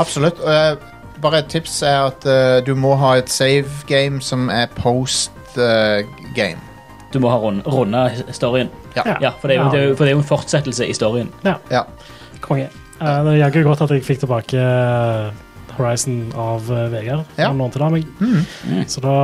[SPEAKER 5] Absolutt. Og jeg, bare et tips er at eh, du må ha et save game som er post eh, game.
[SPEAKER 6] Du må ha rund, runda storyen.
[SPEAKER 5] Ja.
[SPEAKER 7] Ja.
[SPEAKER 6] Ja, for det, er jo,
[SPEAKER 7] Ja.
[SPEAKER 6] det, er jo, for det er jo en fortsettelse i storyen.
[SPEAKER 5] Ja.
[SPEAKER 7] Konge. Eh, det er jaggu godt at jeg fikk tilbake eh, Horizon av eh, Vegard.
[SPEAKER 5] Ja.
[SPEAKER 7] Han lånte det av meg. Så da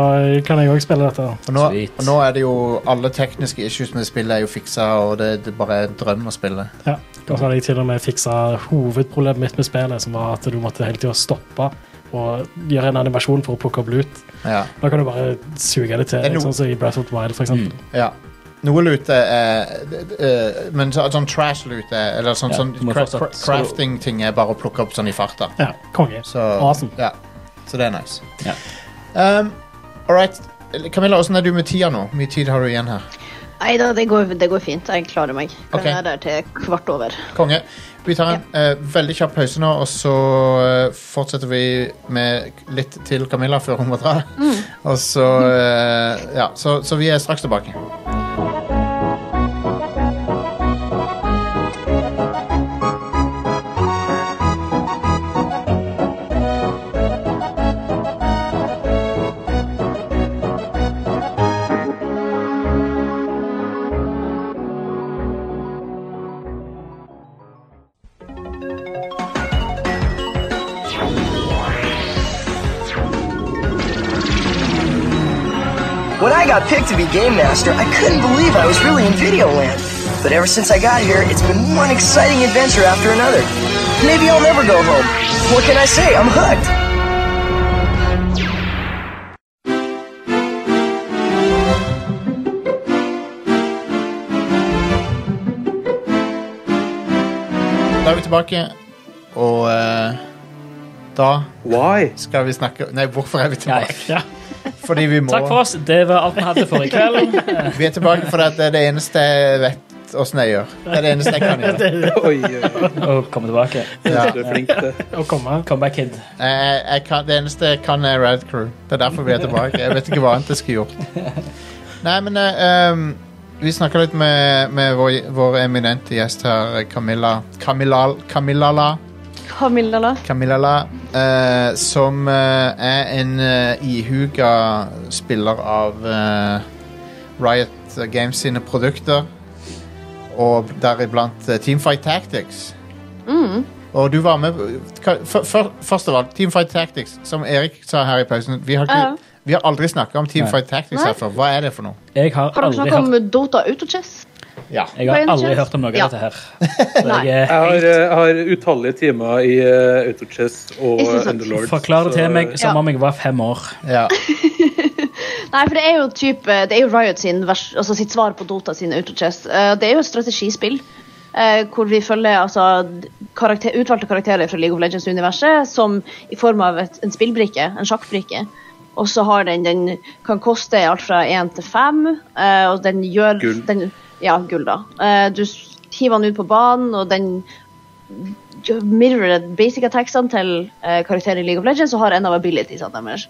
[SPEAKER 7] kan jeg òg spille dette.
[SPEAKER 5] Og nå,
[SPEAKER 6] Mm. Sweet.
[SPEAKER 5] og nå er det jo alle tekniske issues med spillet er jo fiksa, og det, det bare er en drøm å spille.
[SPEAKER 7] Ja. Og så hadde jeg til og med fiksa hovedproblemet mitt med spillet, som var at du måtte hele tida stoppe og gjøre en animasjon for å plukke opp lut.
[SPEAKER 5] Ja.
[SPEAKER 7] Da kan du bare suge det til,
[SPEAKER 5] Det er noe-
[SPEAKER 7] sånn som i Breath of the Wild, for
[SPEAKER 6] Mm.
[SPEAKER 7] eksempel.
[SPEAKER 5] ja. Noe lute er eh, Men så- sånn trash-lute, eller sånn,
[SPEAKER 6] Ja,
[SPEAKER 5] sånn
[SPEAKER 6] du må
[SPEAKER 5] cra
[SPEAKER 6] fortsatt-
[SPEAKER 5] cra crafting-ting er bare å plukke opp sånn i farta.
[SPEAKER 7] Ja, konge.
[SPEAKER 5] Så,
[SPEAKER 7] Awesome.
[SPEAKER 5] ja. så det er nice.
[SPEAKER 6] Ja.
[SPEAKER 5] Um, all right. Camilla, åssen er du med tida nå? Hvor mye tid har du igjen her?
[SPEAKER 9] Nei da, det går, det går fint. Jeg klarer meg. Jeg
[SPEAKER 5] Ok.
[SPEAKER 9] er der til kvart over.
[SPEAKER 5] Konge. Vi tar en eh, veldig kjapp pause nå, og så eh, fortsetter vi med litt til Camilla før hun må dra. Og så eh, Ja, så, så vi er straks tilbake.
[SPEAKER 11] When I got picked to be Game Master, I couldn't believe I was really in video land. But ever since I got here, it's been one exciting adventure after another. Maybe I'll never go home. What can I say? I'm hooked.
[SPEAKER 5] Da er vi tilbake, og eh, da
[SPEAKER 8] Why?
[SPEAKER 5] skal vi snakke Nei, hvorfor er vi
[SPEAKER 6] Nei.
[SPEAKER 5] tilbake? Fordi vi må
[SPEAKER 6] Takk for oss. Det var alt vi hadde for i kveld.
[SPEAKER 5] Vi er tilbake fordi at det er det eneste jeg vet åssen jeg gjør. Det er det eneste jeg kan gjøre.
[SPEAKER 8] Oi, oi, oi.
[SPEAKER 6] Og komme tilbake.
[SPEAKER 5] Ja.
[SPEAKER 8] Du er flink til det.
[SPEAKER 7] Å komme.
[SPEAKER 6] Comeback Kid.
[SPEAKER 5] Jeg, jeg kan, det eneste jeg kan, er Rad Crew. Det er derfor vi er tilbake. Jeg vet ikke hva annet jeg skulle gjort. Nei, men eh, um, vi snakka litt med, med vår, vår eminente gjest her, Camilla Camilla, Camillala.
[SPEAKER 9] Camilla, da?
[SPEAKER 5] Camillala eh, som eh, er en eh, ihuga spiller av eh, Riot Games sine produkter. Og deriblant eh, Teamfight Tactics.
[SPEAKER 9] Mm.
[SPEAKER 5] Og du var med hva- før- før- Først av alt, Teamfight Tactics, som Erik sa her i pausen. Vi har,
[SPEAKER 9] Ja.
[SPEAKER 5] ikke, vi har aldri snakka om Teamfight Tactics
[SPEAKER 9] Nei.
[SPEAKER 5] her før. Hva er det for noe?
[SPEAKER 6] Jeg har
[SPEAKER 9] Har dere
[SPEAKER 6] aldri
[SPEAKER 9] snakket
[SPEAKER 6] hørt
[SPEAKER 9] om Dota Autochess?
[SPEAKER 5] Ja.
[SPEAKER 6] Jeg har
[SPEAKER 9] Brain
[SPEAKER 6] aldri
[SPEAKER 9] Chess?
[SPEAKER 6] hørt om noe
[SPEAKER 9] Ja.
[SPEAKER 6] av dette her. Så
[SPEAKER 9] Nei.
[SPEAKER 6] jeg, eh,
[SPEAKER 8] Jeg har, eh, har utallige timer i eh, Autochess og
[SPEAKER 9] Ikke sant.
[SPEAKER 8] Underlord.
[SPEAKER 6] Forklar det
[SPEAKER 8] så-
[SPEAKER 6] til meg som
[SPEAKER 9] Ja.
[SPEAKER 6] om jeg var fem år.
[SPEAKER 5] ja.
[SPEAKER 9] Nei, for det er jo typ, eh, det er jo Riot sin vers, altså sitt svar på Dota sin Autochess. Eh, Det er jo et strategispill eh, hvor vi følger altså, karakter, utvalgte karakterer fra League of Legends-universet som i form av et, en spillbrikke, en sjakkbrikke, Og så har den Den kan koste alt fra én til fem, eh, og den gjør
[SPEAKER 8] Gull.
[SPEAKER 9] Den, ja, gull, da. Eh, du s- hiver den ut på banen, og den mirrorer basic attacksene til eh, karakterer i League of Legends og har en av abilitiesene deres.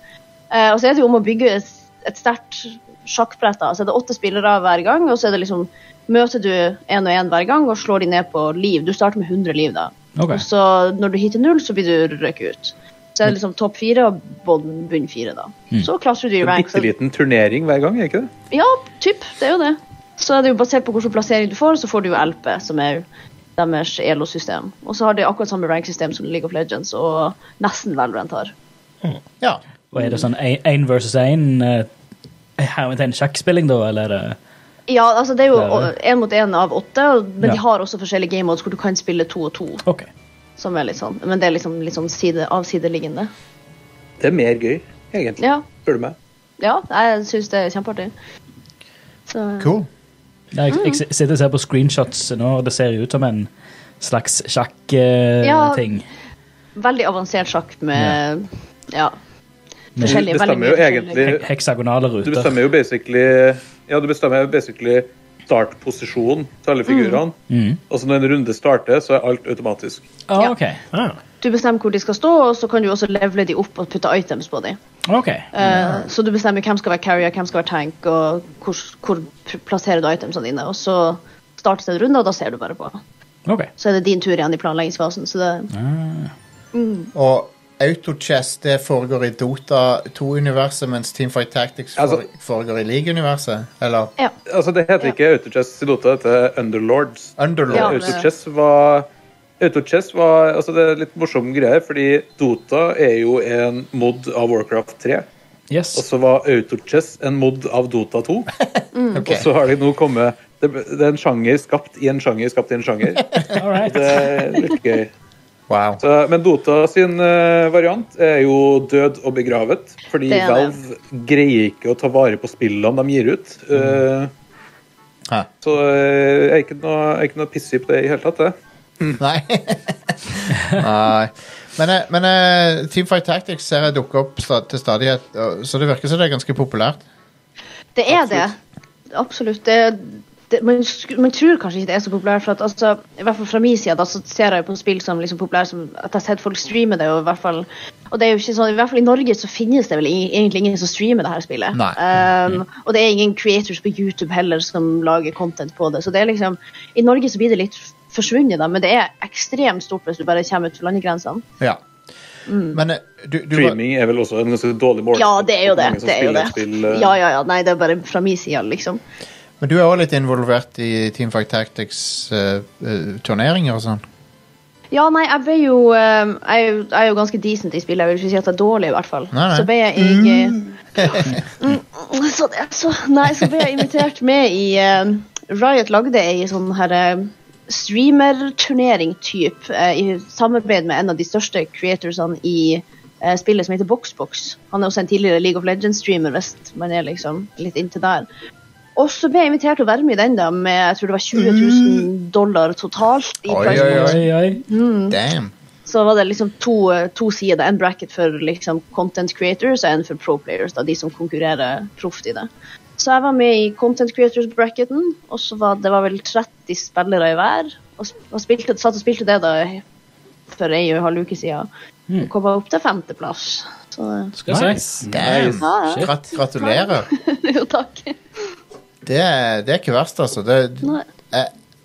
[SPEAKER 9] Eh, og så er det jo om å bygge et, et sterkt sjakkbrett. da. Så er det åtte spillere hver gang, og så er det liksom møter du én og én hver gang og slår de ned på liv. Du starter med 100 liv, da.
[SPEAKER 6] Ok.
[SPEAKER 9] Og så når du hitter null, så blir du røket ut. Så er det liksom topp fire og bunn- bunn fire, da. Så klatrer du i
[SPEAKER 8] En
[SPEAKER 9] rank.
[SPEAKER 8] bitte
[SPEAKER 9] Så,
[SPEAKER 8] liten turnering hver gang, er ikke det?
[SPEAKER 9] ja, typ, det er jo det. Så er det jo basert på hvilken plassering du får, så får du jo LP, som er deres ELO-system. Og så har de akkurat samme rank-system som League of Legends og nesten Valorant har.
[SPEAKER 5] Ja.
[SPEAKER 6] Og er det sånn én versus eh, én hermetegn sjakkspilling, da, eller er det
[SPEAKER 9] Ja, altså det er
[SPEAKER 6] Det er
[SPEAKER 9] jo
[SPEAKER 6] det.
[SPEAKER 9] én mot én av åtte, og- men
[SPEAKER 6] Ja.
[SPEAKER 9] de har også forskjellige game modes hvor du kan spille to og to.
[SPEAKER 6] Ok.
[SPEAKER 9] Som er litt sånn, men det er liksom litt sånn side, avsideliggende.
[SPEAKER 8] Det er mer gøy, egentlig.
[SPEAKER 9] Ja,
[SPEAKER 8] Spør du meg.
[SPEAKER 9] ja jeg syns det er kjempeartig. Så,
[SPEAKER 5] Cool.
[SPEAKER 6] Nei, jeg, jeg sitter og ser på screenshots nå, og det ser jo ut som en slags eh, sjakk-ting.
[SPEAKER 9] Veldig avansert sjakk med Ja.
[SPEAKER 8] Det
[SPEAKER 9] Forskjellige, veldig
[SPEAKER 8] stemmer
[SPEAKER 9] mye
[SPEAKER 8] jo
[SPEAKER 9] forskjellige-
[SPEAKER 8] egentlig
[SPEAKER 6] Heksagonale
[SPEAKER 8] Du
[SPEAKER 6] ruter.
[SPEAKER 8] bestemmer jo basically Ja, du bestemmer basically startposisjonen til alle figurene.
[SPEAKER 6] Mm.
[SPEAKER 8] Og så når en runde starter, så er alt automatisk.
[SPEAKER 6] Ah, ok.
[SPEAKER 7] Ah,
[SPEAKER 9] Du bestemmer hvor de skal stå, og så kan du også levele de opp og putte items på dem.
[SPEAKER 6] ok.
[SPEAKER 9] Så du bestemmer hvem skal være carrier, hvem skal være tank, og hvor, hvor pr- plasserer du itemsene dine. Og så startes det en runde, og da ser du bare på.
[SPEAKER 6] ok.
[SPEAKER 9] Så er det din tur igjen i planleggingsfasen. Så det,
[SPEAKER 5] Og autochess det foregår i Dota 2-universet, mens Teamfight Tactics
[SPEAKER 8] Altså-
[SPEAKER 5] fore- foregår i League-universet. Eller
[SPEAKER 9] ja.
[SPEAKER 8] Altså, det heter
[SPEAKER 9] Ja.
[SPEAKER 8] ikke Autochess i Dota, det heter Underlords. Eh,
[SPEAKER 9] Ja,
[SPEAKER 5] Underlord.
[SPEAKER 9] det-
[SPEAKER 8] Autochess var Autochess var altså Det er litt morsom greie, fordi Dota er jo en mod av Warcraft 3.
[SPEAKER 6] Yes.
[SPEAKER 8] Og så var Autochess en mod av Dota 2.
[SPEAKER 9] Mm.
[SPEAKER 5] Ok.
[SPEAKER 8] Og så har det nå kommet det, det er en sjanger skapt i en sjanger skapt i en sjanger.
[SPEAKER 6] All right.
[SPEAKER 8] Det er litt gøy.
[SPEAKER 5] Wow.
[SPEAKER 8] Så, men Dota sin eh, variant er jo død og begravet. Fordi
[SPEAKER 9] Det er det.
[SPEAKER 8] Valve greier ikke å ta vare på spillene de gir ut.
[SPEAKER 5] Mm.
[SPEAKER 8] Eh,
[SPEAKER 5] Hæ.
[SPEAKER 8] Så eh, jeg er ikke noe, jeg er ikke noe pissig på det i hele tatt. Jeg.
[SPEAKER 5] Nei. Nei. Men, eh, men eh, Teamfight Tactics ser jeg dukke opp sta- til stadighet, og- så det virker som det er ganske populært.
[SPEAKER 9] Det er det. Absolutt. Det, det, man, sk- man tror kanskje ikke det er så populært, for at, altså, i hvert fall fra min side da, så ser jeg jo på spill som liksom, populære som at jeg har sett folk streame det. Og, i hvert fall, og det er jo ikke sånn, i hvert fall i Norge så finnes det vel ingen, egentlig ingen som streamer det her spillet.
[SPEAKER 5] Nei.
[SPEAKER 8] Mm.
[SPEAKER 9] Um, og det er ingen creators på YouTube heller som lager content på det. Så det er liksom, i Norge så blir det litt forsvunnet, da, men det er ekstremt stort hvis du bare kommer ut for landegrensene.
[SPEAKER 5] Ja.
[SPEAKER 9] Mm.
[SPEAKER 5] Men eh, du, du var-
[SPEAKER 8] Streaming er vel også en ganske dårlig mål.
[SPEAKER 9] Ja, det er jo det.
[SPEAKER 8] Mange som
[SPEAKER 9] det, er jo
[SPEAKER 8] spiller
[SPEAKER 9] det.
[SPEAKER 8] et spill, eh,
[SPEAKER 9] Ja, ja, ja. Nei, det er bare fra min side, liksom.
[SPEAKER 5] Men du er òg litt involvert i Teamfight Tactics eh, eh, turneringer og sånn?
[SPEAKER 9] Ja, nei, jeg ble jo eh, Jeg er jo, jeg er jo ganske decent i spillet. Jeg vil ikke si at jeg er dårlig, i hvert fall.
[SPEAKER 5] Nei, nei.
[SPEAKER 9] Så ble jeg i, eh, mm, så, det- så, Nei, så ble jeg invitert med i eh, Riot lagde ei sånn her eh, streamerturnering-type eh, i samarbeid med en av de største creatorsene i eh, spillet, som heter Boxbox. Han er også en tidligere League of Legends-streamer, hvis man er liksom litt inntil der. Og så ble jeg invitert til å være med i den, da, med jeg tror det var 20 000 dollar totalt. i
[SPEAKER 5] Mm. Oi,
[SPEAKER 9] prize
[SPEAKER 5] oi,
[SPEAKER 9] money
[SPEAKER 6] Oi, oi.
[SPEAKER 5] Damn.
[SPEAKER 9] så var det liksom to, to sider. En bracket for liksom content creators og en for pro players, da, de som konkurrerer proft i det. Så jeg var med i content creators-bracketen, og så var det var vel 30 spillere i hver. Og, sp- og spilte, satt og spilte det da for ei og en halv uke siden. Og kom opp til femteplass. Så
[SPEAKER 6] Skal jeg si.
[SPEAKER 7] nice.
[SPEAKER 5] Damn.
[SPEAKER 9] ja, ja.
[SPEAKER 5] Grat gratulerer.
[SPEAKER 9] jo takk.
[SPEAKER 5] Det er, det er ikke verst, altså. Det,
[SPEAKER 9] Nei.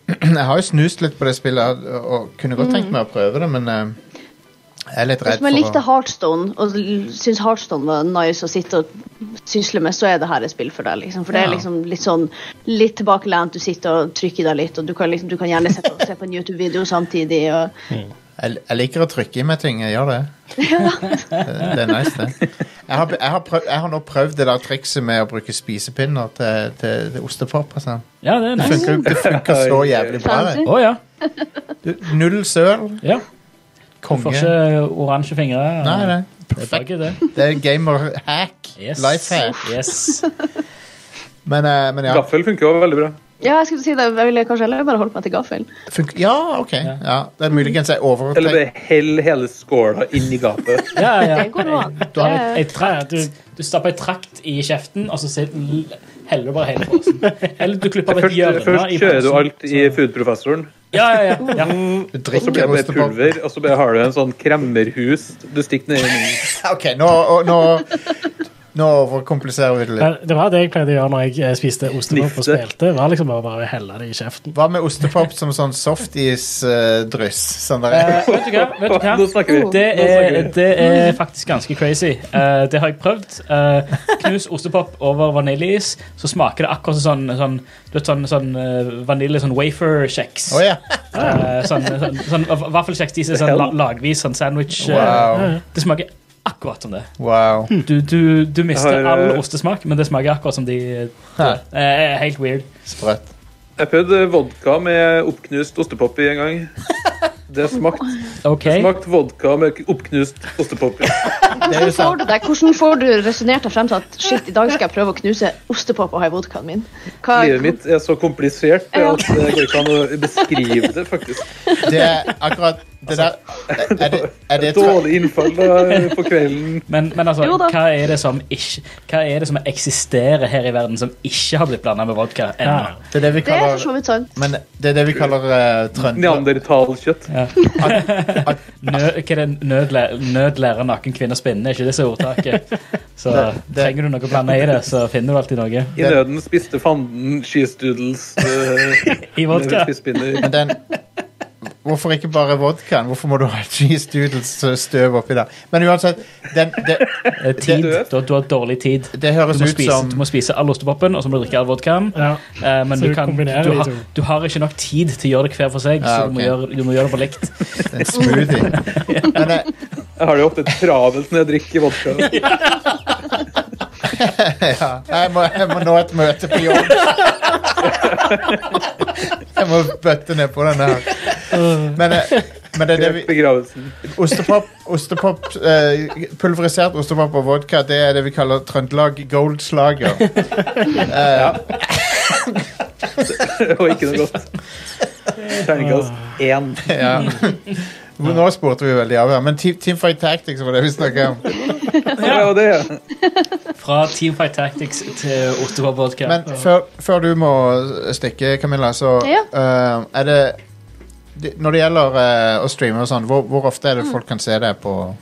[SPEAKER 5] jeg har jo snust litt på det spillet og, og kunne godt tenkt meg å prøve det, men eh, jeg er litt redd
[SPEAKER 9] Hvis man
[SPEAKER 5] for
[SPEAKER 9] likte
[SPEAKER 5] å
[SPEAKER 9] Heartstone og l- syns Heartstone var nice å sitte og sysle med, så er det her et spill for deg. Liksom. For det er
[SPEAKER 5] Ja.
[SPEAKER 9] liksom litt sånn litt tilbakelent. Du sitter og trykker deg litt, og du kan, liksom, du kan gjerne sette, se på en YouTube-video samtidig. Og,
[SPEAKER 5] jeg, jeg liker å trykke i meg ting. Jeg gjør det. det, det er nice, det. Jeg har, jeg, har prøv, jeg har nå prøvd det der trikset med å bruke spisepinner til, til, til ostepop. og sånn.
[SPEAKER 6] Ja, det er
[SPEAKER 5] Det
[SPEAKER 6] nice.
[SPEAKER 5] funker, jo- det funker så jævlig bra.
[SPEAKER 9] Fancy.
[SPEAKER 5] Det.
[SPEAKER 6] Å ja.
[SPEAKER 5] Du, null søl.
[SPEAKER 6] ja. Du får
[SPEAKER 5] Konge.
[SPEAKER 6] ikke oransje fingre.
[SPEAKER 5] Nei, nei.
[SPEAKER 6] Det er
[SPEAKER 5] Perfekt.
[SPEAKER 6] begge det.
[SPEAKER 5] Det er gamer-hack.
[SPEAKER 6] Yes.
[SPEAKER 5] Life hack.
[SPEAKER 6] Yes.
[SPEAKER 5] Men, eh, men ja.
[SPEAKER 8] Gaffel funker jo veldig bra.
[SPEAKER 9] Ja, jeg skulle si det. Jeg ville kanskje heller bare holdt meg til gaffelen.
[SPEAKER 5] Funk ja, OK. Ja. Det er muligens jeg
[SPEAKER 8] Eller
[SPEAKER 5] overtenker
[SPEAKER 8] bare hell hele skåla inn i gapet.
[SPEAKER 6] Ja, ja.
[SPEAKER 9] Det går an.
[SPEAKER 6] Du, har et, et trakt, du, du stapper et trakt i kjeften, og så ser- l- heller du bare hele posen. Eller du klipper av et
[SPEAKER 8] Først,
[SPEAKER 6] hjørne
[SPEAKER 8] først
[SPEAKER 6] i
[SPEAKER 8] kjører du
[SPEAKER 6] posen.
[SPEAKER 8] alt i foodprofessoren,
[SPEAKER 6] Ja, ja, ja. ja.
[SPEAKER 5] Du
[SPEAKER 8] og så
[SPEAKER 5] drikker
[SPEAKER 8] blir det bare
[SPEAKER 5] ostepop.
[SPEAKER 8] pulver, og så bare har du en sånn kremmerhus du stikker ned i munnen.
[SPEAKER 5] OK, nå, å- nå, nå overkompliserer vi det litt.
[SPEAKER 7] Men Det var det jeg pleide å gjøre når jeg eh, spiste ostepop og
[SPEAKER 8] Snifte.
[SPEAKER 7] spilte. var liksom bare, bare å helle det i kjeften.
[SPEAKER 5] Hva med ostepop som sånn softis-dryss? Sånn der.
[SPEAKER 6] Eh, vet du hva? Vet du hva?
[SPEAKER 8] Nå snakker
[SPEAKER 9] Oh.
[SPEAKER 8] vi.
[SPEAKER 6] Det
[SPEAKER 8] Nå
[SPEAKER 6] er,
[SPEAKER 8] snakker vi.
[SPEAKER 6] det er faktisk ganske crazy. Eh, det har jeg prøvd. Eh, knus ostepop over vaniljeis, så smaker det akkurat som sånn, sånn, du vet, sånn, sånn eh, vanilje sånn wafer kjeks.
[SPEAKER 5] Å ja.
[SPEAKER 6] Eh, sånn, sånn, sånn, va- Vaffelkjeks de som er sånn la- lagvis, sånn sandwich. eh,
[SPEAKER 5] Wow.
[SPEAKER 6] Det smaker akkurat som det.
[SPEAKER 5] wow.
[SPEAKER 6] Du, du, du mister
[SPEAKER 8] Jeg har, eh,
[SPEAKER 6] all ostesmak, men det smaker akkurat som de
[SPEAKER 5] Hæ.
[SPEAKER 6] Eh, Helt weird.
[SPEAKER 5] Sprøtt.
[SPEAKER 8] Jeg prøvde vodka med oppknust ostepop i en gang. Det smakte
[SPEAKER 6] OK.
[SPEAKER 8] smakt vodka med oppknust ostepop i.
[SPEAKER 5] Det er jo
[SPEAKER 9] Hvordan får
[SPEAKER 5] sant.
[SPEAKER 9] du det? Hvordan får du resonnert deg frem til at shit, i dag skal jeg prøve å knuse ostepop og ha i vodkaen min? Hva,
[SPEAKER 8] Livet mitt er så komplisert at det går ikke an å beskrive det, faktisk.
[SPEAKER 5] Det er akkurat det der Er det, er det, tver-
[SPEAKER 8] Dårlig innfall da, på kvelden.
[SPEAKER 6] Men, men altså,
[SPEAKER 9] Jo da.
[SPEAKER 6] hva er, det som ikke, hva er det som eksisterer her i verden som ikke har blitt blanda med vodka ennå?
[SPEAKER 5] det er det vi
[SPEAKER 9] Det er
[SPEAKER 5] kaller
[SPEAKER 9] for så vidt sant.
[SPEAKER 5] Men det er det vi kaller uh, trønder.
[SPEAKER 8] Neandertalkjøtt.
[SPEAKER 6] Nø, hva er det nødlære, nødlære naken kvinner spinne? Er ikke det som er ordtaket? Så
[SPEAKER 5] Det- det-
[SPEAKER 6] trenger du noe å blande i det, så finner du alltid noe.
[SPEAKER 8] I nøden spiste fanden skistoodles uh,
[SPEAKER 6] I vodka.
[SPEAKER 5] Men den Hvorfor ikke bare vodkaen? Hvorfor må du ha cheese doodles og støv oppi der? Men uansett, den, det,
[SPEAKER 6] Eh, Tid. Du, har- du har dårlig tid.
[SPEAKER 5] det høres
[SPEAKER 6] Du må,
[SPEAKER 5] ut
[SPEAKER 6] spise,
[SPEAKER 5] som
[SPEAKER 6] du må spise all ostepopen, og så må du drikke all vodkaen.
[SPEAKER 7] Ja.
[SPEAKER 6] Eh, men
[SPEAKER 7] Så
[SPEAKER 6] du,
[SPEAKER 7] du
[SPEAKER 6] kan, du,
[SPEAKER 7] kombinerer de
[SPEAKER 6] har,
[SPEAKER 7] to.
[SPEAKER 6] du har ikke nok tid til å gjøre det hver for seg,
[SPEAKER 5] Ja,
[SPEAKER 6] så du må,
[SPEAKER 5] Ah, ok.
[SPEAKER 6] gjøre, du må gjøre det på likt.
[SPEAKER 5] en smoothie. Men eh, det,
[SPEAKER 8] Jeg har det jo ofte travelt når jeg drikker vodka.
[SPEAKER 5] ja, jeg, må, jeg må nå et møte på jobb. Jeg må bøtte ned på den her. Men, eh, men det er det vi
[SPEAKER 8] Begravelsen.
[SPEAKER 5] Ostepop, ostepop eh, pulverisert ostepop og vodka, det er det vi kaller Trøndelag Gold Slager.
[SPEAKER 8] Det var ikke noe godt. Terningkast én.
[SPEAKER 5] Ah. Ja. Nå spurte vi veldig av her, men Team, team Fight Tactics var det vi snakket om.
[SPEAKER 8] Ja, det er det.
[SPEAKER 6] Fra Teamfight Tactics til ostepop vodka.
[SPEAKER 5] Men før, før du må stikke, Camilla, så
[SPEAKER 9] Ja.
[SPEAKER 5] eh, er det det- Når det gjelder eh, å streame og sånn, hvor, hvor ofte er det folk kan se det på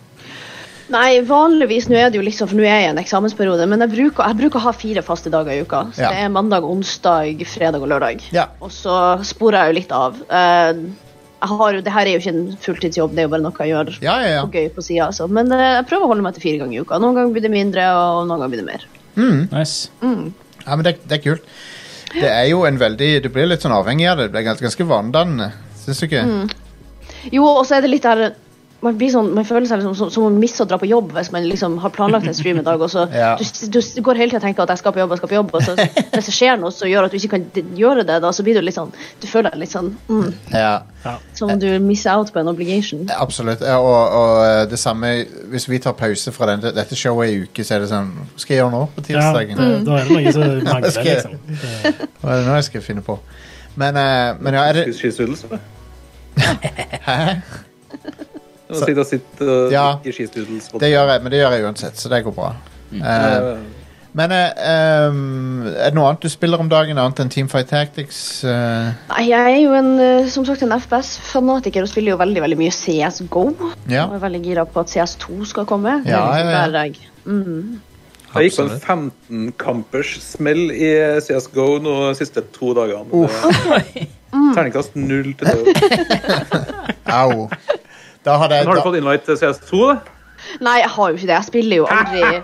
[SPEAKER 9] Nei, vanligvis, nå er det jo liksom, for nå er jeg i en eksamensperiode, men jeg bruker, jeg bruker å ha fire faste dager i uka. Så
[SPEAKER 5] Ja.
[SPEAKER 9] det er mandag, onsdag, fredag og lørdag.
[SPEAKER 5] Ja.
[SPEAKER 9] Og så sporer jeg jo litt av. Eh, jeg har jo, det her er jo ikke en fulltidsjobb, det er jo bare noe jeg gjør
[SPEAKER 5] Ja, ja, ja.
[SPEAKER 9] og gøy på sida. Altså. Men eh, jeg prøver å holde meg til fire ganger i uka. Noen ganger blir det mindre, og noen ganger blir det mer.
[SPEAKER 6] nice.
[SPEAKER 5] Ja, men det, det er kult. Det er jo en veldig Du blir litt sånn avhengig av det. Det blir ganske, ganske vanedannende, syns du ikke?
[SPEAKER 9] Jo, og så er det litt der man, blir sånn, man føler seg liksom som, som om man misser å dra på jobb hvis man liksom har planlagt en stream en dag. Og så
[SPEAKER 5] Ja.
[SPEAKER 9] du, s- du s- går hele tiden og tenker at jeg skal på jobb, jeg skal på jobb, og så hvis det skjer noe som gjør at du ikke kan d- gjøre det, da, så blir du litt sånn Du føler deg litt sånn mm,
[SPEAKER 5] Ja.
[SPEAKER 9] som om du misser out på en obligation.
[SPEAKER 5] Absolutt. Ja, og, og eh, det samme Hvis vi tar pause fra den, dette showet i uke, så er det sånn Hva skal jeg gjøre nå på
[SPEAKER 7] Ja, det,
[SPEAKER 5] tirsdagen?
[SPEAKER 7] da er det noe som mangler,
[SPEAKER 5] Skal-
[SPEAKER 7] liksom. Det,
[SPEAKER 5] Hva er det nå jeg skal finne på? Men, eh, men ja, er det
[SPEAKER 8] Skistoodles.
[SPEAKER 5] Hæ?
[SPEAKER 8] Nå sitter jeg sitter og
[SPEAKER 5] Ja.
[SPEAKER 8] drikker skistoodles.
[SPEAKER 5] Det gjør jeg, men det gjør jeg uansett, så det går bra. Eh, men eh, ehm, er det noe annet du spiller om dagen, annet enn Teamfight Tactics? Eh,
[SPEAKER 9] Nei, jeg er jo en, eh, som sagt en FPS-fanatiker og spiller jo veldig veldig mye CSGO.
[SPEAKER 5] ja.
[SPEAKER 9] Og er veldig gira på at CS2 skal
[SPEAKER 5] Ja,
[SPEAKER 9] komme. Det er
[SPEAKER 5] ja, ja.
[SPEAKER 9] Der jeg
[SPEAKER 8] Jeg gikk på en 15-kampers smell i CSGO nå de siste to dagene. Det-
[SPEAKER 5] Mm.
[SPEAKER 8] Terningkast null til to.
[SPEAKER 5] Au. Da hadde jeg
[SPEAKER 8] Men har
[SPEAKER 5] da,
[SPEAKER 8] du fått invite til CS2? da?
[SPEAKER 9] Nei, jeg har jo ikke det. Jeg spiller jo aldri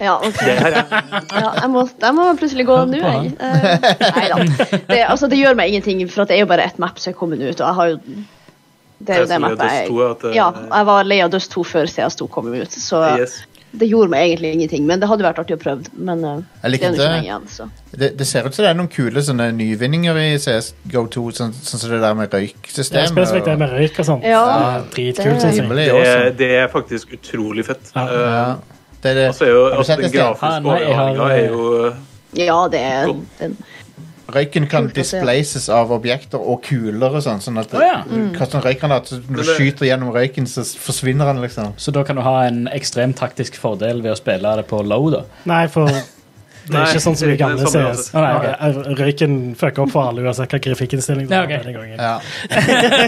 [SPEAKER 9] Ja, ok. ja jeg, må, jeg må plutselig gå nå, jeg. Eh, nei da. Det, altså, det gjør meg ingenting, for at det er jo bare ett map som er kommet ut. Og jeg har jo Det er jo
[SPEAKER 8] Jeg
[SPEAKER 9] det
[SPEAKER 8] spiller
[SPEAKER 9] mappet
[SPEAKER 8] Dust 2, at det-
[SPEAKER 9] jeg Ja, jeg var lei av Dust 2 før CS2 kom ut, så
[SPEAKER 8] Yes.
[SPEAKER 9] det gjorde meg egentlig ingenting. Men det hadde vært artig å prøve, men eh,
[SPEAKER 5] Jeg
[SPEAKER 9] det
[SPEAKER 5] liker
[SPEAKER 9] er jo ikke
[SPEAKER 5] det.
[SPEAKER 9] lenge igjen, så.
[SPEAKER 5] det, det ser ut som det er noen kule sånne nyvinninger i CSGO2, sånn sånn som det der med
[SPEAKER 7] det er
[SPEAKER 5] røyksystemet.
[SPEAKER 7] spesifikt det med røyk og sånt.
[SPEAKER 9] Ja.
[SPEAKER 7] Det er Dritkult,
[SPEAKER 5] og-
[SPEAKER 7] synes jeg.
[SPEAKER 5] Rimelig
[SPEAKER 8] Det er,
[SPEAKER 5] awesome.
[SPEAKER 8] det er faktisk utrolig fett.
[SPEAKER 7] Ja.
[SPEAKER 8] Eh,
[SPEAKER 5] Ja. Det er det.
[SPEAKER 8] altså er jo,
[SPEAKER 5] Har du
[SPEAKER 8] altså,
[SPEAKER 5] sett det,
[SPEAKER 8] den
[SPEAKER 5] Sten?
[SPEAKER 8] grafiske
[SPEAKER 6] Ah, nei, jeg har-
[SPEAKER 8] overgangen er jo
[SPEAKER 9] Ja, det er
[SPEAKER 8] Cool.
[SPEAKER 9] den
[SPEAKER 5] Røyken kan
[SPEAKER 9] Kult å se.
[SPEAKER 5] displaces av objekter og kuler og sånn. Sånn at
[SPEAKER 6] Å, ja. Mm.
[SPEAKER 5] du kaster en røykgranat, så når du
[SPEAKER 6] det-
[SPEAKER 5] skyter gjennom røyken, så s- forsvinner den, liksom.
[SPEAKER 6] Så da kan du ha en ekstrem taktisk fordel ved å spille det på low, da.
[SPEAKER 7] Nei, for det er
[SPEAKER 6] Nei,
[SPEAKER 7] ikke sånn som i
[SPEAKER 6] det er ikke
[SPEAKER 7] gamle
[SPEAKER 6] det samme
[SPEAKER 7] CS.
[SPEAKER 6] uansett. Å, nei,
[SPEAKER 7] Eh, Røyken fucker opp for alle uansett hva grafikkinnstilling du
[SPEAKER 6] Ja,
[SPEAKER 7] har
[SPEAKER 6] ok.
[SPEAKER 7] denne gangen.
[SPEAKER 5] Ja.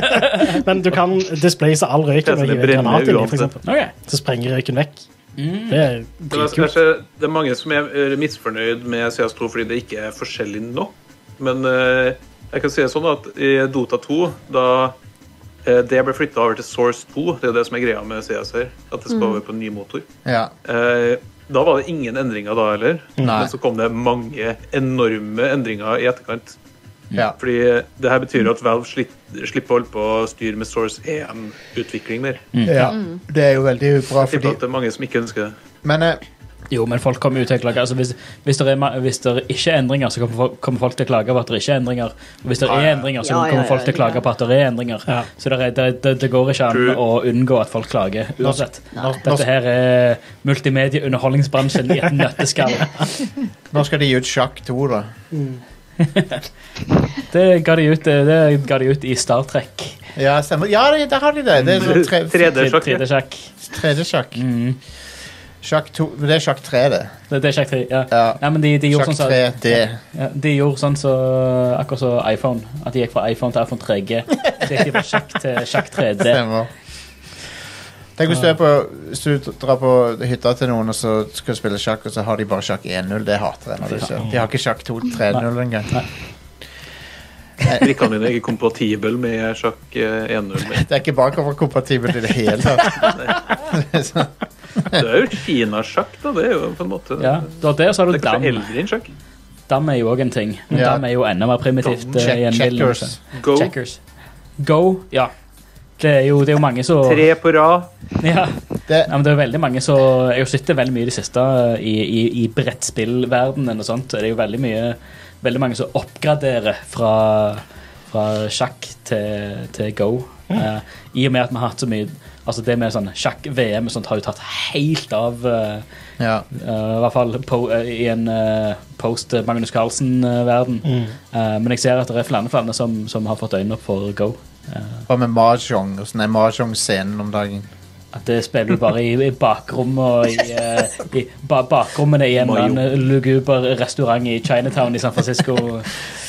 [SPEAKER 7] Men du kan displace all røyken
[SPEAKER 6] sånn
[SPEAKER 8] Det er som det
[SPEAKER 7] med å hive en granat
[SPEAKER 8] brenner
[SPEAKER 7] inni, for
[SPEAKER 8] uansett.
[SPEAKER 7] eksempel.
[SPEAKER 6] Ok.
[SPEAKER 7] Så sprenger røyken vekk.
[SPEAKER 6] Mm.
[SPEAKER 7] Det er
[SPEAKER 8] Men altså,
[SPEAKER 7] dritkult.
[SPEAKER 8] kanskje det er mange som er eh, misfornøyd med CS2 fordi det ikke er forskjellig nok. Men eh, jeg kan si det sånn at i Dota 2, da eh, det ble flytta over til Source 2, det er jo det som er greia med CS her, at det skal
[SPEAKER 5] Mm.
[SPEAKER 8] over på en ny motor,
[SPEAKER 5] Ja.
[SPEAKER 8] eh, da var det ingen endringer da heller.
[SPEAKER 5] Nei.
[SPEAKER 8] Men så kom det mange enorme endringer i etterkant.
[SPEAKER 5] Ja.
[SPEAKER 8] Mm. Fordi eh, det her betyr at Valve slitt, slipper å holde på å styre med Source E 1-utvikling der.
[SPEAKER 5] ja.
[SPEAKER 6] Mm.
[SPEAKER 5] Det er jo veldig bra,
[SPEAKER 8] Jeg tipper
[SPEAKER 5] fordi
[SPEAKER 8] at det er mange som ikke ønsker det.
[SPEAKER 5] Men eh,
[SPEAKER 6] Jo, men folk kommer jo til å klage. Altså, hvis, hvis, det er, ma- hvis det ikke er endringer, så kommer folk, kommer folk til å klage over at det ikke er endringer. Og hvis det er endringer, så
[SPEAKER 5] Ja, ja,
[SPEAKER 6] kommer folk
[SPEAKER 5] ja,
[SPEAKER 6] til å klage på at det er endringer. Så det, er, det, det, det går ikke an å unngå at folk klager, uansett. Dette her er multimedieunderholdningsbransjen i et nøtteskall.
[SPEAKER 5] nå skal de gi ut sjakk 2, da.
[SPEAKER 6] Det ga de ut, det ga de ut i Star Trek.
[SPEAKER 5] Ja, stemmer. Ja, det- der har de det. det er
[SPEAKER 8] Mm.
[SPEAKER 5] sånn tre,
[SPEAKER 6] 3D-sjakk. 3D-sjakk.
[SPEAKER 5] 3D-sjakk. Sjakk 2 men Det er sjakk 3, det.
[SPEAKER 6] Mm. Det, det er sjakk 3, ja. Nei, men de, de gjorde
[SPEAKER 5] Sjakk
[SPEAKER 6] sånn som-
[SPEAKER 5] 3D.
[SPEAKER 6] Ja, de gjorde sånn så, akkurat som iPhone. At de gikk fra iPhone til iPhone 3G. Så gikk de fra sjakk til sjakk 3D.
[SPEAKER 5] Stemmer. Tenk hvis du, er på, hvis du drar på hytta til noen og så skal du spille sjakk, og så har de bare sjakk 1-0. Det hater jeg. når det skjer. De har ikke sjakk 2-3-0 engang.
[SPEAKER 8] Brikkene dine er ikke kompatibel med sjakk eh, 1-0.
[SPEAKER 5] Det er ikke bakoverkompatibelt i det hele tatt. sånn
[SPEAKER 8] Det er jo Kina-sjakk, da. Det er jo på en måte
[SPEAKER 6] Ja, da der så har du
[SPEAKER 8] Det er kanskje
[SPEAKER 6] dam.
[SPEAKER 8] eldre enn sjakk.
[SPEAKER 6] Dam er jo òg en ting. Men
[SPEAKER 8] Ja.
[SPEAKER 6] Dam er jo enda mer primitivt.
[SPEAKER 8] Dam.
[SPEAKER 6] eh, i en
[SPEAKER 8] Check-
[SPEAKER 6] del-
[SPEAKER 8] checkers. Go.
[SPEAKER 6] checkers. Go, ja. Det er jo, det er jo mange som
[SPEAKER 8] Tre på rad.
[SPEAKER 6] Ja. Nei, men det er veldig mange som Jeg har sett det veldig mye i det siste eh, i, i, i brettspillverdenen og sånt. Det er jo veldig mye Veldig mange som oppgraderer fra, fra sjakk til, til go. Eh, I og med at vi har hatt så mye Altså det med sånn sjakk-VM og sånt har jo tatt helt av. eh,
[SPEAKER 5] Ja.
[SPEAKER 6] eh, I hvert fall på, eh, i en eh, post eh, Magnus Carlsen-verden.
[SPEAKER 5] Mm.
[SPEAKER 6] men jeg ser at det er flere flere som, som har fått øynene opp for go. Eh,
[SPEAKER 5] Hva med mahjong? Åssen er mahjong-scenen om dagen?
[SPEAKER 6] at det spiller du bare i, i bakrommet og i, eh, i ba bakrommene i en eller annen luguber restaurant i Chinatown i San Francisco.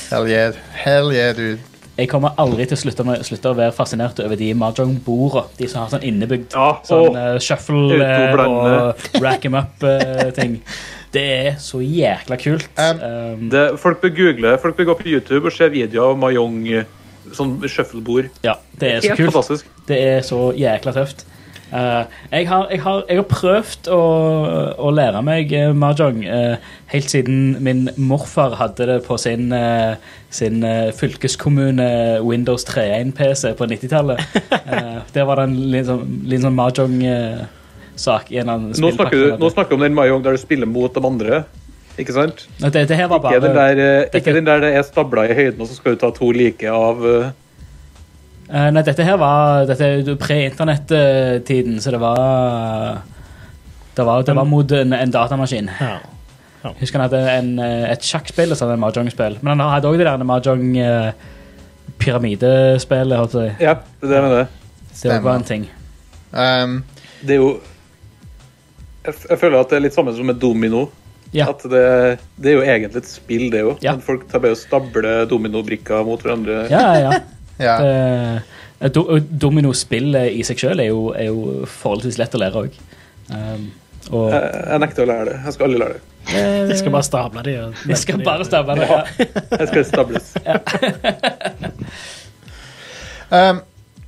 [SPEAKER 5] Hell yeah, Hell yeah dude.
[SPEAKER 6] Jeg kommer aldri til å slutte, med, slutte å være fascinert over de mahjong-borda. De som har sånn innebygd sånn eh, shuffle eh,
[SPEAKER 8] Uten å blande.
[SPEAKER 6] og rack em up-ting. det er så jækla kult. Um,
[SPEAKER 8] Det, folk bør google, folk bør gå på YouTube og se videoer av Mayong sånn shufflebord.
[SPEAKER 6] Ja, det er så
[SPEAKER 8] Helt
[SPEAKER 6] kult.
[SPEAKER 8] fantastisk.
[SPEAKER 6] Det er så jækla tøft. Eh, jeg, har, jeg, har, jeg har prøvd å, å lære meg eh, mahjong eh, helt siden min morfar hadde det på sin, eh, sin eh, fylkeskommune Windows 3.1-PC på 90-tallet. Eh, der var det en litt sånn, litt sånn mahjong-sak i en eller annen
[SPEAKER 8] Nå snakker, du,
[SPEAKER 6] spillpakke.
[SPEAKER 8] nå snakker du om den Mayong der du spiller mot de andre. Ikke sant?
[SPEAKER 6] Nå, det, det her var
[SPEAKER 8] Ikke
[SPEAKER 6] bare
[SPEAKER 8] den der, eh,
[SPEAKER 6] dette-
[SPEAKER 8] ikke den der det er stabla i høyden, og så skal du ta to like av eh,
[SPEAKER 6] Eh, nei, dette her var dette er jo pre-internett-tiden, så det var Det var, det var mot en, en datamaskin. Jeg Husker han hadde en, eh, et sjakkspill og sånn en mahjong-spill. Men han hadde òg det der mahjong-pyramidespillet, holdt jeg på å si.
[SPEAKER 8] Ja, det er det jeg mener.
[SPEAKER 6] Det var bare en ting.
[SPEAKER 5] Um,
[SPEAKER 8] det er jo jeg, f- jeg føler at det er litt samme som med domino.
[SPEAKER 6] Ja.
[SPEAKER 8] At det, det er jo egentlig et spill, det òg. Men folk tar bare og stabler dominobrikker mot hverandre.
[SPEAKER 6] Ja, ja, ja. Det- eh, do, og Dominospillet i seg sjøl er, jo- er jo forholdsvis lett å lære òg. Um, og
[SPEAKER 8] Jeg, jeg nekter å lære det. Jeg skal aldri lære det.
[SPEAKER 7] Jeg skal bare stable de. og-
[SPEAKER 6] jeg skal bare stable det. Ja.
[SPEAKER 8] Jeg skal stables.
[SPEAKER 5] Um,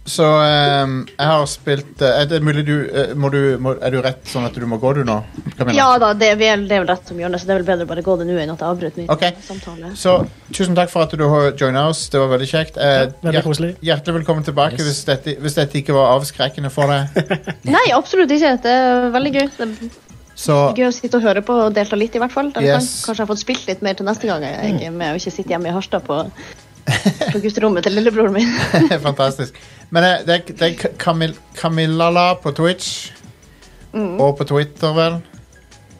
[SPEAKER 5] så um, jeg har spilt eh, Er det mulig du, eh, må du må, Er du rett sånn at du må gå, du nå? Camilla?
[SPEAKER 9] Ja da, det er vel, det er vel rett som hjørnet, så det er vel bedre å bare gå det nå enn at jeg avbryter min
[SPEAKER 5] Ok.
[SPEAKER 9] samtale.
[SPEAKER 5] Så tusen takk for at du har joina oss. Det var veldig kjekt. Eh, hjert, hjertelig velkommen tilbake hvis, dette, hvis dette ikke var avskrekkende for deg.
[SPEAKER 9] Nei, absolutt ikke. Det er veldig gøy. Det er
[SPEAKER 5] Så
[SPEAKER 9] gøy å sitte og høre på og delta litt, i hvert fall. der jeg
[SPEAKER 5] Yes. Mm.
[SPEAKER 9] kan. Kanskje jeg har fått spilt litt mer til neste gang. Jeg jeg er med og ikke sitter hjemme i Harstad på, på gutterommet til lillebroren min.
[SPEAKER 5] fantastisk. Men eh, det, er- det er Kamil, Kamilala på Twitch.
[SPEAKER 9] Mm.
[SPEAKER 5] Og på Twitter, vel.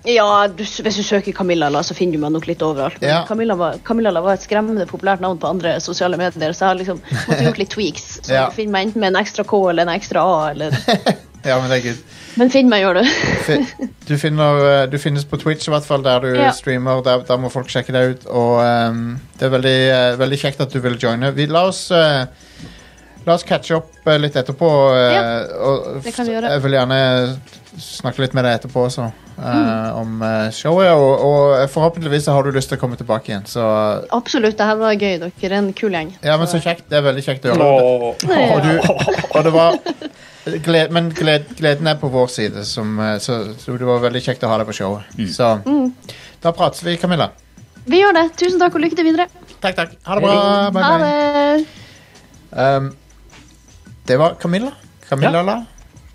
[SPEAKER 9] Ja, du, hvis du søker Camilla, la, så finner du meg nok litt overalt. Men
[SPEAKER 5] Ja.
[SPEAKER 9] Camilla, var, Camilla la var et skremmende populært navn på andre sosiale medier, så jeg har liksom måtte gjort litt tweaks. Så
[SPEAKER 5] Ja.
[SPEAKER 9] du finner meg enten med en ekstra K eller en ekstra A, eller
[SPEAKER 5] Ja, men det er good.
[SPEAKER 9] Men finn meg, gjør du.
[SPEAKER 5] Fi- Du, finner, eh, du finnes på Twitch, i hvert fall, der du
[SPEAKER 9] Ja.
[SPEAKER 5] streamer. Der, der må folk sjekke deg ut. Og ehm, det er veldig, eh, veldig kjekt at du vil joine. Vi, la oss eh, La oss catche opp eh, litt etterpå. eh, og,
[SPEAKER 9] det kan vi
[SPEAKER 5] f-
[SPEAKER 9] gjøre.
[SPEAKER 5] Jeg vil gjerne snakke litt med deg etterpå også, eh,
[SPEAKER 9] Mm.
[SPEAKER 5] om eh, showet. Og, og eh, forhåpentligvis så har du lyst til å komme tilbake igjen. Så,
[SPEAKER 9] Absolutt, det her var gøy. Dere er en kul gjeng.
[SPEAKER 5] ja, men så kjekt. Det er veldig kjekt å gjøre.
[SPEAKER 9] Ja.
[SPEAKER 5] Og, du, og det var gled, Men gled, gleden er på vår side, som, eh, så, så det var veldig kjekt å ha deg på showet. Så
[SPEAKER 9] Mm.
[SPEAKER 5] da prates vi, Camilla.
[SPEAKER 9] Vi gjør det. Tusen takk og lykke til videre.
[SPEAKER 5] Takk, takk. Ha det bra. Bye,
[SPEAKER 9] Ha
[SPEAKER 5] bye.
[SPEAKER 9] det.
[SPEAKER 5] Um, det var Camilla. Camilla la.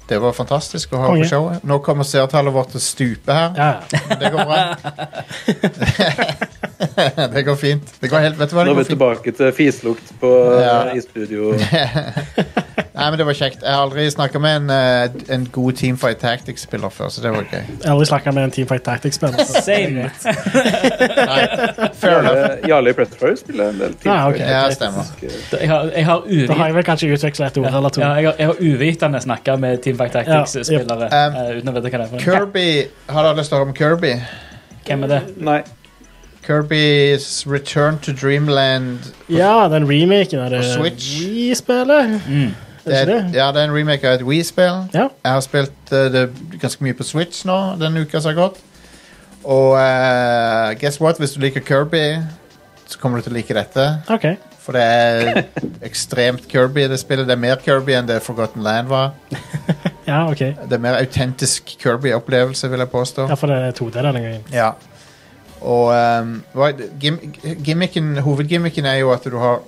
[SPEAKER 5] Det var fantastisk å ha
[SPEAKER 7] Konge.
[SPEAKER 5] på showet. Nå kommer seertallet vårt til å stupe her.
[SPEAKER 7] Ja, ja.
[SPEAKER 5] Men Det går bra. det går fint. Det går helt, vet du hva?
[SPEAKER 8] Nå
[SPEAKER 5] Det
[SPEAKER 8] er vi
[SPEAKER 5] går fint.
[SPEAKER 8] tilbake til fislukt på, eh,
[SPEAKER 5] Ja.
[SPEAKER 8] i studio.
[SPEAKER 5] Nei, men det var kjekt. Jeg har aldri snakka med en, eh, en god Teamfight Tactics-spiller før, så det var gøy.
[SPEAKER 7] Jeg har aldri snakka med en Teamfight Tactics-spiller. så-
[SPEAKER 6] Same.
[SPEAKER 5] Fair enough.
[SPEAKER 8] Eh, Jarle Pretford spiller en del
[SPEAKER 7] Ja, ok.
[SPEAKER 8] til.
[SPEAKER 5] Ja, stemmer.
[SPEAKER 6] Jeg har, jeg har
[SPEAKER 7] Da har
[SPEAKER 6] uvit-
[SPEAKER 7] jeg vel kanskje utveksla et ord eller to.
[SPEAKER 6] ja, jeg har, jeg har uvitende snakka med Team Fight Tactics-spillere
[SPEAKER 5] Ja, yep. Um,
[SPEAKER 6] eh, uten å vite hva det er. for noe.
[SPEAKER 5] Kirby, Har dere lyst til å høre om Kirby?
[SPEAKER 6] Hvem er det?
[SPEAKER 8] eh, Nei.
[SPEAKER 5] Kirbys Return to Dreamland.
[SPEAKER 7] Ja, den remaken av det
[SPEAKER 5] På Switch.
[SPEAKER 7] Wii-spillet.
[SPEAKER 6] Mm.
[SPEAKER 5] Det
[SPEAKER 7] Er
[SPEAKER 5] er,
[SPEAKER 7] det ikke det?
[SPEAKER 5] ja, det er en remake av et Wii-spill.
[SPEAKER 7] Ja.
[SPEAKER 5] Jeg har spilt eh, det ganske mye på Switch nå, den uka som har gått. Og eh, guess what? Hvis du liker Kirby, så kommer du til å like dette.
[SPEAKER 7] OK.
[SPEAKER 5] For det er ekstremt Kirby i det spillet. Det er mer Kirby enn det Forgotten Land var.
[SPEAKER 7] Ja, ok.
[SPEAKER 5] Det er mer autentisk Kirby-opplevelse, vil jeg påstå.
[SPEAKER 7] Ja, for det er 2D denne gangen.
[SPEAKER 5] Ja. Og ehm, hva, gim, gimmicken, hovedgimmicken er jo at du har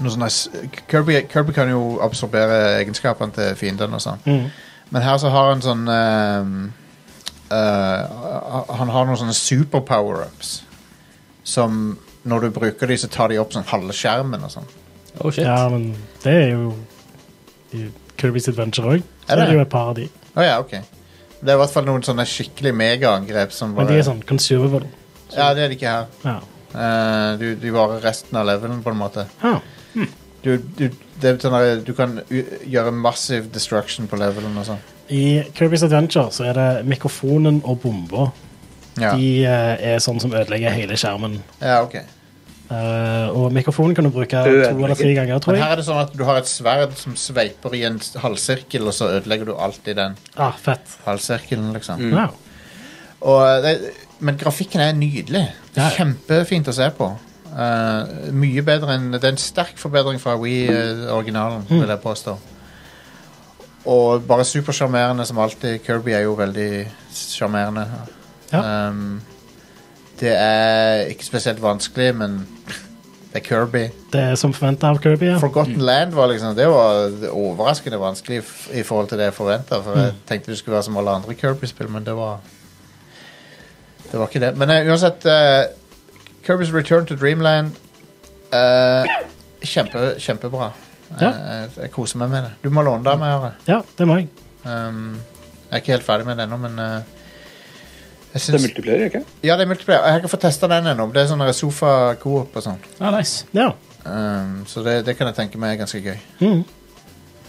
[SPEAKER 5] noe sånn nice- Kirby, Kirby kan jo absorbere egenskapene til fiendene og sånn.
[SPEAKER 7] Mhm.
[SPEAKER 5] Men her så har han sånn ehm, eh, Han har noen sånne super power-ups som når du bruker de, så tar de opp sånn halve skjermen og sånn.
[SPEAKER 6] Oh shit.
[SPEAKER 7] Ja, men det er jo i Kirby's Adventure òg.
[SPEAKER 5] Er
[SPEAKER 7] Så
[SPEAKER 5] det?
[SPEAKER 7] er det jo et par av de.
[SPEAKER 5] Å ja, OK. Det er i hvert fall noen sånne skikkelig megaangrep som
[SPEAKER 7] Men
[SPEAKER 5] bare
[SPEAKER 7] de er sånn consumable.
[SPEAKER 5] Ja, det er de ikke her.
[SPEAKER 7] Ja.
[SPEAKER 5] Eh, du, de varer resten av levelen, på en måte.
[SPEAKER 7] Ah,
[SPEAKER 5] du, du, det er sånn at du kan u- gjøre massive destruction på levelen og sånn.
[SPEAKER 7] I Kirby's Adventure så er det mikrofonen og bomba.
[SPEAKER 5] Ja.
[SPEAKER 7] De eh, er sånn som ødelegger hele skjermen.
[SPEAKER 5] ja, ok.
[SPEAKER 7] Eh, og mikrofonen kan du bruke to
[SPEAKER 8] Ødelegger.
[SPEAKER 7] eller tre ganger, tror
[SPEAKER 5] Men
[SPEAKER 7] jeg.
[SPEAKER 5] her er det sånn at du har et sverd som sveiper i en s- halvsirkel, og så ødelegger du alltid den
[SPEAKER 7] Ah, fett.
[SPEAKER 5] halvsirkelen, liksom.
[SPEAKER 7] Wow.
[SPEAKER 5] Og eh, det, men grafikken er nydelig. Det
[SPEAKER 7] Ja, ja.
[SPEAKER 5] er kjempefint å se på. Eh, mye bedre enn Det er en sterk forbedring fra We-originalen,
[SPEAKER 7] Mm.
[SPEAKER 5] vil jeg påstå. Og bare supersjarmerende som alltid. Kirby er jo veldig sjarmerende.
[SPEAKER 7] Ja.
[SPEAKER 5] Um, det er ikke spesielt vanskelig, men det er Kirby.
[SPEAKER 7] Det er som forventa av Kirby. Ja.
[SPEAKER 5] Forgotten Land var liksom Det var overraskende vanskelig f- i forhold til det jeg forventa. For
[SPEAKER 7] Mm.
[SPEAKER 5] jeg tenkte det skulle være som alle andre Kirby-spill, men det var Det var ikke det. Men eh, uansett eh, Kirby's Return to Dreamland eh, kjempe, Kjempebra.
[SPEAKER 7] Ja.
[SPEAKER 5] Eh, jeg koser meg med det. Du må låne det av meg. Are.
[SPEAKER 7] ja, det må jeg.
[SPEAKER 5] Um, jeg er ikke helt ferdig med det ennå, men eh, jeg
[SPEAKER 8] Det er
[SPEAKER 5] syns
[SPEAKER 8] multiplayer, ikke?
[SPEAKER 5] Ja, det er multiplayer. Jeg har ikke fått testa den ennå. men Det er sånn sofa-coop og sånn.
[SPEAKER 6] Ah, nice.
[SPEAKER 7] Ja.
[SPEAKER 5] Um, så det, det kan jeg tenke meg er ganske gøy.
[SPEAKER 7] Mhm.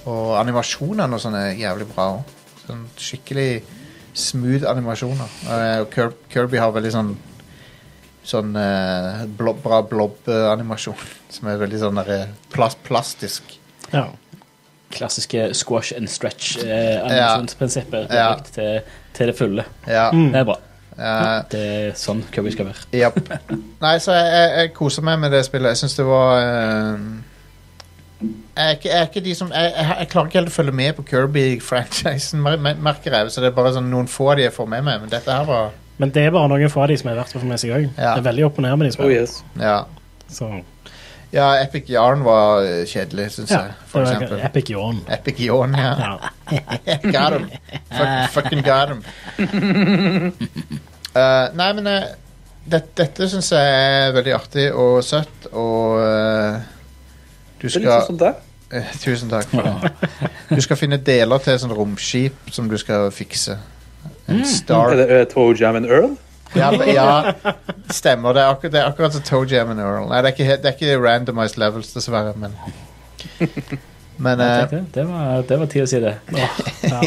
[SPEAKER 5] Og animasjonene og sånn er jævlig bra òg. Sånn skikkelig smooth animasjoner. Eh, og Kir- Kirby har veldig sånn Sånn eh, blob, bra blob-animasjon. Som er veldig sånn der, eh, plas, plastisk.
[SPEAKER 7] ja.
[SPEAKER 6] Klassiske squash and stretch-animasjonsprinsippet.
[SPEAKER 5] Ja.
[SPEAKER 6] brukt til, til det fulle.
[SPEAKER 5] Ja.
[SPEAKER 7] Mm.
[SPEAKER 6] Det er bra.
[SPEAKER 5] eh,
[SPEAKER 6] Det er sånn Kirby skal være.
[SPEAKER 5] Japp. Nei, så jeg, jeg, jeg koser meg med det spillet. Jeg syns det var eh, jeg, er ikke, jeg er ikke de som jeg, jeg, jeg klarer ikke helt å følge med på Kirby-franchisen, mer- mer- merker jeg. Så det er bare sånn noen få av de jeg får med meg. Men dette her var
[SPEAKER 7] Men det er bare noen få av de som er verdt å få med seg òg.
[SPEAKER 5] Ja.
[SPEAKER 7] Det er veldig opp og ned med de
[SPEAKER 8] Oh
[SPEAKER 7] spillene.
[SPEAKER 8] yes.
[SPEAKER 5] Ja,
[SPEAKER 7] Så
[SPEAKER 5] ja Epic Yarn var eh, kjedelig, syns
[SPEAKER 7] ja,
[SPEAKER 5] jeg. For
[SPEAKER 7] det var
[SPEAKER 5] eksempel.
[SPEAKER 7] epic yawn.
[SPEAKER 5] Epic Yarn, ja.
[SPEAKER 7] Ja.
[SPEAKER 5] got him. Fuck, fucking got him. Eh, nei, men eh, det, dette syns jeg er veldig artig og søtt, og eh, du
[SPEAKER 8] Det er litt sånn
[SPEAKER 5] skal
[SPEAKER 8] som deg.
[SPEAKER 5] Eh, Tusen takk for det. Du skal finne deler til et sånt romskip som du skal fikse. En star.
[SPEAKER 8] Er det eh, Toe Jam and Earl?
[SPEAKER 5] Ja, men- ja stemmer. Det er, akkur det er akkurat som Toe Jam and Earl. Nei, det er ikke, he- det er ikke randomized levels, dessverre, men Men
[SPEAKER 6] Jeg
[SPEAKER 5] eh,
[SPEAKER 6] tenkte, det var, det var tid å si det.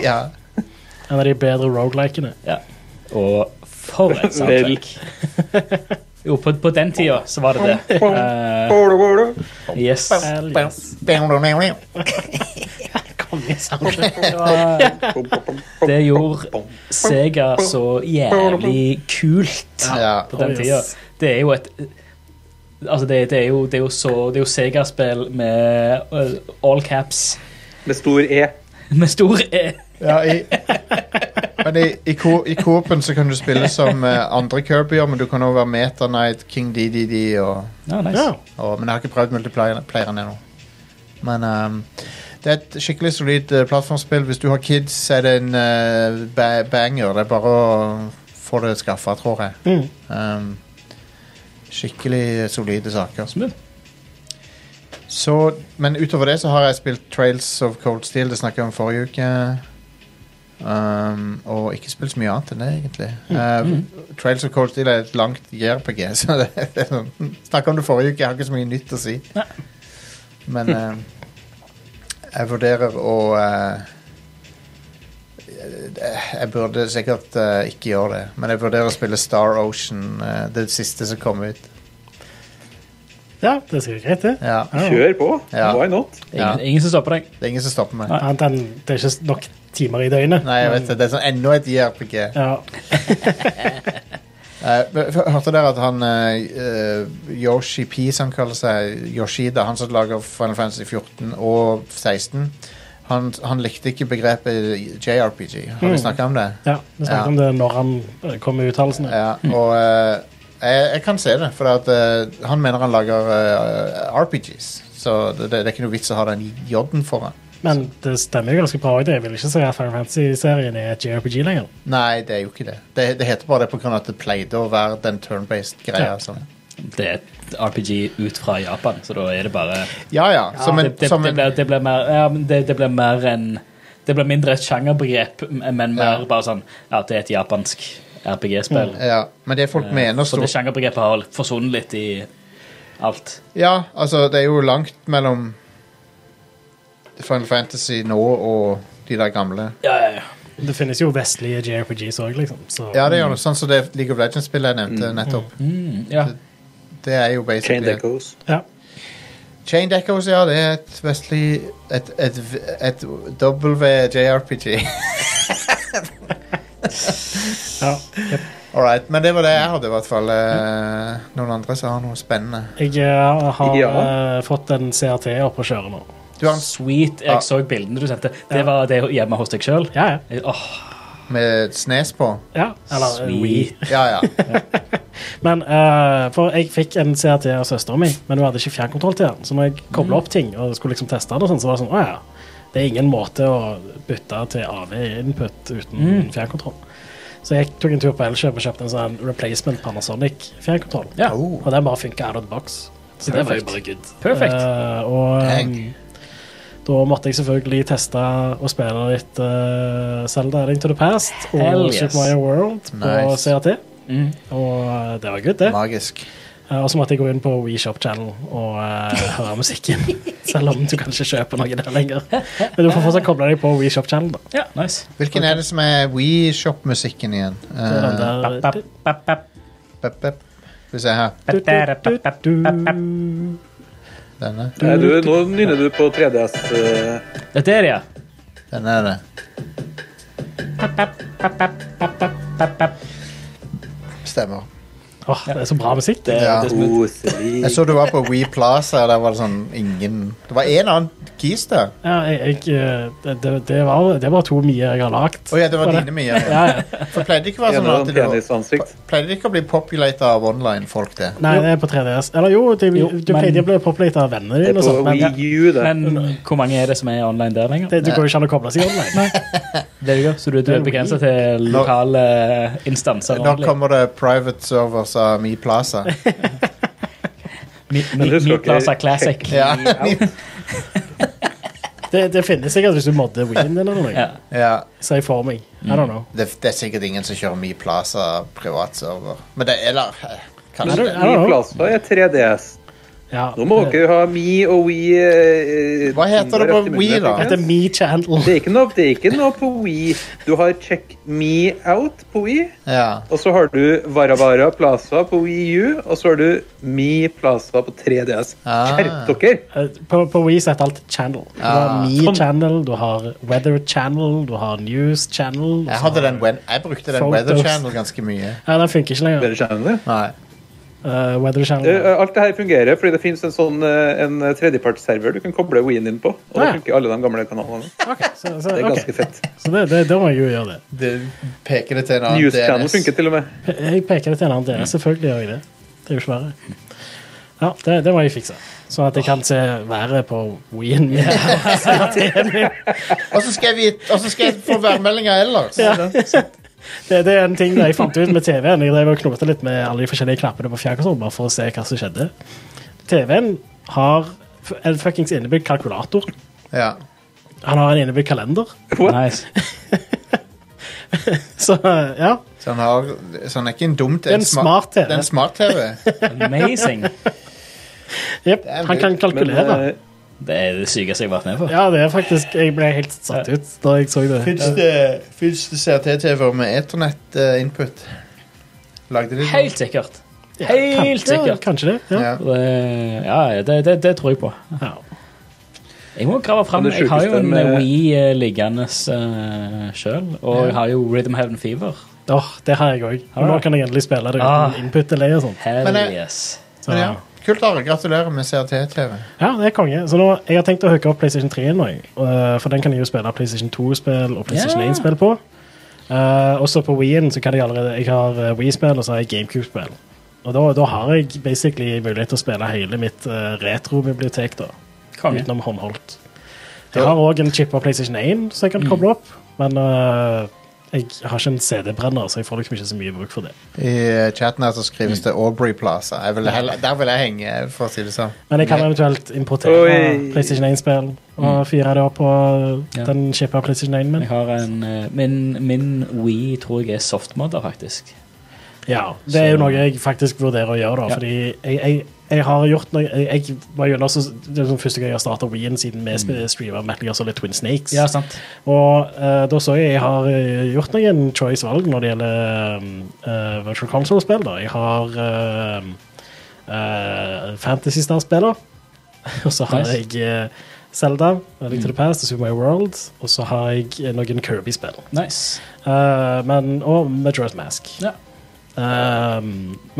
[SPEAKER 5] ja.
[SPEAKER 7] En av de bedre roguelikene.
[SPEAKER 6] Og for et soundtrack. Jo, på, på den tida så var det det. Eh, yes. Det gjorde Sega så jævlig kult
[SPEAKER 5] Ja.
[SPEAKER 6] på den
[SPEAKER 7] Oh,
[SPEAKER 6] tida.
[SPEAKER 7] yes.
[SPEAKER 6] Det er jo et Altså, det, det, er, jo, det er jo så Det er jo Sega-spill med eh, all caps.
[SPEAKER 8] Med stor E.
[SPEAKER 6] Med stor E.
[SPEAKER 5] ja i, men i, i, ko, i Coop-en så kan du spille som eh, andre Kirbyer, men du kan også være Meta Knight, King DDD og
[SPEAKER 6] Ja, nice.
[SPEAKER 7] Ja.
[SPEAKER 5] Og, men jeg har ikke prøvd multiplayeren ennå. Men ehm, det er et skikkelig solid eh, plattformspill. Hvis du har kids, så er det en eh, ba banger. Det er bare å få det skaffa, tror jeg. Ehm, skikkelig solide saker.
[SPEAKER 6] Smooth.
[SPEAKER 5] Så, men utover det så har jeg spilt Trails of Cold Steel. Det snakka jeg om forrige uke. Ehm, og ikke spilt så mye annet enn det, egentlig. Eh, Trails of Cold Steel er et langt JRPG, så det, det er sånn Snakka om det forrige uke, jeg har ikke så mye nytt å si. Men eh, jeg vurderer å eh, Jeg burde sikkert eh, ikke gjøre det, men jeg vurderer å spille Star Ocean, eh, det siste som kom ut.
[SPEAKER 7] Ja, det er sikkert greit, det.
[SPEAKER 5] Ja,
[SPEAKER 8] Kjør på.
[SPEAKER 5] Ja.
[SPEAKER 8] Why not?
[SPEAKER 6] Ingen, ingen som stopper deg.
[SPEAKER 5] Det er ingen som stopper meg.
[SPEAKER 7] Annet enn det er ikke nok timer i døgnet.
[SPEAKER 5] Nei, jeg vet det. Det er sånn enda et JRPG.
[SPEAKER 7] Ja,
[SPEAKER 5] Eh, men f- hørte dere at han eh, eh, Yoshi P, som han kaller seg, Yoshida, han som lager Final Fantasy 14 og 16, han, han likte ikke begrepet JRPG. Har vi snakka om det?
[SPEAKER 7] ja Vi snakket
[SPEAKER 5] Ja.
[SPEAKER 7] om det når han eh, kom med uttalelsene.
[SPEAKER 5] Ja, og eh, jeg, jeg kan se det, for at, eh, han mener han lager eh, RPGs. Så det, det, det er ikke noe vits å ha den J-en foran.
[SPEAKER 7] Men det stemmer jo ganske bra òg. Jeg vil ikke si at Final Fantasy-serien er et JRPG lenger.
[SPEAKER 5] Nei, det er jo ikke det. Det, det heter bare det pga. at det pleide å være den turn-based greia.
[SPEAKER 7] Ja.
[SPEAKER 5] Som,
[SPEAKER 6] Det er et RPG ut fra Japan, så da er det bare
[SPEAKER 5] ja, ja. Som en,
[SPEAKER 6] det, det,
[SPEAKER 5] som
[SPEAKER 6] det,
[SPEAKER 5] en,
[SPEAKER 6] blir, det blir mer ja, men det, det blir mer en Det blir mindre et sjangerbegrep, men mer
[SPEAKER 5] Ja.
[SPEAKER 6] bare sånn Ja, det er et japansk RPG-spill.
[SPEAKER 5] ja. Men det folk mener
[SPEAKER 6] Så det
[SPEAKER 5] stort
[SPEAKER 6] sjangerbegrepet har forsvunnet litt i alt.
[SPEAKER 5] Ja, altså, det er jo langt mellom Final Fantasy nå og de der gamle.
[SPEAKER 6] Ja, ja, ja.
[SPEAKER 7] Det finnes jo vestlige JRPGs òg, liksom. Så
[SPEAKER 5] Ja, det gjør noe sånn som det League of Legends-spillet jeg nevnte nettopp.
[SPEAKER 6] Mm, ja.
[SPEAKER 5] Det er jo
[SPEAKER 8] Chain
[SPEAKER 5] basically
[SPEAKER 8] Deckos.
[SPEAKER 7] ja.
[SPEAKER 5] Chain Deckos, ja, det er et vestlig Et, et, et WJRPG.
[SPEAKER 7] ja.
[SPEAKER 5] All right, men det var det jeg hadde, i hvert
[SPEAKER 6] Mm.
[SPEAKER 5] fall. Eh, Noen andre som har noe spennende.
[SPEAKER 7] Jeg eh, har
[SPEAKER 8] Ja.
[SPEAKER 7] eh, fått en CRT opp å kjøre nå.
[SPEAKER 5] Du har en s-
[SPEAKER 6] Sweet. Jeg
[SPEAKER 5] Ja.
[SPEAKER 6] så bildene du sendte. Det var det hjemme hos deg sjøl.
[SPEAKER 7] Ja, ja.
[SPEAKER 6] Åh,
[SPEAKER 5] med snes på?
[SPEAKER 7] ja. Eller eh, Wii.
[SPEAKER 6] sweet.
[SPEAKER 5] Ja, ja.
[SPEAKER 7] Men eh, For jeg fikk en CRT av søsteren min, men hun hadde ikke fjernkontroll til den. Så når jeg kobla
[SPEAKER 6] Mm.
[SPEAKER 7] opp ting og skulle liksom teste den, og sånn, så var det sånn Å ja. Det er ingen måte å bytte til AV-input uten
[SPEAKER 6] Mm.
[SPEAKER 7] fjernkontroll. Så jeg tok en tur på Elkjøp og kjøpte en sånn replacement Panasonic-fjernkontroll.
[SPEAKER 6] Ja.
[SPEAKER 5] Oh.
[SPEAKER 7] Og den bare funka out of the box. Så det var jo
[SPEAKER 6] Perfekt.
[SPEAKER 7] bare good.
[SPEAKER 6] Perfekt.
[SPEAKER 7] Eh, og
[SPEAKER 5] Dang.
[SPEAKER 7] um, da måtte jeg selvfølgelig teste og spille litt uh, Zelda Link to the Past og
[SPEAKER 6] Hell yes.
[SPEAKER 7] Super Mario World på
[SPEAKER 5] Nice.
[SPEAKER 7] CRT.
[SPEAKER 6] Mm.
[SPEAKER 7] Og eh, det var good, det.
[SPEAKER 5] Magisk.
[SPEAKER 7] Eh, Og så måtte jeg gå inn på WeShop Channel og eh, høre musikken. Selv om du kan ikke kjøpe noe der lenger. Men du får fortsatt koble deg på WeShop Channel. da.
[SPEAKER 6] Ja, nice.
[SPEAKER 5] Hvilken er det som er WeShop-musikken igjen?
[SPEAKER 7] Det er den
[SPEAKER 5] Eh,
[SPEAKER 7] der-
[SPEAKER 6] Bap, bap, bap, bap.
[SPEAKER 5] pep, pep. Skal vi se her.
[SPEAKER 6] Bap, bap, bap, bap, bap, bap.
[SPEAKER 5] Denne.
[SPEAKER 8] Nei, du, nå nynner du på 3DS. eh,
[SPEAKER 6] Dette er det, ja.
[SPEAKER 5] Denne er det. Stemmer.
[SPEAKER 7] Åh, det er så bra musikk.
[SPEAKER 6] Det,
[SPEAKER 5] Ja.
[SPEAKER 6] det, som-
[SPEAKER 5] Jeg så du var på We Plaza, og der var det sånn ingen Det var en annen keys der.
[SPEAKER 7] Ja, jeg, jeg, eh, det, det- det, var, det var to mye jeg har lagt.
[SPEAKER 5] Å ja, det var dine mye.
[SPEAKER 7] Ja, ja.
[SPEAKER 5] For pleide det ikke å være
[SPEAKER 8] En
[SPEAKER 5] sånn
[SPEAKER 8] eller
[SPEAKER 5] at
[SPEAKER 8] annen
[SPEAKER 5] det var,
[SPEAKER 8] penisansikt.
[SPEAKER 5] Pleide det ikke å bli populata av online-folk, det?
[SPEAKER 7] Nei, det er på 3DS. Eller jo, det,
[SPEAKER 6] Jo,
[SPEAKER 7] du
[SPEAKER 6] men-
[SPEAKER 7] pleide å bli poplet av vennene
[SPEAKER 8] Det er
[SPEAKER 7] dine. og
[SPEAKER 8] på
[SPEAKER 7] sånt, Men
[SPEAKER 8] Wii U, det.
[SPEAKER 6] men hvor mange er det som er online der lenger?
[SPEAKER 7] det, det går jo ikke an å koble seg online.
[SPEAKER 6] Det du gjør, så du, du er begrensa til lokale instanser.
[SPEAKER 5] Nå
[SPEAKER 6] ordentlig.
[SPEAKER 5] kommer det private servers av Me Plaza.
[SPEAKER 6] Mi, mi,
[SPEAKER 8] Men husker
[SPEAKER 6] mi
[SPEAKER 8] dere-
[SPEAKER 6] Plaza Classic.
[SPEAKER 5] Ja.
[SPEAKER 8] Out.
[SPEAKER 7] Det, det finnes sikkert hvis du modder Wien din eller noe.
[SPEAKER 5] Ja.
[SPEAKER 7] Sier for meg. I don't know.
[SPEAKER 5] Det, det er sikkert ingen som kjører Mi Plaza privatserver. Men det er eller eh,
[SPEAKER 7] Men
[SPEAKER 5] Kanskje
[SPEAKER 7] det-
[SPEAKER 5] det.
[SPEAKER 7] I
[SPEAKER 8] Mi
[SPEAKER 7] don't know.
[SPEAKER 8] Plaza er 3DS.
[SPEAKER 7] Ja.
[SPEAKER 8] Nå må dere ha Mi og Wii eh,
[SPEAKER 5] Hva heter det
[SPEAKER 8] rett
[SPEAKER 5] på
[SPEAKER 8] i munnen,
[SPEAKER 5] Wii, da?
[SPEAKER 7] Dette er Me Channel.
[SPEAKER 8] Det er ikke noe, det er ikke noe på Wii. Du har Check Me Out på Wii,
[SPEAKER 5] Ja.
[SPEAKER 8] og så har du Varavara Plaza på Wii U, og så har du Mi Plaza på 3DS.
[SPEAKER 5] Ah.
[SPEAKER 8] Skjerp dere!
[SPEAKER 7] Eh, På, på Wii så heter alt Channel. Du har
[SPEAKER 5] Ah.
[SPEAKER 7] Me
[SPEAKER 6] Sånn.
[SPEAKER 7] Channel, du har Weather Channel, du har News Channel. og
[SPEAKER 5] Jeg,
[SPEAKER 7] så-
[SPEAKER 5] hadde den, wen- jeg brukte den
[SPEAKER 7] Photos.
[SPEAKER 5] Weather Channel ganske mye.
[SPEAKER 7] Ja, den funker ikke lenger.
[SPEAKER 8] Dere skjønner det?
[SPEAKER 5] Nei.
[SPEAKER 7] Eh, weather
[SPEAKER 8] Eh,
[SPEAKER 7] Channel.
[SPEAKER 8] Alt det her fungerer fordi det finnes en sånn eh, en tredjepartsserver du kan koble Wii-en din på. Og da
[SPEAKER 7] Ah, ja.
[SPEAKER 8] funker alle de gamle kanalene.
[SPEAKER 7] Så,
[SPEAKER 8] eh. Det er
[SPEAKER 7] så, ok.
[SPEAKER 8] ganske fett.
[SPEAKER 7] så det, det, da må jeg jo gjøre det.
[SPEAKER 5] Det peker det til en annen
[SPEAKER 8] News Channel
[SPEAKER 5] DNS.
[SPEAKER 8] funker til og med.
[SPEAKER 7] Pe- Jeg peker det til en annen del. Selvfølgelig gjør jeg det. Det er jo ikke verre. Ja, det, det må jeg fikse. Sånn at jeg kan se været på Wien min.
[SPEAKER 5] Og så skal, jeg vite- og så skal jeg få værmeldinger ellers.
[SPEAKER 7] Ja. Det, det er en ting jeg fant ut med TV-en. Jeg drev og knotet litt med alle de forskjellige knappene på fjernkontrollen bare for å se hva som skjedde. TV-en har f- en fuckings innebygd kalkulator.
[SPEAKER 5] Ja.
[SPEAKER 7] Han har en innebygd kalender.
[SPEAKER 6] Nice.
[SPEAKER 7] Så ja,
[SPEAKER 5] Så han, har, så han er ikke en dum
[SPEAKER 7] Det er en smart TV.
[SPEAKER 5] Det er en smart TV.
[SPEAKER 6] Amazing.
[SPEAKER 5] Det
[SPEAKER 7] jep,
[SPEAKER 5] er
[SPEAKER 7] han kan
[SPEAKER 8] Men
[SPEAKER 7] kalkulere.
[SPEAKER 8] eh,
[SPEAKER 6] Det er det sykeste jeg har vært med på.
[SPEAKER 7] Ja, det er faktisk Jeg ble helt satt ut da jeg så det.
[SPEAKER 5] Fins det, finnes det CRT-TV-er med Ethernet-input? Lagde de noe?
[SPEAKER 6] Helt sikkert.
[SPEAKER 7] Ja,
[SPEAKER 6] Helt
[SPEAKER 7] kan- ja,
[SPEAKER 6] sikkert.
[SPEAKER 7] Kanskje det. Ja.
[SPEAKER 5] Ja.
[SPEAKER 6] Det, ja, ja, det, det, det tror jeg på.
[SPEAKER 7] Ja.
[SPEAKER 6] Jeg må grave fram.
[SPEAKER 8] Men det
[SPEAKER 6] Jeg har jo
[SPEAKER 8] sjukeste
[SPEAKER 6] en
[SPEAKER 8] med-
[SPEAKER 6] Wii eh, liggende uh, sjøl, og jeg har jo Rhythm Heaven Fever.
[SPEAKER 7] Åh, det har jeg òg. Nå kan jeg endelig spille det
[SPEAKER 6] Ah.
[SPEAKER 7] uten input delay og sånt.
[SPEAKER 6] Hell
[SPEAKER 5] Men jeg-
[SPEAKER 6] yes.
[SPEAKER 7] Så,
[SPEAKER 5] Men ja.
[SPEAKER 7] ja,
[SPEAKER 5] Kult, Are. Gratulerer med CRT-TV.
[SPEAKER 7] det er konge. Så nå, jeg har tenkt å hooke opp PlayStation 3 nå, jeg. Eh, for den kan jeg jo spille PlayStation 2-spill og PlayStation
[SPEAKER 6] Ja.
[SPEAKER 7] 1-spill på. Eh, også på Wii-en så kan jeg allerede Jeg har eh, Wii-spill og så har jeg GameCube-spill. Og da, da har jeg basically mulighet til å spille hele mitt eh, retrobibliotek, da.
[SPEAKER 6] Konge.
[SPEAKER 7] Utenom håndholdt. Jeg har òg en chip av PlayStation 1 som jeg
[SPEAKER 6] Mm.
[SPEAKER 7] kan koble opp, men eh, jeg har ikke en CD-brenner, så jeg får liksom ikke så mye bruk for det.
[SPEAKER 5] I eh, chatten her så skrives det Aubrey Plaza. Jeg vil heller, der vil jeg henge, for å si det sånn.
[SPEAKER 7] Men jeg kan eventuelt importere
[SPEAKER 8] Oi.
[SPEAKER 7] PlayStation 1-spill og fyre det opp på
[SPEAKER 6] Mm. Ja.
[SPEAKER 7] den chippa PlayStation 1 min.
[SPEAKER 6] Jeg har en eh, Min, min Wii tror jeg er softmodder, faktisk.
[SPEAKER 7] Ja, det er jo noe jeg faktisk vurderer å gjøre, da,
[SPEAKER 6] Ja.
[SPEAKER 7] fordi jeg, jeg, jeg har gjort noe Jeg, jeg var jo også, Det er sånn første gang jeg har starta Wien siden vi mm. streama Metal Gear Solid Twin Snakes.
[SPEAKER 6] Ja, sant.
[SPEAKER 7] Og eh, da så jeg jeg har eh, gjort noen choice-valg når det gjelder eh, virtual console-spill. da. Jeg har eh, eh, Fantasy Star-spiller, og så har
[SPEAKER 6] Nice. Mm.
[SPEAKER 7] jeg uh, Zelda, A Link to the Past og Super Mario World, og så har jeg eh, noen Kirby-spill.
[SPEAKER 6] Nice.
[SPEAKER 7] Eh, men, og Majora's Mask.
[SPEAKER 6] Ja.
[SPEAKER 7] Eh,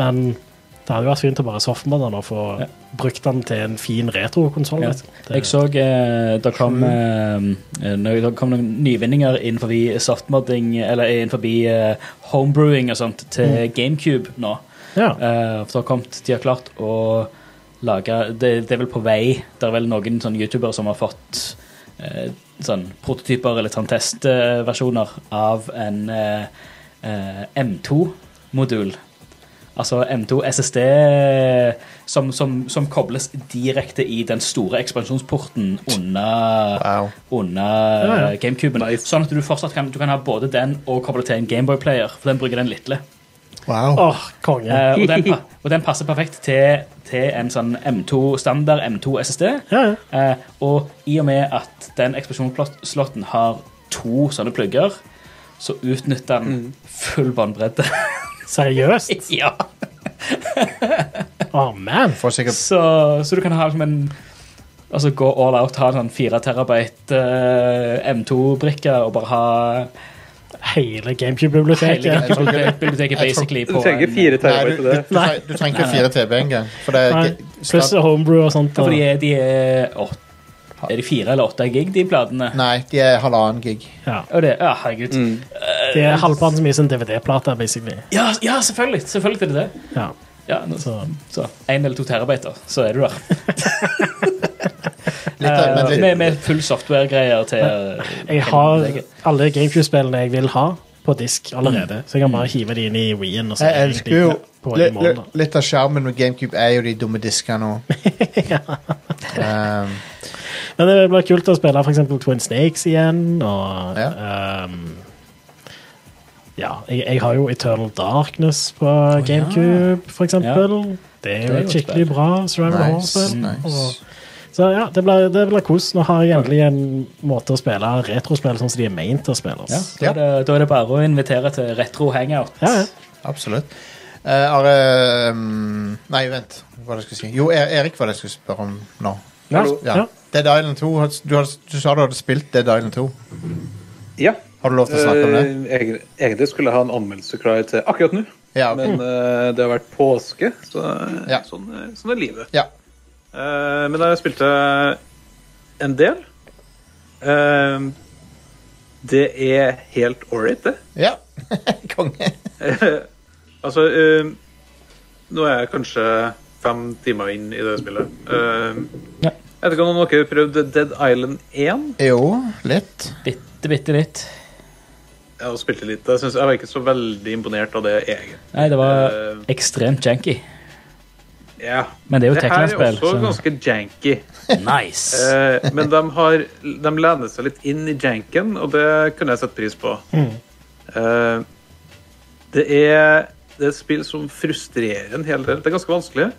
[SPEAKER 7] men det hadde jo vært fint å bare softmodde den og få
[SPEAKER 6] Ja.
[SPEAKER 7] brukt den til en fin liksom. retrokonsoll.
[SPEAKER 6] Ja. Jeg så eh, det kom, eh, når det kom noen nyvinninger innenfor softmodding, eller innenfor eh, homebrewing og sånt, til GameCube nå.
[SPEAKER 7] Ja.
[SPEAKER 6] Eh, for det har kommet, de har klart å lage det, det er vel på vei. Det er vel noen sånne youtubere som har fått eh, sånn prototyper eller sånn testversjoner av en eh, eh, M2-modul. Altså M2 SSD som, som, som kobles direkte i den store ekspansjonsporten under,
[SPEAKER 5] Wow.
[SPEAKER 6] under
[SPEAKER 7] Ja, ja.
[SPEAKER 6] GameCuben. Sånn at du fortsatt kan, du kan ha både den og koble til en Gameboy-player, for den bruker den lille.
[SPEAKER 5] Wow.
[SPEAKER 7] Åh, konge.
[SPEAKER 6] Eh, og, den, pa- og den passer perfekt til, til en sånn M2-standard M2 SSD.
[SPEAKER 7] Ja, ja.
[SPEAKER 6] Eh, og i og med at den eksplosjonsslotten har to sånne plugger, så utnytter
[SPEAKER 8] Mm.
[SPEAKER 6] den full båndbredde.
[SPEAKER 7] Seriøst?
[SPEAKER 6] ja.
[SPEAKER 7] Åh, man.
[SPEAKER 5] Får sikkert
[SPEAKER 6] så, så du kan ha liksom en Altså gå all out, ha en sånn 4 terabyte eh, M2-brikke og bare ha
[SPEAKER 7] Hele
[SPEAKER 6] hele
[SPEAKER 7] GameCube-biblioteket.
[SPEAKER 6] biblioteket basically
[SPEAKER 8] Du
[SPEAKER 6] på en-
[SPEAKER 8] trenger ikke
[SPEAKER 5] Nei,
[SPEAKER 8] fire terabyte
[SPEAKER 5] du,
[SPEAKER 8] til
[SPEAKER 5] du,
[SPEAKER 8] det.
[SPEAKER 5] du, tre- du trenger ikke fire TV engang. For det er
[SPEAKER 7] Nei,
[SPEAKER 5] ikke-
[SPEAKER 7] Pluss
[SPEAKER 5] snart-
[SPEAKER 7] Homebrew og sånt.
[SPEAKER 6] Ja,
[SPEAKER 7] Og,
[SPEAKER 6] for de er, de er, åt- er de fire eller åtte gig, de platene?
[SPEAKER 5] Nei, de er halvannen gig.
[SPEAKER 7] ja,
[SPEAKER 6] Og det, ja, herregud.
[SPEAKER 8] Mm.
[SPEAKER 7] de er halvparten så mye som DVD-plater, basically.
[SPEAKER 6] Ja, ja, selvfølgelig! Selvfølgelig er det det.
[SPEAKER 7] Ja.
[SPEAKER 6] Ja, nå,
[SPEAKER 7] Så.
[SPEAKER 6] så. en eller to terabyter, så er du der. Eh,
[SPEAKER 5] Litt,
[SPEAKER 7] Eh,
[SPEAKER 5] av- men
[SPEAKER 6] med,
[SPEAKER 5] litt,
[SPEAKER 6] med full software-greier til eh,
[SPEAKER 7] Jeg har alle GameCube-spillene jeg vil ha, på disk allerede. Så jeg kan bare hive de inn i Wien. Og så
[SPEAKER 5] jeg
[SPEAKER 7] er de
[SPEAKER 5] elsker jo
[SPEAKER 7] på
[SPEAKER 5] litt,
[SPEAKER 7] en måned.
[SPEAKER 5] litt- litt av skjermen med GameCube er jo de dumme diskene nå. Um,
[SPEAKER 7] Men det blir kult å spille f.eks. Twin Snakes igjen, og ehm, ja, jeg, jeg har jo Eternal Darkness på GameCube, for f.eks. Det er jo et skikkelig bra survival
[SPEAKER 5] Nice, Mm.
[SPEAKER 7] horror-spill.
[SPEAKER 5] nice.
[SPEAKER 7] Og- Så ja, det blir, det blir kos. Nå har jeg endelig en måte å spille retrospill sånn som de er meint å spilles.
[SPEAKER 6] Ja, da, er det, da er det bare å invitere til retro hangout.
[SPEAKER 7] Ja, ja.
[SPEAKER 5] Absolutt. Eh, Are mm, Nei, vent. Hva var det jeg skulle si? Jo, Er- Erik var det jeg skulle spørre om nå.
[SPEAKER 7] Ja, ja.
[SPEAKER 5] Dead Island 2. har- Du, har, du sa du hadde spilt Dead Island 2.
[SPEAKER 8] Ja.
[SPEAKER 5] Har du lov til å snakke om det?
[SPEAKER 8] Eh, egen- Egentlig skulle jeg ha en anmeldelse klar til akkurat nå,
[SPEAKER 5] Ja, ok.
[SPEAKER 8] men
[SPEAKER 7] Mm.
[SPEAKER 8] eh, det har vært påske, så eh,
[SPEAKER 5] Ja.
[SPEAKER 8] sånn, eh, sånn er livet.
[SPEAKER 5] Ja.
[SPEAKER 8] Eh, men jeg spilte en del. Eh, det er helt ålreit, det.
[SPEAKER 5] Ja. Konge.
[SPEAKER 8] Altså eh, Nå er jeg kanskje fem timer inn i det spillet. Eh, jeg vet ikke om noen av dere har prøvd Dead Island 1?
[SPEAKER 5] Jo, litt.
[SPEAKER 6] Bitte, bitte litt.
[SPEAKER 8] Jeg har spilt det litt. Jeg, synes, jeg var ikke så veldig imponert av det, egentlig.
[SPEAKER 6] Nei, det var
[SPEAKER 8] Eh,
[SPEAKER 6] ekstremt janky.
[SPEAKER 8] ja.
[SPEAKER 6] Men det er jo
[SPEAKER 8] her er
[SPEAKER 6] Tekland-spill,
[SPEAKER 8] også
[SPEAKER 6] så-
[SPEAKER 8] ganske janky.
[SPEAKER 6] Nice!
[SPEAKER 8] Eh, men de, har, de lener seg litt inn i janken, og det kunne jeg sette pris på.
[SPEAKER 6] Mm.
[SPEAKER 8] Eh, det, er, det er et spill som frustrerer en hel del. Det er ganske vanskelig.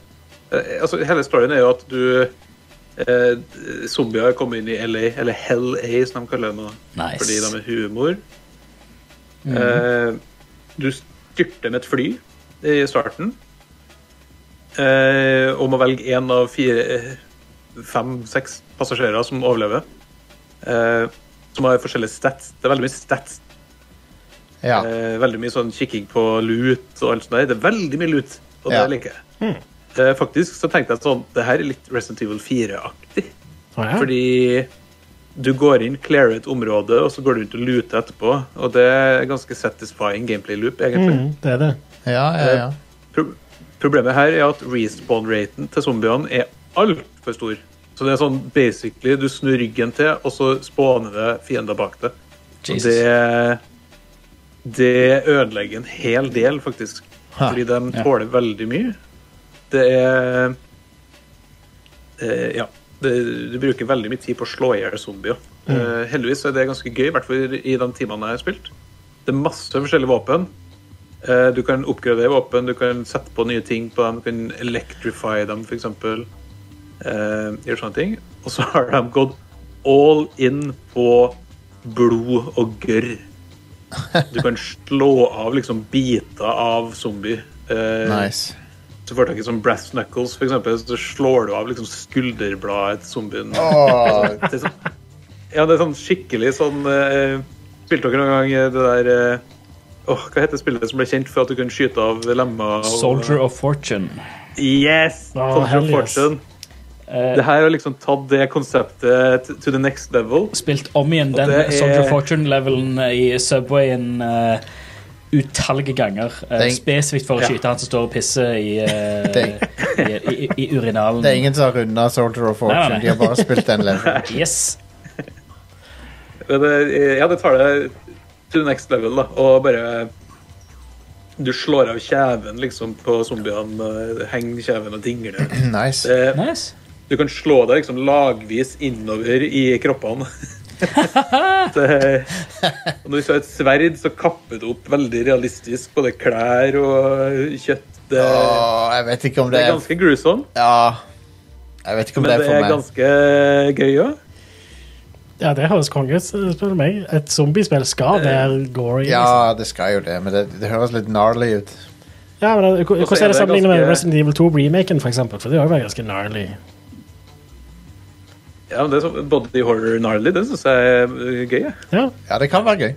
[SPEAKER 8] Eh, altså, hele storyen er jo at du eh, Zombier kommer inn i LA, eller Hell A, som de kaller det nå,
[SPEAKER 6] Nice.
[SPEAKER 8] fordi de er humor. Eh, du styrter med et fly i starten. Eh, og må velge én av fire fem-seks passasjerer som overlever. Eh, som har forskjellige stats. Det er veldig mye stats.
[SPEAKER 5] Ja.
[SPEAKER 8] Eh, veldig mye sånn kikking på lut og alt sånt der. Det er veldig mye lut, og
[SPEAKER 5] Ja.
[SPEAKER 8] det liker jeg. Eh, faktisk så tenkte jeg sånn Det her er litt Resident Evil 4-aktig.
[SPEAKER 7] Å, ja.
[SPEAKER 8] Fordi du går inn, clearer et område, og så går du rundt og luter etterpå. Og det er ganske satisfying gameplay loop, egentlig.
[SPEAKER 7] Mm, det er det.
[SPEAKER 5] Ja, ja,
[SPEAKER 8] eh,
[SPEAKER 5] ja.
[SPEAKER 8] Pro problemet her er at respawn-raten til zombiene er altfor stor. Så det er sånn basically du snur ryggen til, og så spawner det fiender bak deg. Og
[SPEAKER 6] Jesus.
[SPEAKER 8] det, det ødelegger en hel del, faktisk. Fordi de tåler veldig mye. Det er eh, Ja. Det, du bruker veldig mye tid på å slå i hjel zombier. Eh, heldigvis er det ganske gøy, i hvert fall i de timene jeg har spilt. Det er masse forskjellige våpen. Eh, Du kan oppgradere våpen, du kan sette på nye ting på dem, du kan electrify dem f.eks. Eh, gjør sånne ting. Og så har de gått all in på blod og gørr. Du kan slå av liksom biter av zombier. Eh,
[SPEAKER 5] Nice.
[SPEAKER 8] så får du tak i sånn brass knuckles, for eksempel, så slår du av liksom skulderbladet til zombien.
[SPEAKER 5] Åh,
[SPEAKER 8] Det er sånn, ja, det er sånn skikkelig sånn eh, Spilte dere noen gang eh, det der eh, åh, Hva heter spillet som ble kjent for at du kunne skyte av lemmer? og-
[SPEAKER 6] Soldier of Fortune.
[SPEAKER 8] Yes!
[SPEAKER 7] Åh,
[SPEAKER 8] Soldier
[SPEAKER 7] hell
[SPEAKER 8] of
[SPEAKER 7] yes.
[SPEAKER 8] Fortune.
[SPEAKER 6] Eh,
[SPEAKER 8] Det her har liksom tatt det konseptet t- to the next level.
[SPEAKER 6] spilt om igjen den
[SPEAKER 8] det er-
[SPEAKER 6] Soldier of Fortune-levelen eh, i Subwayen eh, utallige ganger. eh,
[SPEAKER 5] Det er-
[SPEAKER 6] spesifikt for å
[SPEAKER 8] Ja.
[SPEAKER 6] skyte han som står og pisser i, eh,
[SPEAKER 5] Det
[SPEAKER 6] i, i, i urinalen.
[SPEAKER 5] det er ingen som har runda Soldier of
[SPEAKER 6] Nei, nei,
[SPEAKER 5] Fortune.
[SPEAKER 6] nei.
[SPEAKER 5] De har bare spilt den levelen.
[SPEAKER 6] Yes!
[SPEAKER 8] Men det, ja, det tar det to the next level, da. Og bare Du slår av kjeven liksom på zombiene. eh, Henger kjeven og dingler.
[SPEAKER 5] Nice.
[SPEAKER 8] Det,
[SPEAKER 6] Nice.
[SPEAKER 8] Du kan slå deg liksom lagvis innover i kroppene. det, og når du har et sverd, så kapper du opp veldig realistisk både klær og kjøtt. Det,
[SPEAKER 5] Åh, jeg vet ikke om
[SPEAKER 8] det
[SPEAKER 5] Ah, det
[SPEAKER 8] er
[SPEAKER 5] er
[SPEAKER 8] ganske grusomt,
[SPEAKER 5] Ja. Jeg vet ikke om
[SPEAKER 8] men
[SPEAKER 5] det er
[SPEAKER 8] det
[SPEAKER 5] for
[SPEAKER 8] er
[SPEAKER 5] meg.
[SPEAKER 8] ganske eh, gøy òg.
[SPEAKER 7] Ja, det høres konge ut, spør du meg. Et zombiespill
[SPEAKER 8] Eh,
[SPEAKER 7] skal være gory. liksom.
[SPEAKER 5] Ja, det skal jo det, men det, det høres litt gnarly ut.
[SPEAKER 7] Ja, men det-
[SPEAKER 8] Og så
[SPEAKER 7] Hvordan
[SPEAKER 8] er
[SPEAKER 7] er det
[SPEAKER 8] det
[SPEAKER 7] sammenlignet med
[SPEAKER 8] ganske-
[SPEAKER 7] Resident Evil 2-remaken, for eksempel? For det har jo vært ganske gnarly.
[SPEAKER 8] Ja, men det er sånn Body horror gnarly, det syns jeg er øh, gøy. jeg.
[SPEAKER 7] Ja.
[SPEAKER 5] Ja, det kan være gøy.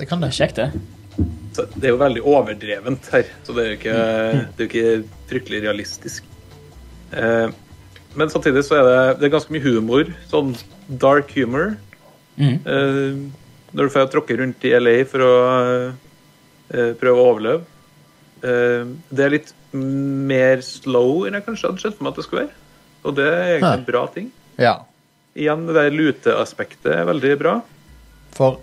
[SPEAKER 5] Det kan det.
[SPEAKER 6] Kjekt, det.
[SPEAKER 8] Så det er jo veldig overdrevent her, så det er jo ikke,
[SPEAKER 5] Mm.
[SPEAKER 8] det er jo ikke fryktelig realistisk. Eh, men samtidig så er det, det er ganske mye humor, sånn dark humor.
[SPEAKER 5] Mm.
[SPEAKER 6] Mhm.
[SPEAKER 8] Eh, når du får tråkke rundt i LA for å eh, prøve å overleve. Eh, det er litt mer slow enn jeg kanskje hadde sett for meg at det skulle være. Og det er egentlig en bra ting.
[SPEAKER 5] Ja.
[SPEAKER 8] Igjen, det der luteaspektet er veldig bra.
[SPEAKER 5] For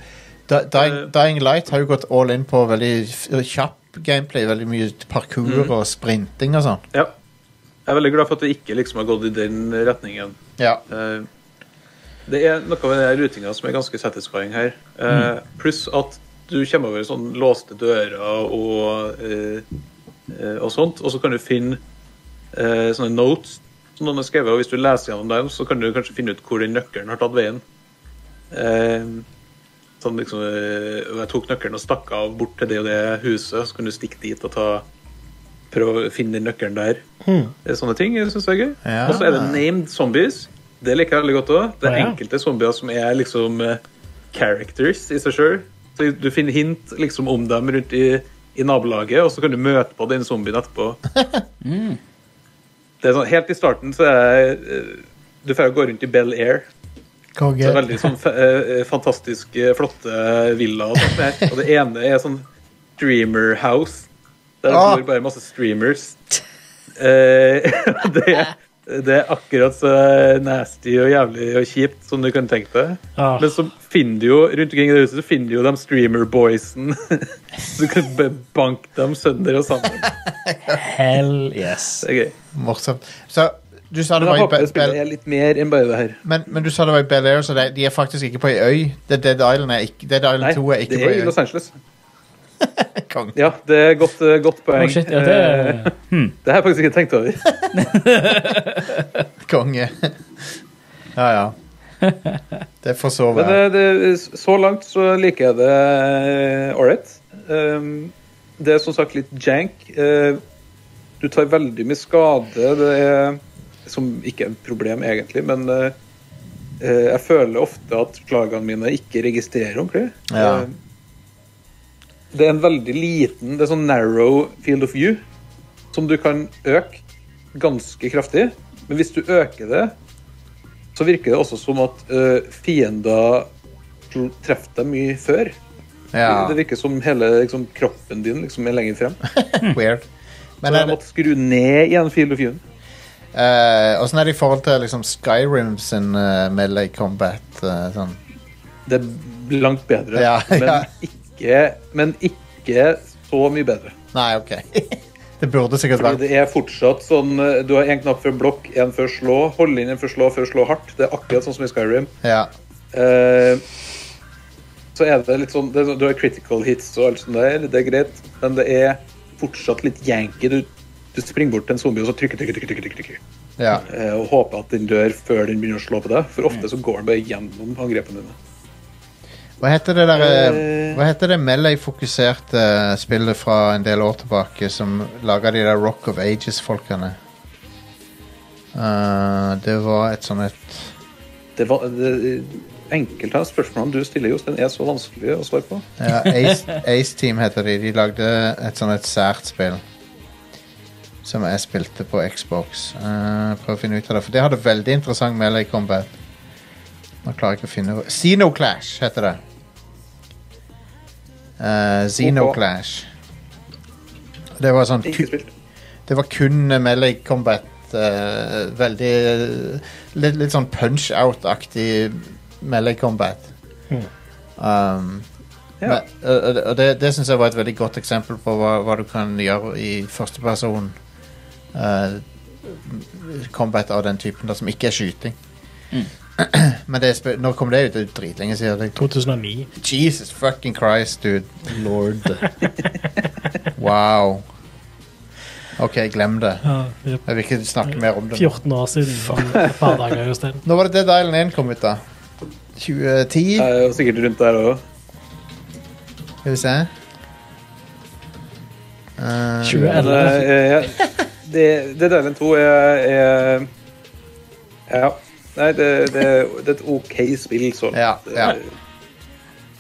[SPEAKER 5] Dy- Dy-
[SPEAKER 8] Eh.
[SPEAKER 5] Dying Light har jo gått all in på veldig f- kjapp gameplay. Veldig mye parkour
[SPEAKER 8] Mm.
[SPEAKER 5] og sprinting og sånn.
[SPEAKER 8] Ja. Jeg er veldig glad for at det ikke liksom har gått i den retningen.
[SPEAKER 5] Ja.
[SPEAKER 8] Eh, Det er noe med den rutinga som er ganske satisfying her. Eh, Pluss at du kommer over sånn låste dører og, eh, eh, og sånt, og så kan du finne eh, sånne notes som noen har skrevet, og hvis du leser gjennom dem, så kan du kanskje finne ut hvor den nøkkelen har tatt veien. Eh, sånn liksom eh, Jeg tok nøkkelen og stakk av bort til det og det huset, så kan du stikke dit og ta prøve å finne den nøkkelen der. Det er sånne ting jeg synes er gøy.
[SPEAKER 5] Ja.
[SPEAKER 8] Og så er det named zombies. Det liker jeg veldig godt òg. Det er
[SPEAKER 7] Å, ja.
[SPEAKER 8] enkelte zombier som er liksom eh, characters i seg sjøl. Du finner hint liksom om dem rundt i, i nabolaget, og så kan du møte på den zombien etterpå. Det er sånn, helt i starten så er eh, Du får jo gå rundt i Bel Air. Det
[SPEAKER 5] Konge.
[SPEAKER 8] er veldig sånn fa- eh, fantastisk eh, flotte villaer og sånt. der. Og det ene er sånn streamer house. Der
[SPEAKER 5] Ah.
[SPEAKER 8] bor bare masse streamers. Eh, det, det er akkurat så nasty og jævlig og kjipt som du kan tenke deg.
[SPEAKER 7] Ah.
[SPEAKER 8] Men så finner du jo rundt omkring i det huset så finner du jo de streamer boysen. Så du kan bare banke dem sønder og sammen.
[SPEAKER 6] Hell yes.
[SPEAKER 8] Det er gøy.
[SPEAKER 5] Morsomt. Så du sa det
[SPEAKER 8] Men
[SPEAKER 5] var
[SPEAKER 8] jeg
[SPEAKER 5] i
[SPEAKER 8] håper
[SPEAKER 5] Be-
[SPEAKER 8] det spillet
[SPEAKER 5] Be-
[SPEAKER 8] er litt mer enn bare det her.
[SPEAKER 5] men, men du sa det var i Bel Air, så det, de er faktisk ikke på ei øy. Det er Dead Island, er ikke, Dead Island
[SPEAKER 8] Nei,
[SPEAKER 5] 2 er ikke
[SPEAKER 8] det
[SPEAKER 5] på
[SPEAKER 8] er
[SPEAKER 5] ei
[SPEAKER 8] i
[SPEAKER 5] øy.
[SPEAKER 8] Los Angeles.
[SPEAKER 5] Kong.
[SPEAKER 8] Ja, det er godt, eh, godt poeng.
[SPEAKER 6] Å, shit, ja, det,
[SPEAKER 8] Eh, det har jeg faktisk ikke tenkt over.
[SPEAKER 5] Konge. ja, ja. Det får så
[SPEAKER 8] Men
[SPEAKER 5] være.
[SPEAKER 8] eh, det, så langt så liker jeg det ålreit. Um, det er som sagt litt jank. Eh, du tar veldig mye skade. Det er som ikke er et problem, egentlig, men eh, eh, jeg føler ofte at slagene mine ikke registrerer ordentlig.
[SPEAKER 5] Ja.
[SPEAKER 8] Eh, det er en veldig liten Det er sånn narrow field of view som du kan øke ganske kraftig. Men hvis du øker det, så virker det også som at eh, fiender tr- treffer deg mye før.
[SPEAKER 5] Ja,
[SPEAKER 8] Det virker som hele liksom, kroppen din liksom, er lenger frem.
[SPEAKER 5] weird. Men
[SPEAKER 8] Så
[SPEAKER 5] er
[SPEAKER 8] jeg
[SPEAKER 5] det,
[SPEAKER 8] måtte skru ned igjen field of view.
[SPEAKER 5] eh, åssen er det i forhold til liksom Skyrim sin eh, melee combat? eh, sånn?
[SPEAKER 8] Det er b- langt bedre,
[SPEAKER 5] Ja, ja.
[SPEAKER 8] Men, ikke, men ikke så mye bedre.
[SPEAKER 5] Nei, OK. det burde sikkert
[SPEAKER 8] Fordi
[SPEAKER 5] vært
[SPEAKER 8] det er fortsatt sånn eh, Du har én knapp før blokk, én før slå. Holde inn en før slå, før slå hardt. Det er akkurat sånn som i Skyrim.
[SPEAKER 5] Ja.
[SPEAKER 8] Eh, så er det litt sånn det, er sånn- Du har critical hits og alt sånt der, det er greit, men det er fortsatt litt yanky. Du, du springer bort til en zombie og så trykker, trykker, trykker, trykker, trykker
[SPEAKER 5] ja.
[SPEAKER 8] eh, og håper at den dør før den begynner å slå på deg. For ofte så går den bare gjennom angrepene dine.
[SPEAKER 5] Hva heter det der, eh,
[SPEAKER 8] Eh.
[SPEAKER 5] Hva heter det melee-fokuserte eh, spillet fra en del år tilbake som laga de der Rock of Ages-folkene? Eh, det var et sånn et
[SPEAKER 8] Det var, det, enkelte av spørsmålene du stiller, Johs, den er så vanskelig å svare på.
[SPEAKER 5] ja, Ace, Ace Team heter de. De lagde et sånn et sært spill. Som jeg spilte på Xbox. Eh, prøv å finne ut av det, for det hadde veldig interessant melee combat. Nå klarer jeg ikke å finne Xenoclash heter det. Eh, Xenoclash. Det var sånn
[SPEAKER 8] Ikke spilt.
[SPEAKER 5] det var kun eh, melee combat. eh, veldig eh, litt, litt sånn punch-out-aktig melee combat. Um,
[SPEAKER 8] Ja.
[SPEAKER 5] men- og- og- og det, det syns jeg var et veldig godt eksempel på hva, hva du kan gjøre i førsteperson. Uh, combat av den typen der, som ikke er skyting. Men det, er spe- når kom det ut? Det er jo dritlenge siden. Det
[SPEAKER 7] 2009.
[SPEAKER 5] Jesus fucking Christ, dude. Lord. wow. Ok, glem det.
[SPEAKER 7] Ja, det er
[SPEAKER 5] Jeg vil ikke snakke mer om det.
[SPEAKER 7] 14 år siden. Et par dager, Jostein.
[SPEAKER 5] Nå var det Dead Island 1 kom ut, da. 2010,
[SPEAKER 8] Jeg er jo sikkert rundt der òg.
[SPEAKER 5] skal vi se. Eh,
[SPEAKER 7] 2011.
[SPEAKER 8] eh, Det, det Deiland 2 er, er Ja. Nei, det, det, det er et OK spill, så
[SPEAKER 5] Ja, ja.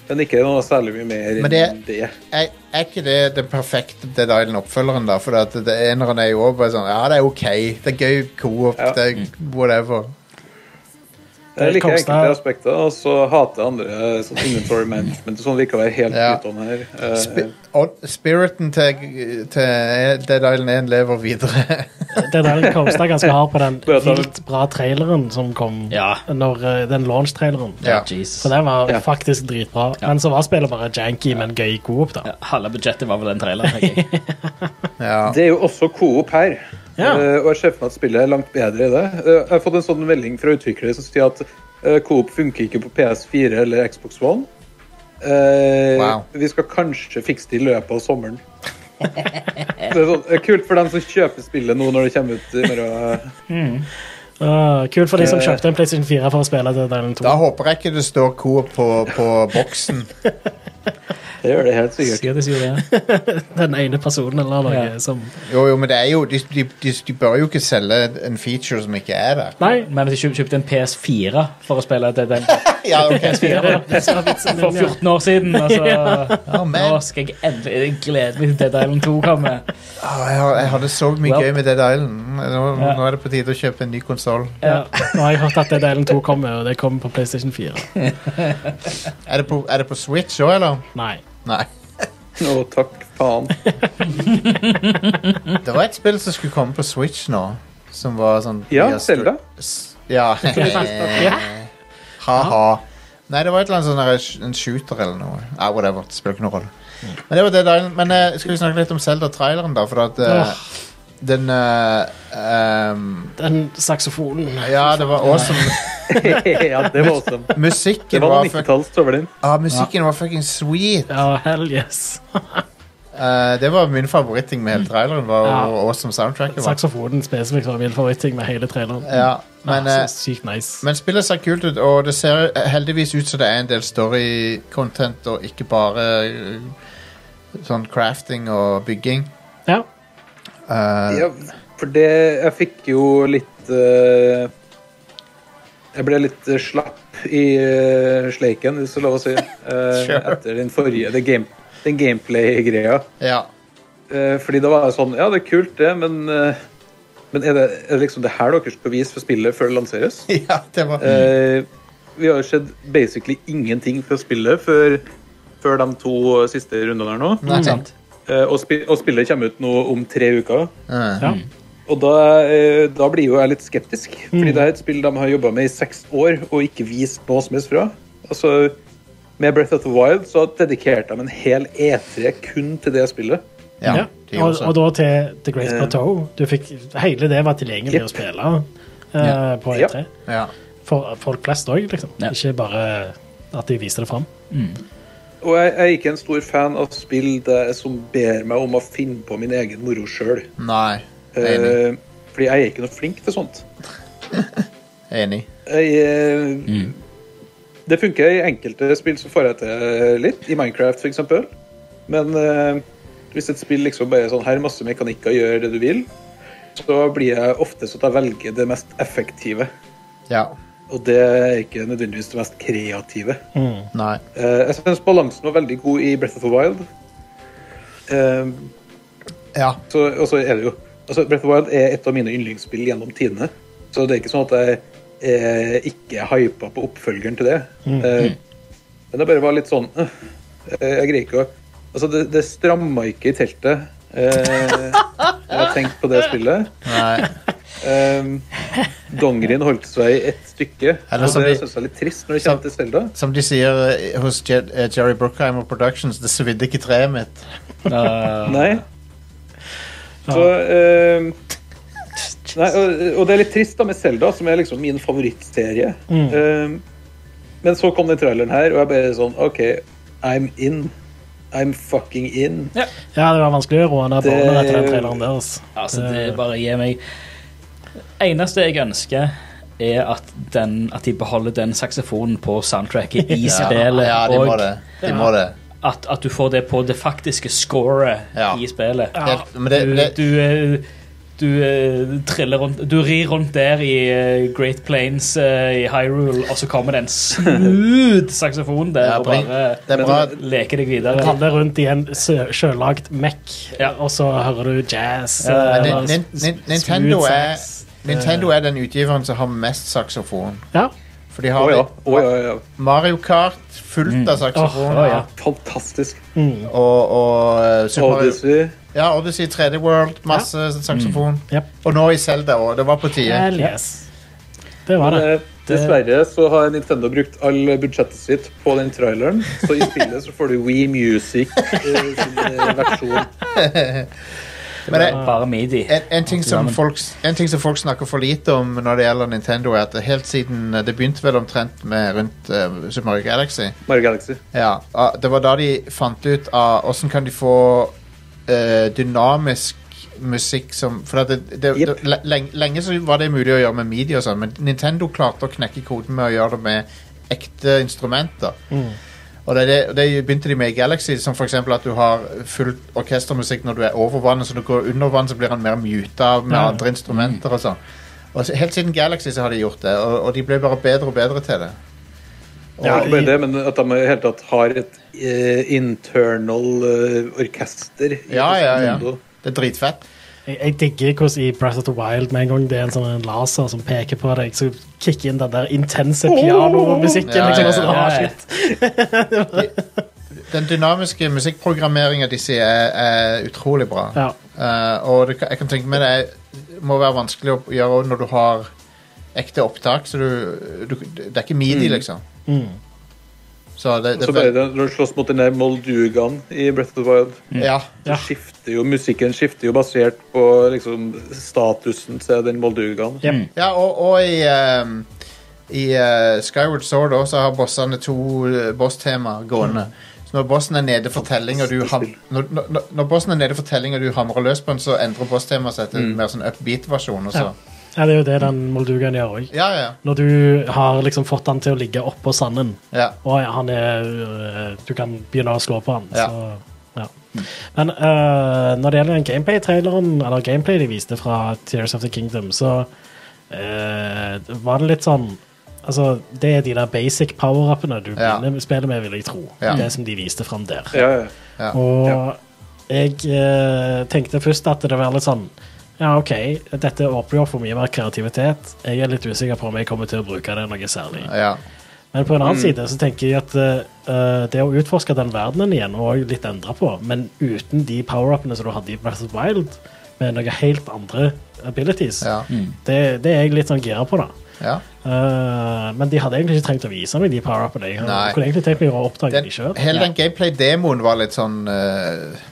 [SPEAKER 8] Men ikke noe særlig mye mer
[SPEAKER 5] Men
[SPEAKER 8] enn
[SPEAKER 5] det-
[SPEAKER 8] det.
[SPEAKER 5] er, er ikke det den perfekte Dead Island-oppfølgeren, da? For at det eneren er jo også bare sånn Ja, det er OK. Det er gøy co-op.
[SPEAKER 8] Ja.
[SPEAKER 5] Det er whatever.
[SPEAKER 8] Jeg liker
[SPEAKER 7] Kongstad-
[SPEAKER 8] enkelte aspekter, og så hater jeg andre sånn inventory management og sånn virker å være helt
[SPEAKER 5] Ja.
[SPEAKER 8] utom her. Eh,
[SPEAKER 5] Spi- og Spiriten til, til Dead Island 1 lever videre.
[SPEAKER 7] Det der kosta ganske hardt på den
[SPEAKER 8] Bare ta det.
[SPEAKER 7] vilt bra traileren som kom.
[SPEAKER 6] Ja.
[SPEAKER 7] Når, eh, den launch-traileren.
[SPEAKER 5] Ja.
[SPEAKER 6] Jesus.
[SPEAKER 7] For den var
[SPEAKER 8] Ja.
[SPEAKER 7] faktisk dritbra. Men så var spillet bare janky, men gøy coop, da.
[SPEAKER 6] Ja, halve budsjettet var vel den traileren. tenker jeg.
[SPEAKER 5] ja.
[SPEAKER 8] det er jo også Coop her.
[SPEAKER 7] Ja.
[SPEAKER 8] Eh, og jeg ser for meg at spillet er langt bedre i det. Eh, jeg har fått en sånn melding fra utviklere som sier at eh, Coop funker ikke på PS4 eller Xbox One. Eh,
[SPEAKER 5] Wow.
[SPEAKER 8] Vi skal kanskje fikse det i løpet av sommeren. det er sånn, eh, kult for dem som kjøper spillet nå når det kommer ut. i morgen.
[SPEAKER 5] Eh,
[SPEAKER 7] Ah, kult for de som kjøpte en PlayStation 4 for å spille Dead Island 2.
[SPEAKER 5] Da håper jeg ikke det står Coop på, på boksen.
[SPEAKER 8] Det gjør det helt sikkert.
[SPEAKER 6] Sier det, sier det.
[SPEAKER 7] Den ene personen eller noe
[SPEAKER 6] Ja.
[SPEAKER 7] som
[SPEAKER 5] Jo, jo, men det er jo De, de, de, de bør jo ikke selge en feature som ikke er der.
[SPEAKER 6] Nei, men hvis jeg kjøp- kjøpte en PS4 for å spille Dead Island
[SPEAKER 5] Ja, ok.
[SPEAKER 6] for 14 år siden. Altså,
[SPEAKER 5] Ja, men.
[SPEAKER 6] Nå skal jeg endelig Jeg gleder meg til Dead Island 2 kommer.
[SPEAKER 5] Åh, Ah, jeg, har- jeg hadde så mye
[SPEAKER 6] Well.
[SPEAKER 5] gøy med Dead Island. Nå,
[SPEAKER 6] Ja.
[SPEAKER 5] nå er det på tide å kjøpe en ny konsoll.
[SPEAKER 7] ja. Nå har jeg hørt at Dead Island 2 kommer, og det kommer på PlayStation 4.
[SPEAKER 5] Er, det på- er det på Switch òg, eller?
[SPEAKER 7] Nei.
[SPEAKER 5] Nei.
[SPEAKER 8] Å, takk faen.
[SPEAKER 5] Det var et spill som skulle komme på Switch nå, som var sånn
[SPEAKER 8] Ja,
[SPEAKER 5] via str-
[SPEAKER 8] Zelda.
[SPEAKER 5] S- Ja. Ha-ha. Nei, det var et eller annet sånn der, sh- en shooter eller noe. Nei, whatever. Det spiller ikke noen rolle. Men det var Dead Island. Men eh, skal vi snakke litt om Zelda-traileren, da? For at eh,
[SPEAKER 7] Åh.
[SPEAKER 5] den eh, ehm,
[SPEAKER 7] Den saksofonen.
[SPEAKER 5] Ja, det var awesome.
[SPEAKER 8] ja, det var awesome. Det
[SPEAKER 5] Musikken
[SPEAKER 8] var
[SPEAKER 5] var,
[SPEAKER 8] noen
[SPEAKER 5] fuck-
[SPEAKER 8] 90-talls tommelen.
[SPEAKER 5] ah, musikken var fucking sweet.
[SPEAKER 7] Ja, hell yes.
[SPEAKER 5] Eh, det var min favoritting med hele traileren. Var
[SPEAKER 7] Ja.
[SPEAKER 5] hvor awesome soundtracket var.
[SPEAKER 7] Saksofonen spesifikt var min favoritting med hele traileren.
[SPEAKER 5] Ja, men,
[SPEAKER 7] Ah,
[SPEAKER 5] eh,
[SPEAKER 7] så sykt nice.
[SPEAKER 5] men spillet ser kult ut, og det ser eh, heldigvis ut som det er en del story-content, og ikke bare eh, sånn crafting og bygging.
[SPEAKER 7] ja.
[SPEAKER 5] Eh,
[SPEAKER 8] Ja, for det Jeg fikk jo litt eh, Jeg ble litt eh, slapp i eh, sleiken, hvis det er lov å si, eh,
[SPEAKER 5] Sure.
[SPEAKER 8] etter den forrige det game, den gameplay-greia.
[SPEAKER 5] ja.
[SPEAKER 8] Eh, fordi da var jeg sånn Ja, det er kult, det, men eh, men er det, er det liksom det her dere skal vise for spillet før det lanseres?
[SPEAKER 5] ja, det var
[SPEAKER 8] Eh, vi har jo sett basically ingenting fra spillet før, før de to siste rundene her nå.
[SPEAKER 5] Nei, sant.
[SPEAKER 8] Eh, og, spi og spillet kommer ut nå om tre uker.
[SPEAKER 5] Eh,
[SPEAKER 7] Ja.
[SPEAKER 8] Og da, eh, da blir jo jeg litt skeptisk, fordi det er et spill de har jobba med i seks år og ikke vist noe som helst fra. Altså, med Breath of the Wild så dedikerte de en hel E3 kun til det spillet.
[SPEAKER 5] ja, sånn.
[SPEAKER 7] Ja.
[SPEAKER 5] de Eh.
[SPEAKER 7] Og,
[SPEAKER 5] også.
[SPEAKER 7] og da til The Great Plateau. Du fikk, hele det var tilgjengelig
[SPEAKER 8] Yep.
[SPEAKER 7] å spille eh, på
[SPEAKER 8] Ja.
[SPEAKER 7] E3.
[SPEAKER 5] ja.
[SPEAKER 7] For folk flest òg, liksom.
[SPEAKER 6] Ja.
[SPEAKER 7] Ikke bare at de viste det fram.
[SPEAKER 8] Og jeg, jeg er ikke en stor fan av spill der, som ber meg om å finne på min egen moro sjøl.
[SPEAKER 5] Nei. Enig.
[SPEAKER 8] Eh, fordi jeg er ikke noe flink til sånt.
[SPEAKER 5] Enig.
[SPEAKER 8] Jeg, eh, Det funker i enkelte spill, så får jeg til litt. I Minecraft, f.eks. Men eh, hvis et spill liksom bare er sånn her, masse mekanikker, gjør det du vil, så blir jeg ofte sånn at jeg velger det mest effektive.
[SPEAKER 5] Ja.
[SPEAKER 8] Og det er ikke nødvendigvis det mest kreative.
[SPEAKER 5] Nei.
[SPEAKER 8] Eh, jeg syns balansen var veldig god i Breath of the Wild. Eh,
[SPEAKER 5] Ja.
[SPEAKER 8] så, og så er det jo altså Breath of the Wild er et av mine yndlingsspill gjennom tidene. Så det er ikke sånn at jeg eh, ikke er hypa på oppfølgeren til det. Eh, men det bare var litt sånn eh, Jeg greier ikke å Altså, det, det stramma ikke i teltet. Eh, jeg har tenkt på det spillet.
[SPEAKER 5] Nei.
[SPEAKER 8] Eh, Dongerin holdt seg i ett stykke.
[SPEAKER 5] Eller
[SPEAKER 8] Og
[SPEAKER 5] som
[SPEAKER 8] det
[SPEAKER 5] vi-
[SPEAKER 8] syns jeg er litt trist når det kommer til Selda.
[SPEAKER 5] Som de sier eh, hos Je eh, Jerry Bruckheimer Productions, det svidde ikke treet mitt.
[SPEAKER 8] Nei. Så eh, Nei, og, og det er litt trist da med Selda, som er liksom min favorittserie. Eh, men så kom den traileren her, og jeg bare sånn OK, I'm in. I'm fucking in.
[SPEAKER 7] Ja, det var vanskelig å roe ned
[SPEAKER 8] Det-
[SPEAKER 7] barnet etter den traileren deres.
[SPEAKER 6] Altså, det er bare gir meg Eneste jeg ønsker, er at, den, at de beholder den saksofonen på soundtracket i spillet.
[SPEAKER 5] ja, de må
[SPEAKER 6] og
[SPEAKER 5] det. De må det.
[SPEAKER 6] at, at du får det på det faktiske scoret
[SPEAKER 5] Ja.
[SPEAKER 6] i spillet.
[SPEAKER 5] Helt- men det-
[SPEAKER 6] du,
[SPEAKER 5] det-
[SPEAKER 6] du, eh, du eh, triller rundt Du rir rundt der i eh, Great Plains eh, i Hyrule, og så kommer det en smooth saksofon der
[SPEAKER 5] Ja,
[SPEAKER 6] og
[SPEAKER 5] bring-
[SPEAKER 6] bare
[SPEAKER 5] Det er bra.
[SPEAKER 6] leker deg videre.
[SPEAKER 7] Ramler rundt i en sjø- sjølagd Mac,
[SPEAKER 6] Ja.
[SPEAKER 7] og så hører du jazz.
[SPEAKER 6] Ja,
[SPEAKER 7] eh,
[SPEAKER 5] Nin-
[SPEAKER 7] og
[SPEAKER 5] Nin-
[SPEAKER 7] s- eh.
[SPEAKER 5] Nin-
[SPEAKER 7] smooth
[SPEAKER 5] Nintendo er-
[SPEAKER 7] sax.
[SPEAKER 5] Nintendo er den utgiveren som har mest saksofon.
[SPEAKER 7] Ja.
[SPEAKER 5] For de
[SPEAKER 8] Å
[SPEAKER 5] har
[SPEAKER 8] ja. å ja, ja, ja.
[SPEAKER 5] Mario Kart fullt av saksofon.
[SPEAKER 7] Mm. Åh, ja.
[SPEAKER 8] Fantastisk.
[SPEAKER 5] Og, og eh, Super Mario
[SPEAKER 8] Odyssey.
[SPEAKER 5] Ja, Odyssey 3D World. Masse saksofon.
[SPEAKER 7] Mm. Jep.
[SPEAKER 5] Og nå i Zelda òg. Det var på tide.
[SPEAKER 7] Hell yes. Det var det.
[SPEAKER 8] Eh, Dessverre så har Nintendo brukt all budsjettet sitt på den traileren, så i spillet så får du We Music eh, sin eh, versjon.
[SPEAKER 6] Det var bare midi.
[SPEAKER 5] En, en, ting som folk, en ting som folk snakker for lite om når det gjelder Nintendo, er at det helt siden eh, det begynte vel omtrent med rundt eh, Super Mario Galaxy
[SPEAKER 8] Mario Galaxy.
[SPEAKER 5] ja, ah, Det var da de fant ut av åssen kan de få eh, dynamisk musikk som For at det, det,
[SPEAKER 8] Yep.
[SPEAKER 5] det, lenge, lenge så var det mulig å gjøre med midi og sånn, men Nintendo klarte å knekke koden med å gjøre det med ekte instrumenter. Og det, er det, og det begynte de med i Galaxy, som f.eks. at du har full orkestermusikk når du er over vannet, så når du går under vann, så blir han mer muta med
[SPEAKER 6] Ja.
[SPEAKER 5] andre instrumenter og sånn. Og så, Helt siden Galaxy så har de gjort det, og, og de ble bare bedre og bedre til det.
[SPEAKER 8] Ja, ikke bare det, men at de i det hele tatt har et eh, internal eh, orkester. i
[SPEAKER 5] Ja, ja, ja.
[SPEAKER 8] Nintendo.
[SPEAKER 5] Det er dritfett.
[SPEAKER 7] Jeg, jeg digger hvordan i Breath of the Wild med en gang det er en sånn en laser som peker på deg, så kicker inn den der intense pianomusikken.
[SPEAKER 5] Ja,
[SPEAKER 7] liksom,
[SPEAKER 5] ja,
[SPEAKER 7] og sånn,
[SPEAKER 6] ja.
[SPEAKER 7] ah, shit.
[SPEAKER 5] Den dynamiske musikkprogrammeringa de sier er, er utrolig bra.
[SPEAKER 7] Ja.
[SPEAKER 5] Eh, og det, kan- jeg kan tenke meg det må være vanskelig å gjøre når du har ekte opptak. Så du, du Det er ikke midi, liksom.
[SPEAKER 7] Mm.
[SPEAKER 5] Så det, det
[SPEAKER 8] Mm. Så Altså, bare det, når du slåss mot den der Moldugan i Breath of the Wild,
[SPEAKER 5] Mm. Ja.
[SPEAKER 7] Ja.
[SPEAKER 8] så skifter jo musikken skifter jo basert på liksom, statusen til den Moldugan.
[SPEAKER 7] Jep.
[SPEAKER 5] Ja, og, og i, ehm, i eh, Skyward Sword også har bossene to eh, boss-temaer gående.
[SPEAKER 7] Mm.
[SPEAKER 5] Så når bossen er nede for telling, og du, ham når, når, når bossen er nede for telling, og du hamrer løs på den, så endrer boss-temaet seg
[SPEAKER 8] Mm.
[SPEAKER 5] til en mer sånn upbeat-versjon. og så.
[SPEAKER 7] ja, det er jo det den Moldugan gjør òg.
[SPEAKER 5] Ja, ja.
[SPEAKER 7] Når du har liksom fått han til å ligge oppå sanden,
[SPEAKER 5] ja.
[SPEAKER 7] og ja, han er øh, Du kan begynne å slå på han.
[SPEAKER 5] Ja.
[SPEAKER 7] Så, ja. Men øh, når det gjelder den gameplay-traileren, eller gameplay de viste fra Tears of the Kingdom, så øh, var det litt sånn Altså, det er de der basic power-upene du
[SPEAKER 5] Ja.
[SPEAKER 7] begynner spillet med, vil jeg tro.
[SPEAKER 5] Ja.
[SPEAKER 7] Det som de viste fram der.
[SPEAKER 8] Ja, ja.
[SPEAKER 5] Ja.
[SPEAKER 7] Og jeg eh, tenkte først at det var litt sånn Ja, OK, dette åpner jo opp for mye mer kreativitet. Jeg er litt usikker på om jeg kommer til å bruke det noe særlig.
[SPEAKER 5] ja.
[SPEAKER 7] Men på en annen side så tenker jeg at eh, det å utforske den verdenen igjen var jo litt endra på, men uten de power-upene som du hadde i Breath of the Wild, med noe helt andre abilities,
[SPEAKER 5] Ja.
[SPEAKER 7] det, det er jeg litt sånn gira på, da.
[SPEAKER 5] ja.
[SPEAKER 7] Eh, men de hadde egentlig ikke trengt å vise meg de power-upene. Jeg
[SPEAKER 5] Nei.
[SPEAKER 7] kunne egentlig tenkt meg å oppdage
[SPEAKER 5] Den,
[SPEAKER 7] de sjøl.
[SPEAKER 5] hele den gameplay-demoen var litt sånn eh,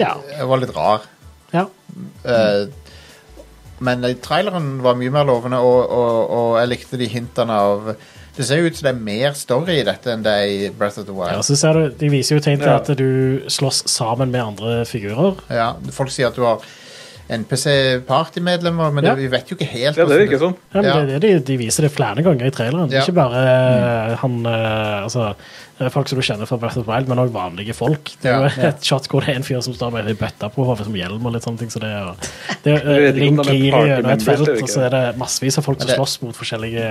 [SPEAKER 7] Ja.
[SPEAKER 5] var litt rar.
[SPEAKER 7] ja.
[SPEAKER 5] Eh, Men eh, traileren var mye mer lovende, og, og, og jeg likte de hintene av Det ser jo ut som det er mer story i dette enn det er i Breath of the
[SPEAKER 7] Ja, og
[SPEAKER 5] Wild.
[SPEAKER 7] så ser du, De viser jo tegn til
[SPEAKER 8] Ja.
[SPEAKER 7] at du slåss sammen med andre figurer.
[SPEAKER 5] Ja, folk sier at du har NPC-partymedlemmer, men
[SPEAKER 7] Ja.
[SPEAKER 5] det, vi vet jo ikke helt
[SPEAKER 8] ja, det
[SPEAKER 5] hvordan
[SPEAKER 8] virker sånn.
[SPEAKER 7] Ja, men
[SPEAKER 5] Ja.
[SPEAKER 7] Det, er det, de, de viser det flere ganger i traileren.
[SPEAKER 5] Ja.
[SPEAKER 7] Ikke bare
[SPEAKER 8] Mm.
[SPEAKER 7] eh, han, eh, altså, eh, folk som du kjenner fra Breath of the Wild, men òg vanlige folk. Det er
[SPEAKER 5] Ja.
[SPEAKER 7] jo et shot hvor det er en fyr som står med ei bøtte på hodet som hjelm og litt sånne ting. Så det, er jo- det er,
[SPEAKER 8] Jeg
[SPEAKER 7] eh,
[SPEAKER 8] vet ikke om
[SPEAKER 7] Link
[SPEAKER 8] de er
[SPEAKER 7] glir gjennom et
[SPEAKER 8] party members,
[SPEAKER 7] felt,
[SPEAKER 8] det er jo
[SPEAKER 7] og så
[SPEAKER 8] ikke.
[SPEAKER 7] er det massevis av folk som
[SPEAKER 5] Men det-
[SPEAKER 7] slåss mot forskjellige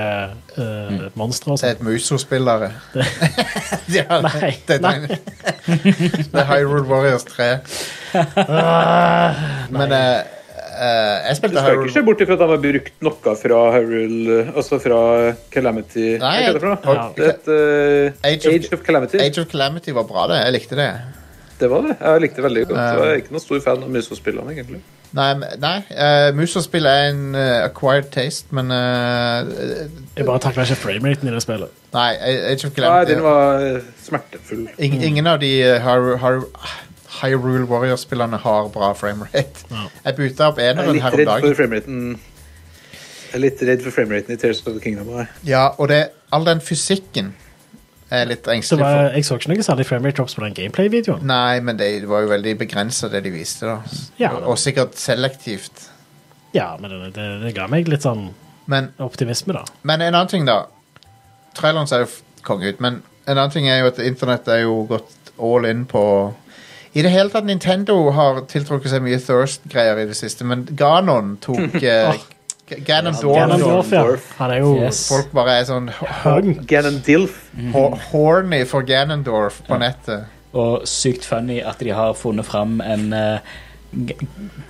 [SPEAKER 7] eh,
[SPEAKER 8] Mm.
[SPEAKER 7] monstre. og
[SPEAKER 5] Det
[SPEAKER 7] sånt.
[SPEAKER 5] er et Muso-spillere. ja,
[SPEAKER 7] Nei,
[SPEAKER 5] det, det,
[SPEAKER 7] nei.
[SPEAKER 5] det er Hyrule Warriors 3.
[SPEAKER 7] Ah!
[SPEAKER 5] men eh, eh, jeg
[SPEAKER 8] Du
[SPEAKER 5] spilte
[SPEAKER 8] skal ikke se
[SPEAKER 5] Hyrule
[SPEAKER 8] bort ifra at de har brukt noe fra Hyrule, altså fra Calamity Hva
[SPEAKER 5] Nei,
[SPEAKER 8] heter det for noe?
[SPEAKER 5] ja.
[SPEAKER 8] Det het, eh,
[SPEAKER 5] Age of-
[SPEAKER 8] Age of Calamity.
[SPEAKER 5] Age of Calamity var bra, det. Jeg likte det.
[SPEAKER 8] Det var det. Jeg likte det veldig godt.
[SPEAKER 5] Ja.
[SPEAKER 8] Jeg er ikke noen stor fan av Muso-spillene, egentlig.
[SPEAKER 5] Nei, men- nei eh, Muso-spill er en eh, acquired taste, men eh,
[SPEAKER 7] Jeg bare takler ikke frameraten i det spillet.
[SPEAKER 5] Nei, A- Age of
[SPEAKER 8] Nei,
[SPEAKER 5] Calamity
[SPEAKER 8] den var eh, smertefull.
[SPEAKER 7] Mm.
[SPEAKER 5] Ing- Ingen av de eh, Hyru- Hyru- Hyrule Warriors-spillerne har bra framerate. Jeg bytta opp
[SPEAKER 8] Jeg er
[SPEAKER 5] eneren
[SPEAKER 8] litt
[SPEAKER 5] her om
[SPEAKER 8] redd for
[SPEAKER 5] dagen.
[SPEAKER 8] frameraten Jeg er litt redd for frameraten i Tears of the Kingdom. jeg.
[SPEAKER 5] Ja, og det, all den fysikken er jeg litt
[SPEAKER 7] Så
[SPEAKER 5] engstelig
[SPEAKER 7] var,
[SPEAKER 5] for.
[SPEAKER 7] jeg så ikke noe særlig framerate drops på den gameplay-videoen.
[SPEAKER 5] Nei, men det var jo veldig begrensa, det de viste. da.
[SPEAKER 7] Ja.
[SPEAKER 5] Og, og sikkert selektivt.
[SPEAKER 7] Ja, men det, det, det ga meg litt sånn
[SPEAKER 5] Men,
[SPEAKER 7] optimisme, da.
[SPEAKER 5] men en annen ting, da. Traileren ser jo f- konge ut, men en annen ting er jo at internett er jo gått all in på I det hele tatt, Nintendo har tiltrukket seg mye Thirst-greier i det siste, men Ganon tok eh, G- Ganondorf
[SPEAKER 7] Ganondorf, ja.
[SPEAKER 8] Ganondorf.
[SPEAKER 7] Han er jo
[SPEAKER 6] Yes.
[SPEAKER 5] Folk bare er sånn ho-
[SPEAKER 7] punk.
[SPEAKER 8] Ganondilf.
[SPEAKER 5] ho- horny for Ganondorf på nettet.
[SPEAKER 6] Og sykt funny at de har funnet fram en eh, g-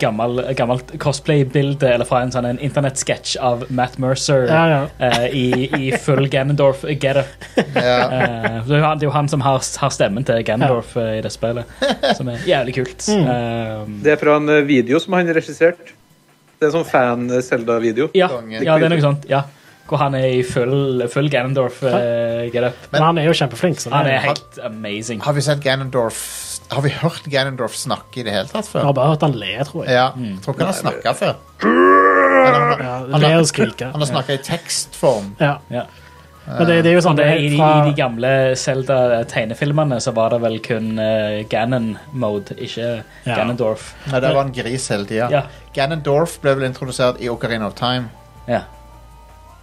[SPEAKER 6] gammel, gammelt cosplay-bilde eller fra en sånn en internettsketsj av Matt Mercer
[SPEAKER 7] Ja, ja.
[SPEAKER 6] eh, i, i full Ganondorf-getup.
[SPEAKER 5] Ja.
[SPEAKER 6] Eh, det er jo han- det er jo han som har, har stemmen til Ganondorf eh, i det spillet, som er jævlig kult.
[SPEAKER 7] Mm.
[SPEAKER 6] Eh,
[SPEAKER 8] Det er fra en eh, video som han regisserte. Det er en sånn fan-Selda-video.
[SPEAKER 6] ja,
[SPEAKER 5] Konge.
[SPEAKER 6] ja, det er noe sånt. Ja. Hvor han er i full, full Ganondorf-getup.
[SPEAKER 7] Men han er jo kjempeflink. Så det
[SPEAKER 6] han er
[SPEAKER 7] er
[SPEAKER 6] helt amazing.
[SPEAKER 5] Har vi sett Ganondorf Har vi hørt Ganondorf snakke i det hele tatt
[SPEAKER 7] Jeg
[SPEAKER 5] før?
[SPEAKER 7] har bare hørt han le, tror jeg.
[SPEAKER 5] Ja, jeg tror ikke han har snakka før.
[SPEAKER 7] Ja, le og skrike.
[SPEAKER 5] Han har snakka i tekstform.
[SPEAKER 7] Ja.
[SPEAKER 6] Ja.
[SPEAKER 7] Men det, det er jo sånn
[SPEAKER 6] Det,
[SPEAKER 7] det
[SPEAKER 6] i,
[SPEAKER 7] er
[SPEAKER 6] de, I
[SPEAKER 7] fra
[SPEAKER 6] de gamle Zelda-tegnefilmene så var det vel kun eh, Ganon-mode, ikke
[SPEAKER 7] Ja.
[SPEAKER 6] Ganondorf.
[SPEAKER 5] Nei, der var han gris hele tida.
[SPEAKER 6] Ja.
[SPEAKER 5] Ganondorf ble vel introdusert i Ocarina of Time.
[SPEAKER 6] Ja,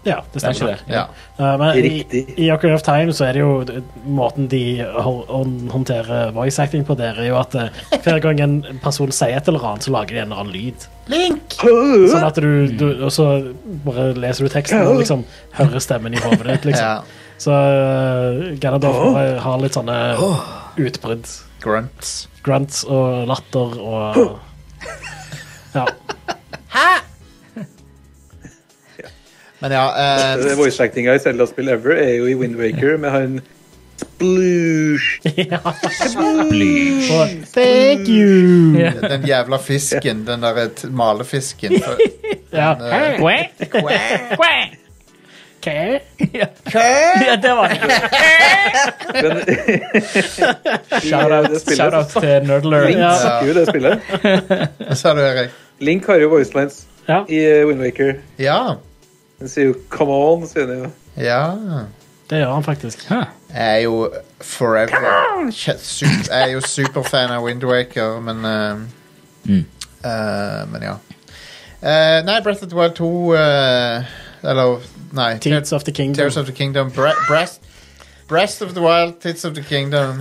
[SPEAKER 7] Ja, det
[SPEAKER 6] det er ikke
[SPEAKER 7] stemmer.
[SPEAKER 6] det.
[SPEAKER 5] Ja.
[SPEAKER 7] Uh, men i,
[SPEAKER 12] Riktig.
[SPEAKER 7] i Ocarina of Time så er det jo d- måten de hå- hå- håndterer voice acting på der, er jo at eh, hver gang en person sier et eller annet, så lager de en eller annen lyd.
[SPEAKER 5] Link!
[SPEAKER 7] Sånn at du, du Og så bare leser du teksten og liksom hører stemmen i hodet ditt, liksom.
[SPEAKER 5] Ja.
[SPEAKER 7] Så uh, Ganondorf har- har litt sånne utbrudd.
[SPEAKER 5] Grunts.
[SPEAKER 7] Grunts og latter og Ja.
[SPEAKER 5] Men ja eh,
[SPEAKER 8] Eh, Voice actinga i Zelda-spill ever er jo i Wind Waker med han Sploosh!
[SPEAKER 7] Og, Thank you! Ja.
[SPEAKER 5] Den jævla fisken, den derre t- malefisken.
[SPEAKER 7] Ok.
[SPEAKER 6] Ja, det var det.
[SPEAKER 8] Shout-out
[SPEAKER 6] Shout-out til Nerdler.
[SPEAKER 8] Link
[SPEAKER 7] Ja.
[SPEAKER 8] snakker jo i det spillet.
[SPEAKER 5] Hva sa du, Erik?
[SPEAKER 8] Link har jo voicelines
[SPEAKER 7] Ja.
[SPEAKER 8] i eh, Wind Waker.
[SPEAKER 5] Ja.
[SPEAKER 8] Den sier jo 'come on', sier den jo.
[SPEAKER 5] Ja.
[SPEAKER 7] Det gjør han faktisk.
[SPEAKER 5] Jeg er jo forever Kje- sup- Jeg er jo superfan av Windwaker, men eh, eh, Men ja. Eh, nei, Breath of the Wild 2 eh, Eller, nei. Te-
[SPEAKER 7] Tears of the Kingdom.
[SPEAKER 5] Tears of the Kingdom. Bre breast, breast of the Wild, Tits of the Kingdom.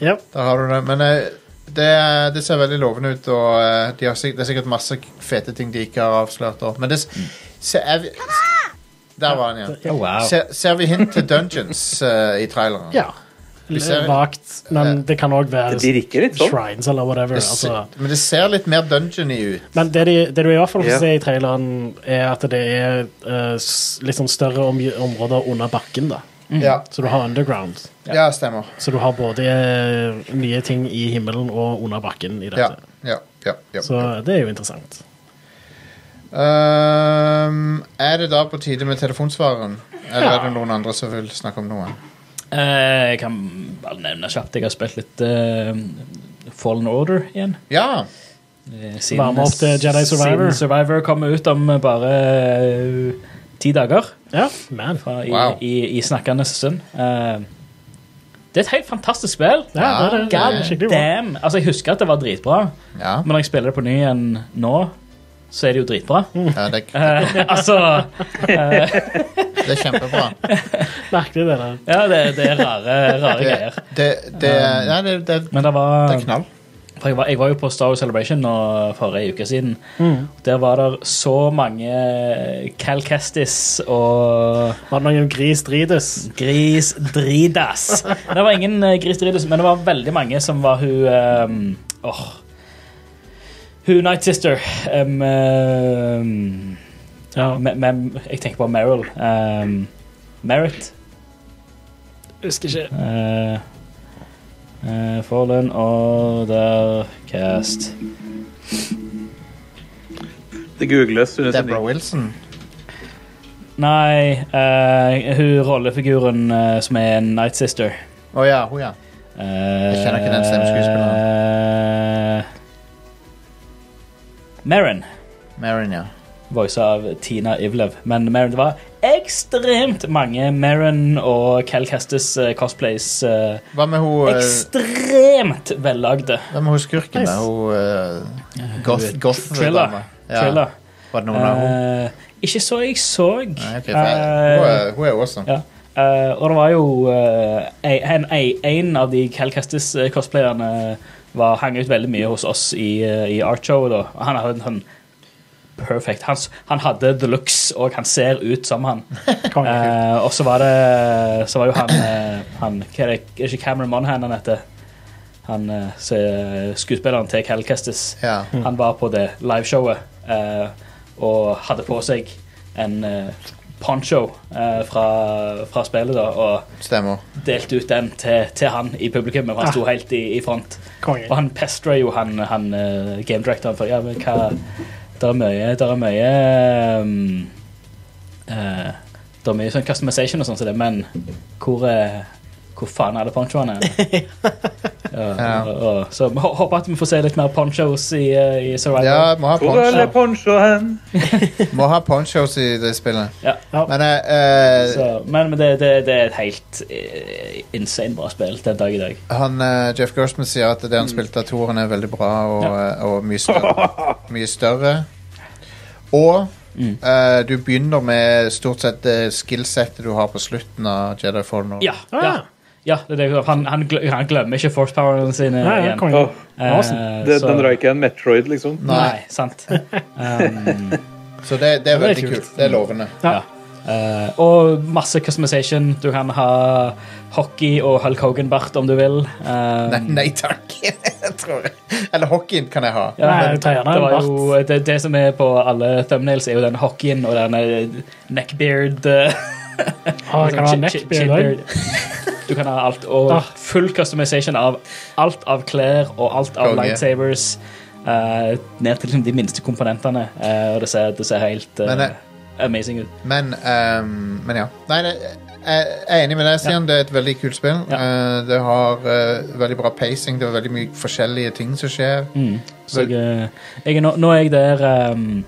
[SPEAKER 7] Yep.
[SPEAKER 5] Der har du det. Men eh, det, er- det ser veldig lovende ut, og eh, de har sikk- det er sikkert masse fete ting de ikke har avslørt. Og. Men det s- se, er vi, Der var han, ja.
[SPEAKER 7] Ja, Oh,
[SPEAKER 6] Wow.
[SPEAKER 5] Ser, ser vi hint til Dungeons eh, i traileren?
[SPEAKER 7] Ja.
[SPEAKER 5] ser-
[SPEAKER 7] Vagt, men det kan òg være
[SPEAKER 8] Det virker litt sånn.
[SPEAKER 7] shrines eller whatever.
[SPEAKER 5] Det se,
[SPEAKER 7] Altså.
[SPEAKER 5] men det ser litt mer dungeony ut.
[SPEAKER 7] Men det, de, det du i hvert fall får
[SPEAKER 8] Ja.
[SPEAKER 7] se i traileren, er at det er eh, s- litt sånn større omgi- områder under bakken. da
[SPEAKER 5] Ja.
[SPEAKER 7] Så du har underground.
[SPEAKER 5] ja, stemmer.
[SPEAKER 7] Så du har både eh, nye ting i himmelen og under bakken i
[SPEAKER 5] Ja,
[SPEAKER 7] dette.
[SPEAKER 5] ja, ja, ja.
[SPEAKER 7] Så det er jo interessant.
[SPEAKER 5] Ehm, er det da på tide med telefonsvareren? Eller er det noen andre som vil snakke om noe?
[SPEAKER 6] Eh, jeg kan bare nevne kjapt jeg har spilt litt eh, Fallen Order igjen.
[SPEAKER 5] Ja!
[SPEAKER 6] Eh, siden-
[SPEAKER 7] Varme opp til Jedi Survivor.
[SPEAKER 6] Siden Survivor kommer ut om bare eh, ti dager.
[SPEAKER 7] Ja, man.
[SPEAKER 6] fra, i,
[SPEAKER 5] Wow.
[SPEAKER 6] i, i snakkende stund. Eh, det er et helt fantastisk spill.
[SPEAKER 7] Ja, det, er- det, er skikkelig bra.
[SPEAKER 6] Damn! Altså, jeg husker at det var dritbra,
[SPEAKER 5] Ja,
[SPEAKER 6] men når jeg spiller det på ny igjen nå, så er det jo dritbra.
[SPEAKER 5] ja det, er-
[SPEAKER 6] Eh, altså
[SPEAKER 5] det er kjempebra.
[SPEAKER 7] Merkelig, det der.
[SPEAKER 6] Ja, det, det er rare, rare
[SPEAKER 5] Det,
[SPEAKER 6] greier.
[SPEAKER 5] det, det,
[SPEAKER 7] Ehm.
[SPEAKER 5] ja, det, det,
[SPEAKER 6] Men det var
[SPEAKER 5] det er knall.
[SPEAKER 6] For jeg var, jeg var jo på Star Wars Celebration nå forrige uke siden.
[SPEAKER 5] Mm.
[SPEAKER 6] Der var det så mange Cal Kestis og
[SPEAKER 7] Var det noen gris drites?
[SPEAKER 6] Gris Dridas. Det var ingen eh, Gris Dridas, men det var veldig mange som var hun ehm, Åh Hun Night Sister. ehm, ehm,
[SPEAKER 7] Ja.
[SPEAKER 6] me- me- jeg tenker på Meryl. ehm, Merritt.
[SPEAKER 7] Husker ikke.
[SPEAKER 6] eh, eh, Fallen Order Cast.
[SPEAKER 8] Det googles under
[SPEAKER 5] Deborah
[SPEAKER 8] sending.
[SPEAKER 5] Wilson.
[SPEAKER 6] Nei, eh, hun rollefiguren eh, som er en Night Sister.
[SPEAKER 5] Å ja, hun, ja.
[SPEAKER 6] Eh, Jeg
[SPEAKER 5] kjenner ikke den stemmeskuespilleren.
[SPEAKER 6] Merrin,
[SPEAKER 5] Marin, ja.
[SPEAKER 6] voisa av Tina Ivlev. Men Merrin, det var ekstremt mange Merrin og Cal Kestis eh, cosplays. eh,
[SPEAKER 5] Hva med hun, eh,
[SPEAKER 6] ekstremt vellagde.
[SPEAKER 5] hva med hun skurken? da? Hun eh, goth, goth
[SPEAKER 6] Thriller.
[SPEAKER 5] Ja.
[SPEAKER 6] Thriller.
[SPEAKER 5] Var det noen av henne?
[SPEAKER 6] Eh, ikke så jeg så. Eh,
[SPEAKER 5] Nei, ok, for jeg- hun, er- hun er awesome.
[SPEAKER 6] Ja. Eh, og det var jo eh, en, en, en av de Cal Kestis-cosplayerne var hang ut veldig mye hos oss i, eh, i artshowet. da. Og Han hadde en sånn perfect han, s- han hadde the looks, og han ser ut som han.
[SPEAKER 7] Konge.
[SPEAKER 6] Eh, og så var det Så var jo han, eh, han Hva er det er ikke Cameron Monhan han heter? Han eh, så er skuespilleren til Cal Kestis.
[SPEAKER 5] Ja.
[SPEAKER 6] Han var på det liveshowet eh, og hadde på seg en eh, poncho eh, fra, fra spillet da, og
[SPEAKER 5] Stemmer.
[SPEAKER 6] delte ut den til, til han i publikum. og Han sto helt i, i front.
[SPEAKER 7] Konge.
[SPEAKER 6] Og han pestrer jo han, han eh, game directoren for ja, men hva Det er mye Det er eh, mye ehm, eh, Det er mye sånn customization og sånn som det, men hvor er Hvor faen er det ponchoen er? ja, og- og- Så vi hå- håper at vi får se litt mer ponchos i, eh, i Survivor.
[SPEAKER 5] Ja, vi må ha Hvor poncho. er
[SPEAKER 6] poncho hen?
[SPEAKER 5] Må ha ponchos i det spillet.
[SPEAKER 6] Ja.
[SPEAKER 5] Men, eh, eh,
[SPEAKER 6] så, men men det, det, det er et helt eh, insane bra spill den dag i dag.
[SPEAKER 5] han, eh, Jeff Gershman sier at det han spilte av toeren, er veldig bra og, eh, og mye, større, mye større. Og
[SPEAKER 6] Mm.
[SPEAKER 5] eh, du begynner med stort sett det skillsettet du har på slutten av Jedi Fallen. Order.
[SPEAKER 6] Ja, ja. ja det er det. Han, han, gl- han glemmer ikke force poweren sin
[SPEAKER 7] Nei, ja, konge.
[SPEAKER 6] igjen. Eh,
[SPEAKER 8] Awesome. Det-
[SPEAKER 6] så-
[SPEAKER 8] den drar ikke en Metroid, liksom.
[SPEAKER 6] Nei, sant. Um,
[SPEAKER 5] Så det, det er
[SPEAKER 6] Ja, det er
[SPEAKER 5] veldig
[SPEAKER 6] kult.
[SPEAKER 5] kult. Det er lovende.
[SPEAKER 6] ja. Eh, og masse customization. Du kan ha hockey og Hulk Hogan-bart om du vil. Um,
[SPEAKER 5] Nei, nei takk. Jeg tror Eller hockeyen kan jeg ha.
[SPEAKER 6] Ja,
[SPEAKER 7] Nei,
[SPEAKER 6] men
[SPEAKER 7] du tar gjerne
[SPEAKER 6] det,
[SPEAKER 7] en
[SPEAKER 6] var jo, det, det som er på alle thumbnails, er jo den hockeyen og den eh, neckbeard eh,
[SPEAKER 7] Ah, jeg kan ha
[SPEAKER 6] chin-
[SPEAKER 7] neckbeard
[SPEAKER 6] chin-
[SPEAKER 7] også.
[SPEAKER 6] chinbeard. Du kan ha alt, og
[SPEAKER 7] Ah.
[SPEAKER 6] full customization av alt av klær og alt av
[SPEAKER 5] Konge.
[SPEAKER 6] lightsabers. eh, ned til liksom, de minste komponentene. eh, og det ser, det ser helt eh,
[SPEAKER 5] Men, eh,
[SPEAKER 6] amazing ut.
[SPEAKER 5] Men, ehm, men ja. Nei, det, jeg jeg er enig med deg, Stian. Det er et veldig kult spill. Eh, det har eh, veldig bra pacing. Det er veldig mye forskjellige ting som skjer.
[SPEAKER 6] Mm. Så jeg, eh, jeg er nå, nå er jeg der ehm,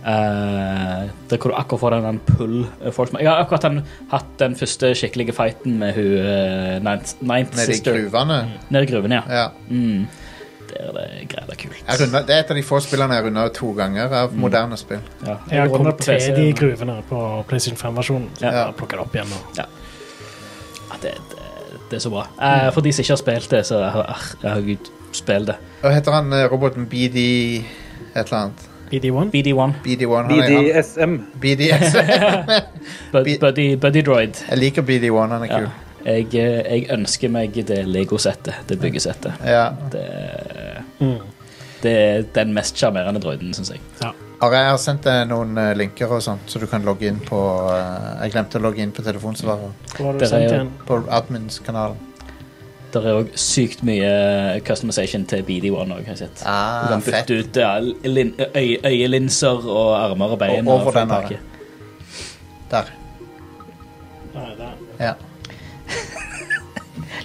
[SPEAKER 6] eh, Der hvor du akkurat får den, den pull eh, folk- Jeg har akkurat den, hatt den første skikkelige fighten med hun eh, ninth, ninth
[SPEAKER 5] Nede i
[SPEAKER 6] Sister.
[SPEAKER 5] gruvene.
[SPEAKER 6] Nede i gruven, ja.
[SPEAKER 5] Ja.
[SPEAKER 6] Mm. Der er det greier kult.
[SPEAKER 5] Jeg runder, det er et av de få spillene jeg runder to ganger
[SPEAKER 6] Mm.
[SPEAKER 5] av moderne spill.
[SPEAKER 6] Ja.
[SPEAKER 7] Jeg har
[SPEAKER 6] runder
[SPEAKER 7] kommet
[SPEAKER 6] på
[SPEAKER 7] til
[SPEAKER 6] PC,
[SPEAKER 7] de
[SPEAKER 6] men-
[SPEAKER 7] gruvene på PlayStation 5-versjonen. Så
[SPEAKER 6] Ja.
[SPEAKER 7] jeg plukker det opp igjen. Og...
[SPEAKER 6] Ja, det, det, det er så bra. Eh, for de som ikke har spilt det, så ah, har- herregud, spill det.
[SPEAKER 5] Hva heter han eh, roboten BD et eller annet?
[SPEAKER 7] BD1.
[SPEAKER 6] BD1,
[SPEAKER 5] BD1. Han er, han,
[SPEAKER 8] BDSM.
[SPEAKER 5] BDS.
[SPEAKER 6] Bud-
[SPEAKER 5] B-
[SPEAKER 6] Buddy, Buddy Droid.
[SPEAKER 5] Jeg liker BD1. Han er
[SPEAKER 6] Ja.
[SPEAKER 5] kul.
[SPEAKER 6] Jeg, eh, jeg ønsker meg det Lego-settet, det byggesettet.
[SPEAKER 5] Ja.
[SPEAKER 6] Det,
[SPEAKER 7] Mm.
[SPEAKER 6] det er den mest sjarmerende droiden, syns jeg.
[SPEAKER 5] Are, jeg har sendt deg noen eh, linker og sånt, så du kan logge inn på eh, Jeg glemte å logge inn på telefonsvareren.
[SPEAKER 7] Hvor har du
[SPEAKER 6] Der er
[SPEAKER 7] sendt
[SPEAKER 6] jo-
[SPEAKER 7] igjen?
[SPEAKER 5] På admins-kanalen.
[SPEAKER 6] Det er òg sykt mye customization til BD1 òg. Du
[SPEAKER 5] Ah,
[SPEAKER 6] kan
[SPEAKER 5] fett.
[SPEAKER 6] bytte ut ja, lin, øy, øyelinser og armer og bein.
[SPEAKER 5] Og over
[SPEAKER 6] full
[SPEAKER 5] den her.
[SPEAKER 6] pakke.
[SPEAKER 5] Der.
[SPEAKER 7] Nei, der.
[SPEAKER 5] Ja.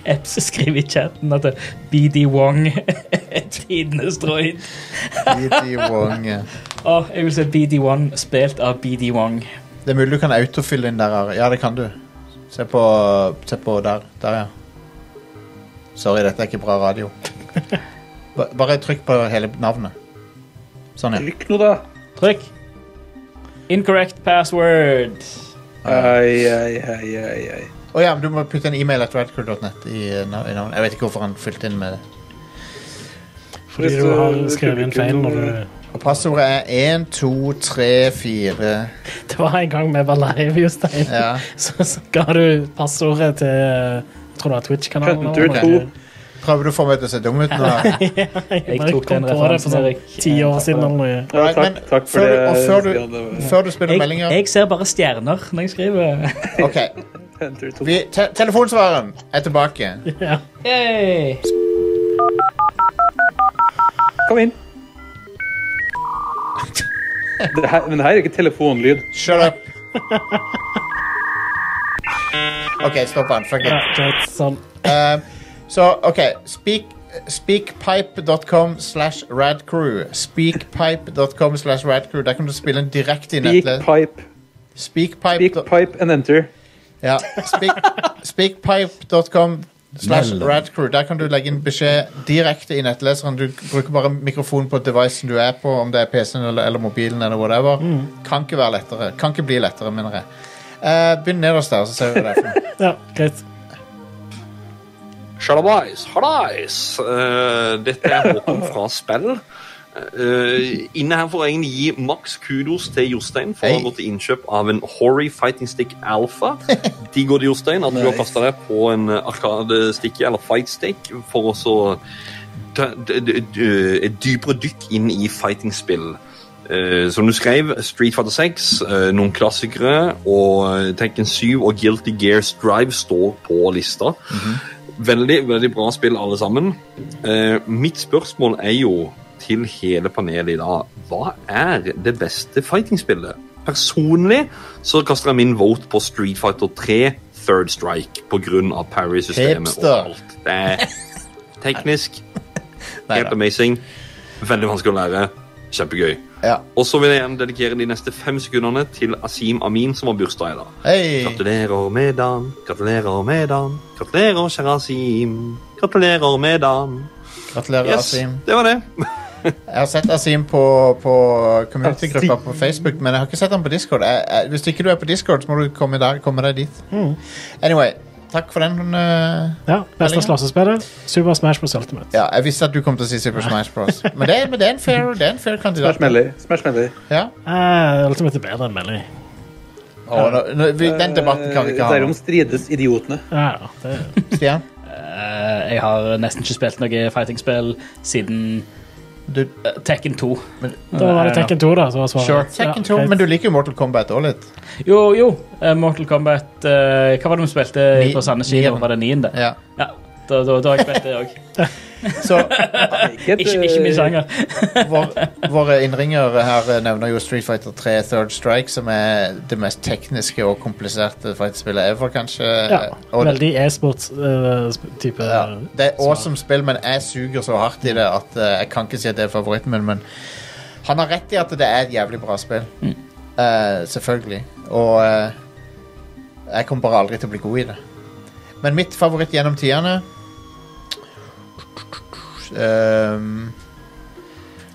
[SPEAKER 6] Eps skriver i chatten at BD Wong er tidenes droid.
[SPEAKER 5] BD Wong. ja.
[SPEAKER 6] Å, jeg vil se BD1 spilt av BD Wong.
[SPEAKER 5] Det er mulig du kan autofylle inn der. Are. Ja, det kan du. Se på, se på der. Der, ja. Sorry, dette er ikke bra radio. Ba- Bare trykk på hele navnet. Sånn, ja.
[SPEAKER 8] Trykk nå, da.
[SPEAKER 6] Trykk. Incorrect password.
[SPEAKER 8] Ai, ai, ai, ai, ai.
[SPEAKER 5] Å ja, men du må putte en e-mail at radcool.net i, eh, nav- i navnet. Jeg vet ikke hvorfor han fylte inn med det.
[SPEAKER 7] Fordi
[SPEAKER 8] Hvis
[SPEAKER 7] du har
[SPEAKER 8] du-
[SPEAKER 7] skrevet inn feil når du
[SPEAKER 5] Og passordet er 1, 2, 3, 4
[SPEAKER 7] Det var en gang vi var live, Jostein.
[SPEAKER 5] Ja.
[SPEAKER 7] Så, så ga du passordet til jeg tror det var Twitch-kanalen.
[SPEAKER 8] Hunter
[SPEAKER 7] eller noe.
[SPEAKER 8] 2.
[SPEAKER 5] Prøver du å få meg til å se dum ut nå?
[SPEAKER 6] Jeg
[SPEAKER 7] bare
[SPEAKER 6] tok
[SPEAKER 7] kom
[SPEAKER 6] den
[SPEAKER 7] på det
[SPEAKER 6] referansen,
[SPEAKER 7] for sånn
[SPEAKER 6] Erik.
[SPEAKER 7] Ti år siden eller noe.
[SPEAKER 8] Ja,
[SPEAKER 5] Alright,
[SPEAKER 8] takk,
[SPEAKER 5] men
[SPEAKER 8] takk for
[SPEAKER 5] før
[SPEAKER 8] det.
[SPEAKER 5] du- og før du-
[SPEAKER 8] Stian, det var-
[SPEAKER 5] Før du spiller
[SPEAKER 6] Jeg,
[SPEAKER 5] meldinger
[SPEAKER 6] jeg ser bare stjerner når jeg skriver.
[SPEAKER 5] OK.
[SPEAKER 8] Hunter 2.
[SPEAKER 5] Vi, te telefonsvareren er tilbake.
[SPEAKER 7] Ja.
[SPEAKER 6] Yay.
[SPEAKER 8] Kom inn. Det her, men det her er ikke telefonlyd.
[SPEAKER 5] Shut up. OK, stopp han. Fuck it.
[SPEAKER 7] Ja, det er sånn.
[SPEAKER 5] Eh, Så, ok speak, Speakpipe.com slash radcrew Speakpipe.com slash radcrew Der kan du spille en direkte i
[SPEAKER 8] Speak
[SPEAKER 5] nettet
[SPEAKER 8] pipe. Speak
[SPEAKER 5] Speakpipe
[SPEAKER 8] pipe and enter.
[SPEAKER 5] ja, speak, Speakpipe.com slash radcrew Der kan du legge inn beskjed direkte i nettleseren Du bruker bare mikrofonen på devicen du er på Om det er PC-en eller, eller mobilen eller whatever Kan ikke være lettere Kan ikke bli lettere, mener jeg Eh, Begynn nederst der, så ser vi hva det er for noe.
[SPEAKER 7] Ja, greit.
[SPEAKER 12] Shalabais, halais. Eh, dette er Håkon fra spill. Eh, inne her får jeg egentlig gi maks kudos til Jostein for å
[SPEAKER 5] Hei.
[SPEAKER 12] ha gått til innkjøp av en Horry Fighting Stick Alpha. Digg av deg, Jostein, at du har kasta deg på en eh, arkadestikke eller fight stick for å så ta d- d- d- et dypere dykk inn i fightingspill. Eh, som du skrev, Street Fighter 6, eh, noen klassikere, og eh, Tekken 7 og Guilty Gears Drive står på lista. Veldig, veldig bra spill alle sammen. Eh, mitt spørsmål er jo til hele panelet i dag Hva er det beste fightingspillet? Personlig så kaster jeg min vote på Street Fighter 3 third strike pga. parry-systemet og
[SPEAKER 5] Hipster.
[SPEAKER 12] alt. Det er Eh, teknisk helt amazing. Veldig vanskelig å lære. Kjempegøy.
[SPEAKER 5] Ja.
[SPEAKER 12] Og så vil jeg gjerne dedikere de neste fem sekundene til Asim Amin, som har bursdag i dag.
[SPEAKER 5] Hei.
[SPEAKER 12] Gratulerer med dagen, gratulerer med dagen. Gratulerer, kjære Asim. Gratulerer med dagen.
[SPEAKER 5] Gratulerer,
[SPEAKER 12] Yes,
[SPEAKER 5] Asim.
[SPEAKER 12] det var det.
[SPEAKER 5] Jeg har sett Asim på, på community-gruppa på Facebook, men jeg har ikke sett ham på Discord. Jeg, jeg, hvis ikke du er på Discord, så må du komme, der, komme deg dit. Anyway, takk for den. eh,
[SPEAKER 7] Ja, Beste
[SPEAKER 5] meldingen.
[SPEAKER 7] slåssespillet? Super Smash Bros. Ultimate.
[SPEAKER 5] Ja, jeg visste at du kom til å si Super Smash Bros. Men det, men det er en fair, det er en fair kandidat.
[SPEAKER 7] Smash Melee.
[SPEAKER 8] Smash Melee.
[SPEAKER 5] Ja.
[SPEAKER 7] Eh, Ultimate er bedre enn Melly.
[SPEAKER 5] Å, nå- nå- vi- den debatten kan vi ikke ha.
[SPEAKER 8] Eh, Derom strides idiotene.
[SPEAKER 7] Ja, ja, det
[SPEAKER 5] Stian?
[SPEAKER 6] Eh, jeg har nesten ikke spilt noe fighting-spill siden
[SPEAKER 5] eh,
[SPEAKER 6] Tekken Eh, 2.
[SPEAKER 7] Da var det Tekken 2, da. som var svaret.
[SPEAKER 6] Sure.
[SPEAKER 5] Tekken
[SPEAKER 6] Ja,
[SPEAKER 5] 2,
[SPEAKER 6] greit.
[SPEAKER 5] men du liker jo Mortal Kombat òg litt.
[SPEAKER 6] Jo, jo. eh, Mortal Kombat eh, Hva var det vi spilte på Sandnes kino? Var det niende?
[SPEAKER 5] Ja.
[SPEAKER 6] Da, da, da har jeg spilt det òg.
[SPEAKER 5] Så
[SPEAKER 6] ikke, ikke min sjanger.
[SPEAKER 5] Vår, våre innringere her eh, nevner jo Street Fighter 3 Third Strike, som er det mest tekniske og kompliserte fightspillet ever, kanskje.
[SPEAKER 7] Ja,
[SPEAKER 6] Eh,
[SPEAKER 5] og det,
[SPEAKER 7] veldig eh, e-sports-type.
[SPEAKER 5] det er awesome spill, men jeg suger så hardt i det at eh, jeg kan ikke si at det er favoritten min, men han har rett i at det er et jævlig bra spill.
[SPEAKER 7] Mm.
[SPEAKER 5] Eh, selvfølgelig. Og eh, jeg kommer bare aldri til å bli god i det. Men mitt favoritt gjennom tidene Ehm,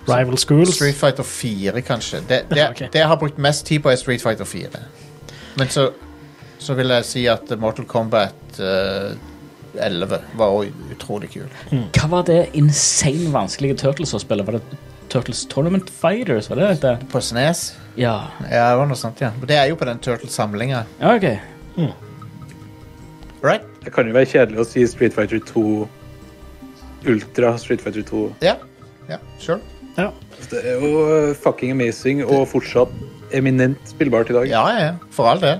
[SPEAKER 7] Rival Schools.
[SPEAKER 5] Street Fighter 4, kanskje. Det, det, det jeg har brukt mest tid på, er Street Fighter 4. Men så, så vil jeg si at Mortal Kombat eh, 11 var også utrolig kul.
[SPEAKER 6] Hva var det insane vanskelige Turtles å spille? Var det Turtles Tournament Fighters? Var det det?
[SPEAKER 5] På Snes?
[SPEAKER 6] Ja.
[SPEAKER 5] Ja, det var noe sånt, ja. Men Det er jo på den Turtle-samlinga.
[SPEAKER 6] ja ok.
[SPEAKER 5] Right?
[SPEAKER 8] eh, Det kan jo være kjedelig å si Street Fighter 2 Ultra Street Fighter 2.
[SPEAKER 5] Ja. ja, sure.
[SPEAKER 8] Det er jo eh, fucking amazing og fortsatt eminent spillbart i dag.
[SPEAKER 5] Ja, ja, ja. For all del.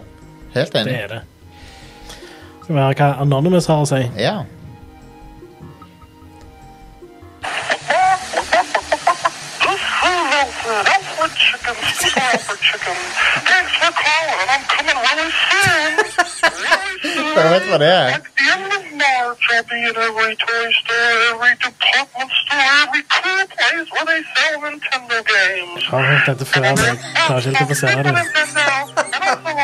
[SPEAKER 5] Helt enig.
[SPEAKER 7] Det er det. Skal vi høre hva Anonymous har å si?
[SPEAKER 5] Ja. Dere vet hva det er?
[SPEAKER 7] Har hørt dette før, men jeg klarer ikke helt å plassere det.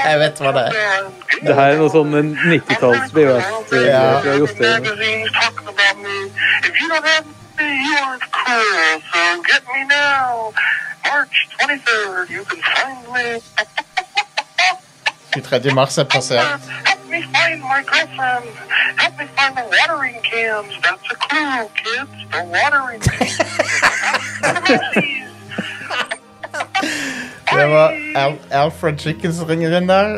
[SPEAKER 5] Jeg vet hva det
[SPEAKER 8] er. Det her er noe sånn 90-talls VHS eh,
[SPEAKER 5] Ja.
[SPEAKER 8] fra Jostein.
[SPEAKER 4] Finally,
[SPEAKER 5] 23. mars er
[SPEAKER 4] uh,
[SPEAKER 5] passert.
[SPEAKER 4] help me find my girlfriend. Help me find the watering cans. That's a clue, kids. The watering cans.
[SPEAKER 5] Det var Al Alfred Chicken som ringer inn der.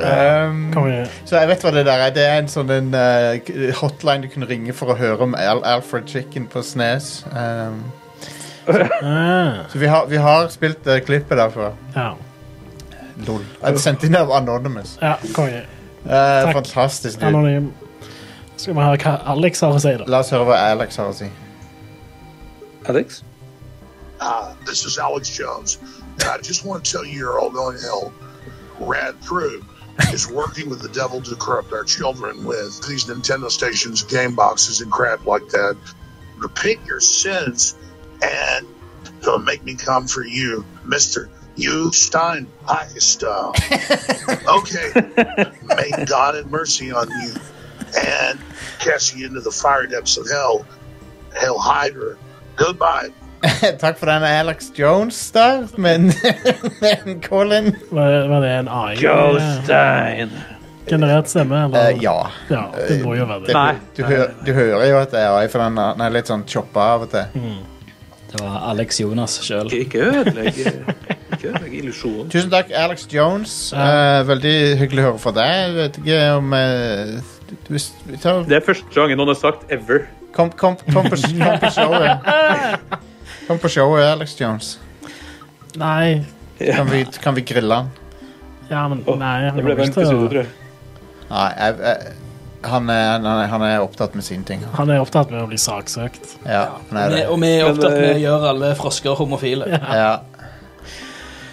[SPEAKER 5] Um,
[SPEAKER 7] Kom igjen.
[SPEAKER 5] så jeg vet hva det der er. Det er en sånn en, eh, k- hotline du kunne ringe for å høre om Al Alfred Chicken på Snes. Um,
[SPEAKER 7] Ah,
[SPEAKER 5] så vi har, vi har spilt eh, klippet derfra.
[SPEAKER 7] ja.
[SPEAKER 5] Lol. Jeg sendte inn av Anonymous.
[SPEAKER 7] ja, konge.
[SPEAKER 5] Eh,
[SPEAKER 7] Takk.
[SPEAKER 5] fantastisk. dude.
[SPEAKER 7] Anonym. Skal vi høre hva Alex har å si, da?
[SPEAKER 5] La oss høre hva Alex har å si.
[SPEAKER 8] Alex?
[SPEAKER 13] Hi, this is Alex Jones, and I just want to tell you your all-knowing hell rad crew is working with the devil to corrupt our children with these Nintendo stations, game boxes, and crap like that. Repent your sins, and he'll make me come for you, Mister. You Stein style. okay, may God have mercy on you, and cast you into the fire depths of hell, hell Hydra. Goodbye.
[SPEAKER 5] Takk for den Alex Jones der, men men Colin
[SPEAKER 7] Var, var det en AI?
[SPEAKER 8] Jostein!
[SPEAKER 7] Generert stemme, eller?
[SPEAKER 5] Eh, ja.
[SPEAKER 7] ja. Det må jo være det.
[SPEAKER 5] Nei. Du, hører, du hører jo at det er AI, for den er- den er litt sånn choppa av og til.
[SPEAKER 6] Det var Alex Jonas sjøl.
[SPEAKER 8] Ikke- Ikke ødelegg Ikke ødelegg illusjonen.
[SPEAKER 5] Tusen takk, Alex Jones. Eh, veldig hyggelig å høre fra deg. Jeg vet ikke om eh, du- hvis- vi tar-
[SPEAKER 8] Det er første gangen noen har sagt ever.
[SPEAKER 5] kom, kom, kom, på, kom på showet. Kom på showet, Alex Jones.
[SPEAKER 7] Nei.
[SPEAKER 5] Kan vi, kan vi grille han?
[SPEAKER 7] Ja, men nei. jeg
[SPEAKER 8] Det ble
[SPEAKER 7] kommer
[SPEAKER 8] varmt
[SPEAKER 7] ikke
[SPEAKER 8] i
[SPEAKER 7] til
[SPEAKER 8] studio,
[SPEAKER 7] å-
[SPEAKER 8] tror jeg.
[SPEAKER 5] Nei, jeg, jeg, han, er, han, er, han er opptatt med sine ting.
[SPEAKER 7] Han er opptatt med å bli saksøkt.
[SPEAKER 5] Ja, han er det.
[SPEAKER 6] Og vi er
[SPEAKER 8] Men,
[SPEAKER 6] opptatt med
[SPEAKER 8] eh,
[SPEAKER 6] å gjøre alle frosker homofile.
[SPEAKER 5] Ja.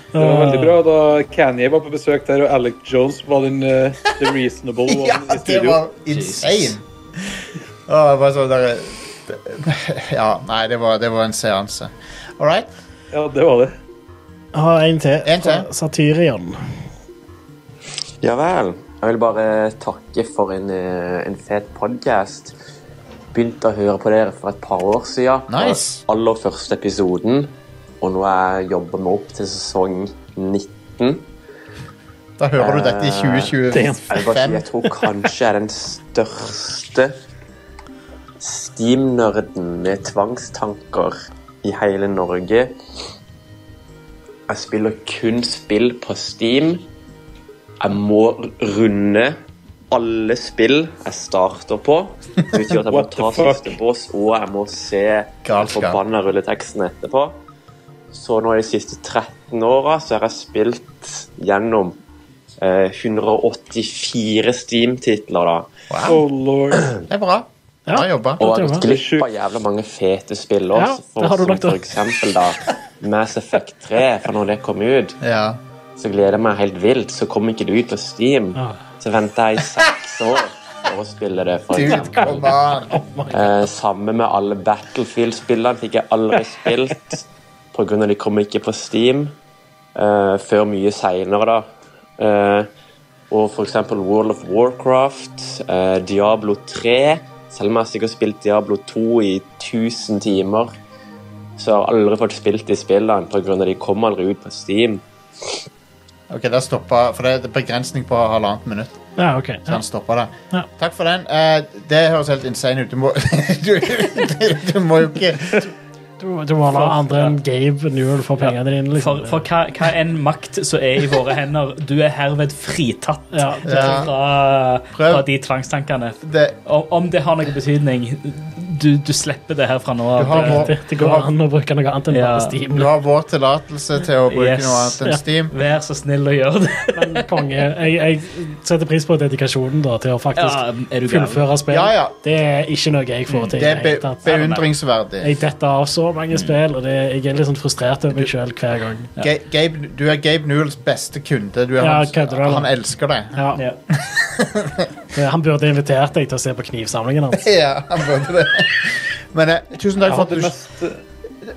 [SPEAKER 8] Det var veldig bra. Da Kanye var på besøk der, og Alec Jones var den eh, the reasonable one
[SPEAKER 5] Ja,
[SPEAKER 8] i
[SPEAKER 5] det
[SPEAKER 8] studio.
[SPEAKER 5] var insane! Åh, det var sånn der, ja, nei, det var, det var en seanse. All right.
[SPEAKER 8] Ja, det var det.
[SPEAKER 7] Jeg har en til. fra Satyrion.
[SPEAKER 14] Ja vel. Jeg vil bare takke for en, eh, en fet podkast. Begynte å høre på dere for et par år siden.
[SPEAKER 5] Nice.
[SPEAKER 14] Den aller første episoden. Og nå er jeg jobber meg opp til sesong 19.
[SPEAKER 5] Da hører du dette i
[SPEAKER 14] Eh,
[SPEAKER 5] 2025.
[SPEAKER 14] Jeg, vil bare si, jeg tror kanskje jeg er den største Steam-nerden med tvangstanker i hele Norge. Jeg spiller kun spill på Steam. Jeg må runde alle spill jeg starter på. Det betyr at jeg må
[SPEAKER 15] What the
[SPEAKER 14] ta
[SPEAKER 15] fuck?
[SPEAKER 14] siste boss, og jeg må se den
[SPEAKER 15] Galskap.
[SPEAKER 14] forbanna rulleteksten etterpå. Så nå i de siste 13 åra så har jeg spilt gjennom eh, 184 Steam-titler, da.
[SPEAKER 8] Oh lord.
[SPEAKER 5] Det er bra. Bra jobba.
[SPEAKER 14] Og jeg har gått glipp av jævla mange fete spill
[SPEAKER 5] Ja,
[SPEAKER 14] også.
[SPEAKER 5] det har
[SPEAKER 14] for,
[SPEAKER 5] du
[SPEAKER 14] som
[SPEAKER 5] nok da.
[SPEAKER 14] for eksempel da Mass Effect 3, for når det kom ut,
[SPEAKER 5] Ja.
[SPEAKER 14] så gleder jeg meg helt vilt. Så kom ikke det ut på Steam. Så venta jeg i seks år for å spille det, for
[SPEAKER 5] Dude,
[SPEAKER 14] eksempel.
[SPEAKER 5] come on!
[SPEAKER 14] Eh, sammen med alle Battlefield-spillene fikk jeg aldri spilt pga. de kom ikke på Steam eh, før mye seinere, da. Eh, og for eksempel World of Warcraft, eh, Diablo 3 Selv om jeg sikkert har spilt Diablo 2 i 1000 timer, så har jeg aldri fått spilt de spillene pga. de kom aldri ut på Steam.
[SPEAKER 5] Ok, der stoppa For det er begrensning på halvannet minutt.
[SPEAKER 7] Ja, ok.
[SPEAKER 5] Så han stoppa der.
[SPEAKER 7] Ja.
[SPEAKER 5] Takk for den. Eh, det høres helt insane ut. Du må, du, du, du må jo ikke
[SPEAKER 7] Du, du må la andre enn Gabe Newell få pengene dine. Liksom.
[SPEAKER 6] For, for hva, hva enn makt som er i våre hender, du er herved fritatt
[SPEAKER 7] Ja.
[SPEAKER 6] fra, fra de tvangstankene. Om, om det har noen betydning, du, du slipper det her fra nå
[SPEAKER 5] Du har
[SPEAKER 6] av.
[SPEAKER 5] vår-
[SPEAKER 6] Det-
[SPEAKER 7] Det går an å bruke noe annet enn
[SPEAKER 6] Ja.
[SPEAKER 7] bare Steam.
[SPEAKER 5] Du har vår tillatelse til å bruke
[SPEAKER 6] Yes.
[SPEAKER 5] noe annet enn
[SPEAKER 6] Ja.
[SPEAKER 5] Steam.
[SPEAKER 6] Vær så snill å gjøre det.
[SPEAKER 7] Men konge, jeg, jeg setter pris på dedikasjonen da,
[SPEAKER 6] Ja,
[SPEAKER 7] til å faktisk
[SPEAKER 6] er du gæren?
[SPEAKER 7] fullføre spill.
[SPEAKER 6] Ja, ja.
[SPEAKER 7] Det er ikke noe jeg får til. i
[SPEAKER 5] Det er
[SPEAKER 7] det
[SPEAKER 5] be
[SPEAKER 7] hele tatt.
[SPEAKER 5] beundringsverdig.
[SPEAKER 7] Jeg detter av så mange spill, og det, jeg er litt sånn frustrert over meg sjøl hver gang.
[SPEAKER 5] Ga- Gabe, du er Gabe Newells beste kunde. Du er
[SPEAKER 7] Ja,
[SPEAKER 5] hans-
[SPEAKER 7] kødder du,
[SPEAKER 5] han
[SPEAKER 7] eller?
[SPEAKER 5] elsker deg.
[SPEAKER 7] Ja. Det- Han burde invitert deg til å se på knivsamlingen hans.
[SPEAKER 5] Ja, han burde det. Men eh, tusen takk
[SPEAKER 8] Jeg
[SPEAKER 5] for at
[SPEAKER 8] hadde
[SPEAKER 5] du
[SPEAKER 8] mest,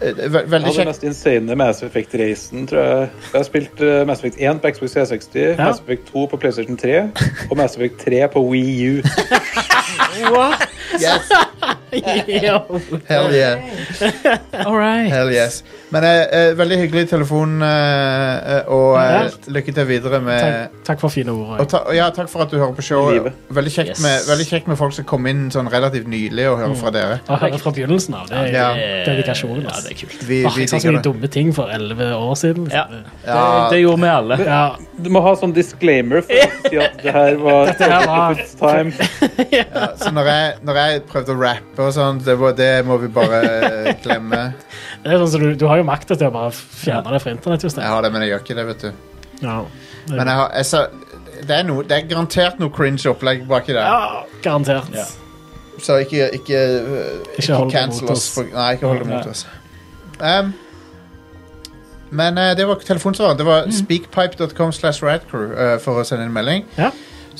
[SPEAKER 5] Eh, ve-
[SPEAKER 8] jeg
[SPEAKER 5] Veldig
[SPEAKER 8] hadde
[SPEAKER 5] kjekt.
[SPEAKER 8] mest insane Mass Effect-reisen, tror jeg. Jeg har spilt eh, Mass Effect 1 på Xbox 360, Mass Effect 2 på PlayStation 3 og Mass Effect 3 på Wii U.
[SPEAKER 5] Yes. Hell yeah.
[SPEAKER 7] All right.
[SPEAKER 5] Hell yes. Men eh, eh, veldig hyggelig telefon, eh, eh, og eh, lykke til videre med
[SPEAKER 7] Takk, takk for fine ord.
[SPEAKER 5] Og ta, og ja, takk for at du hører på showet. Veldig kjekt,
[SPEAKER 7] Yes.
[SPEAKER 5] med, veldig kjekt med folk som kom inn sånn relativt nylig og hører
[SPEAKER 7] Mm.
[SPEAKER 5] fra dere.
[SPEAKER 7] Jeg hører fra begynnelsen av. Det er
[SPEAKER 5] Ja.
[SPEAKER 7] dedikasjon.
[SPEAKER 6] Eh,
[SPEAKER 7] altså.
[SPEAKER 6] Ja,
[SPEAKER 7] ass.
[SPEAKER 6] det er kult.
[SPEAKER 5] Vi-
[SPEAKER 7] Åh,
[SPEAKER 5] vi
[SPEAKER 7] jeg sa så
[SPEAKER 5] digger
[SPEAKER 7] mye dumme ting for elleve år siden. liksom.
[SPEAKER 6] Det, det gjorde vi alle.
[SPEAKER 8] Du må ha sånn disclaimer for å si at det her var
[SPEAKER 7] Dette her var-
[SPEAKER 8] It's time.
[SPEAKER 5] Ja, så når jeg, når jeg prøvde å rappe og sånn, det, var- det må vi bare eh, glemme.
[SPEAKER 7] Det er sånn, som du, du har jo makta til å bare fjerne det fra internett. Just det.
[SPEAKER 5] Jeg har det, men jeg gjør ikke det, vet du.
[SPEAKER 7] Ja.
[SPEAKER 5] Men jeg har, jeg sa, det, er noe- det er garantert noe cringe opplegg baki der.
[SPEAKER 7] Ja, garantert.
[SPEAKER 5] Ja. Så ikke, ikke, øh, ikke,
[SPEAKER 7] hold det
[SPEAKER 5] cancel
[SPEAKER 7] mot
[SPEAKER 5] oss.
[SPEAKER 7] oss.
[SPEAKER 5] for- Nei, ikke hold det mot
[SPEAKER 7] Nei.
[SPEAKER 5] oss. Um, men eh, det var telefonsvaret. Det
[SPEAKER 7] Mm.
[SPEAKER 5] var speakpipe.com slash radcrew eh, for å sende en melding.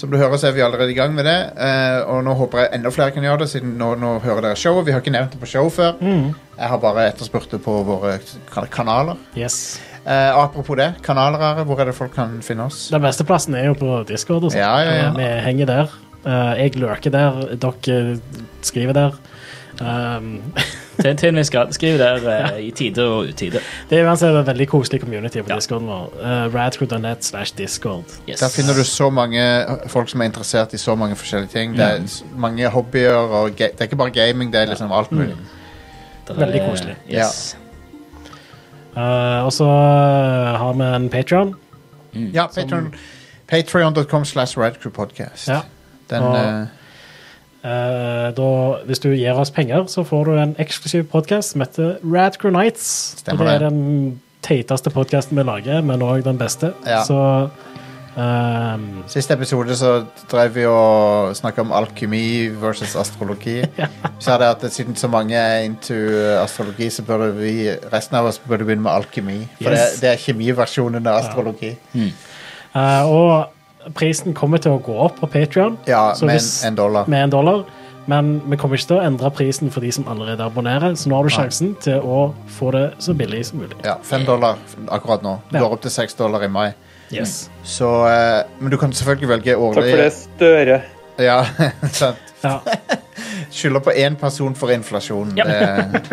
[SPEAKER 5] Som du hører, så er vi allerede i gang med det. eh, og nå håper jeg enda flere kan gjøre det, siden nå, nå hører dere showet. Vi har ikke nevnt det på show før.
[SPEAKER 7] Mm.
[SPEAKER 5] Jeg har bare etterspurt det på våre kan- kanaler.
[SPEAKER 7] Yes.
[SPEAKER 5] Eh, og apropos det, kanaler her, hvor er det folk kan finne oss?
[SPEAKER 7] Den beste plassen er jo på Discord. Og sånt.
[SPEAKER 5] Ja, ja, ja.
[SPEAKER 7] Vi henger der. Eh, jeg lurker der, dere eh, skriver der. Um,
[SPEAKER 6] Til, til en viss grad. Skriv der eh, i tide og utide.
[SPEAKER 7] det er uansett en veldig koselig community på Discorden vår. Uh, Radcrew.net slash Discord.
[SPEAKER 5] Der finner du så mange folk som er interessert i så mange forskjellige ting. Det er
[SPEAKER 7] Ja.
[SPEAKER 5] s- mange hobbyer, og ga- det er ikke bare gaming, det er liksom
[SPEAKER 7] Mm.
[SPEAKER 5] alt mulig.
[SPEAKER 6] Det er-
[SPEAKER 7] Veldig koselig.
[SPEAKER 6] Yes.
[SPEAKER 7] Eh, og så eh, har vi en Patreon. Mm.
[SPEAKER 5] Ja, Patreon- patreon.com slash radcrewpodcast.
[SPEAKER 7] Ja.
[SPEAKER 5] Den,
[SPEAKER 7] Og,
[SPEAKER 5] eh,
[SPEAKER 7] eh, da, hvis du gir oss penger, så får du en eksklusiv podkast som heter Radcrew Nights.
[SPEAKER 5] Stemmer
[SPEAKER 7] og det er
[SPEAKER 5] det.
[SPEAKER 7] den teiteste podkasten vi lager, men òg den beste.
[SPEAKER 5] Ja.
[SPEAKER 7] Så Um,
[SPEAKER 5] Siste episode så drev vi og snakka om alkymi versus astrologi. Vi sa det at siden så mange er into eh, astrologi, så burde vi resten av oss burde begynne med alkymi. For
[SPEAKER 7] Yes.
[SPEAKER 5] det, det er kjemiversjonen av astrologi.
[SPEAKER 7] Eh, og prisen kommer til å gå opp på Patreon
[SPEAKER 5] Ja,
[SPEAKER 7] så
[SPEAKER 5] med
[SPEAKER 7] hvis-
[SPEAKER 5] en- en dollar.
[SPEAKER 7] med en dollar. Men vi kommer ikke til å endre prisen for de som allerede abonnerer, så nå har du
[SPEAKER 5] Nei.
[SPEAKER 7] sjansen til å få det så billig som mulig.
[SPEAKER 5] Ja, Fem dollar akkurat nå.
[SPEAKER 7] Ja.
[SPEAKER 5] Går opp til seks dollar i mai.
[SPEAKER 7] Yes.
[SPEAKER 5] Så, eh, men du kan selvfølgelig velge årlig
[SPEAKER 8] Takk for det, Støre.
[SPEAKER 5] Ja, sant.
[SPEAKER 7] Ja.
[SPEAKER 5] Skylder på én person for inflasjonen.
[SPEAKER 7] Ja.
[SPEAKER 5] Det,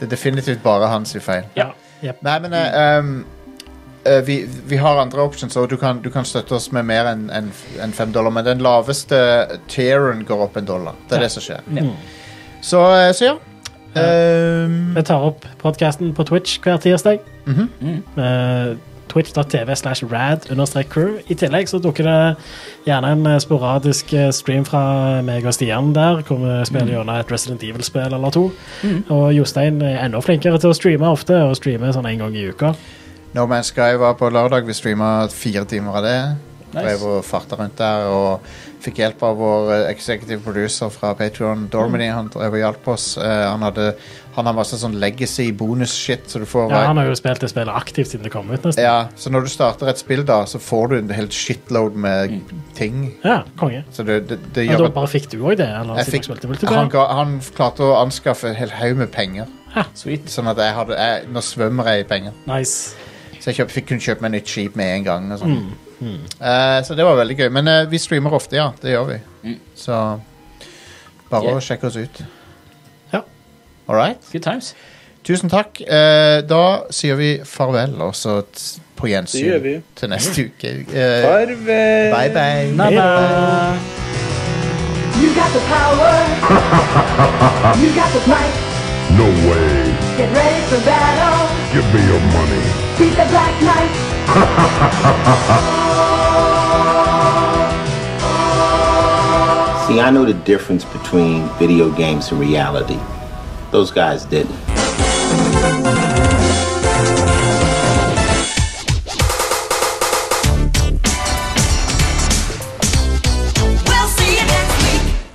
[SPEAKER 5] det er definitivt bare hans feil.
[SPEAKER 7] Ja.
[SPEAKER 5] Nei, men eh, um, eh, vi, vi har andre options, og du kan, du kan støtte oss med mer enn enn- enn fem dollar. Men den laveste tieren går opp en dollar. Det er det som skjer.
[SPEAKER 7] Ja.
[SPEAKER 5] Så, eh, så ja. Um,
[SPEAKER 7] Vi tar opp podkasten på Twitch hver tirsdag.
[SPEAKER 5] Mhm.
[SPEAKER 7] Eh, Twitch.tv slash rad understrek crew. I tillegg så dukker det gjerne en eh, sporadisk eh, stream fra meg og Stian der, hvor vi spiller gjennom et Resident Evil-spill eller to. Og Jostein er enda flinkere til å streame ofte, og streame sånn en gang i uka.
[SPEAKER 5] No Man's Sky var på lørdag. Vi streama fire timer av det.
[SPEAKER 7] Nice.
[SPEAKER 5] Drev og farta rundt der og fikk hjelp av vår eh, executive producer fra Patreon, Dormany. Han drev og hjalp oss. Eh, han, hadde, han har masse sånn legacy bonus-shit, så du får
[SPEAKER 7] Ja, han har jo spilt det spillet aktivt siden det kom ut, nesten.
[SPEAKER 5] Ja, så når du starter et spill, da, så får du en helt shitload med ting.
[SPEAKER 7] Mm. Ja, konge.
[SPEAKER 5] Så det, det, det
[SPEAKER 7] Ja, da
[SPEAKER 5] gjør at
[SPEAKER 7] bare fikk du òg det? Eller,
[SPEAKER 5] jeg
[SPEAKER 7] siden
[SPEAKER 5] fikk,
[SPEAKER 7] du spilte multiplayer?
[SPEAKER 5] han, ga, han klarte å anskaffe en hel haug med penger.
[SPEAKER 7] Ja.
[SPEAKER 5] Sånn at jeg hadde jeg, Nå svømmer jeg i penger.
[SPEAKER 7] Nice.
[SPEAKER 5] Så jeg kjøp, fikk, kunne kjøpe meg nytt skip med en gang. Og sånn.
[SPEAKER 7] Mm. Mm.
[SPEAKER 5] Eh, så det var veldig gøy. Men eh, vi streamer ofte, ja. Det gjør vi.
[SPEAKER 7] Mm.
[SPEAKER 5] Så bare
[SPEAKER 6] Yeah.
[SPEAKER 5] å sjekke oss ut.
[SPEAKER 7] Ja.
[SPEAKER 5] All right.
[SPEAKER 6] Good times.
[SPEAKER 5] Tusen takk. Eh, da sier vi farvel, og så t- på
[SPEAKER 8] Det gjør vi.
[SPEAKER 5] gjensyn til neste uke. Eh,
[SPEAKER 8] Farvel.
[SPEAKER 5] Bye bye.
[SPEAKER 4] You got the power. You got the might.
[SPEAKER 3] no way.
[SPEAKER 4] Get ready for battle.
[SPEAKER 3] Give me your money.
[SPEAKER 4] Beat the Black Knight.
[SPEAKER 15] See, I know the difference between video games and reality. Those guys didn't.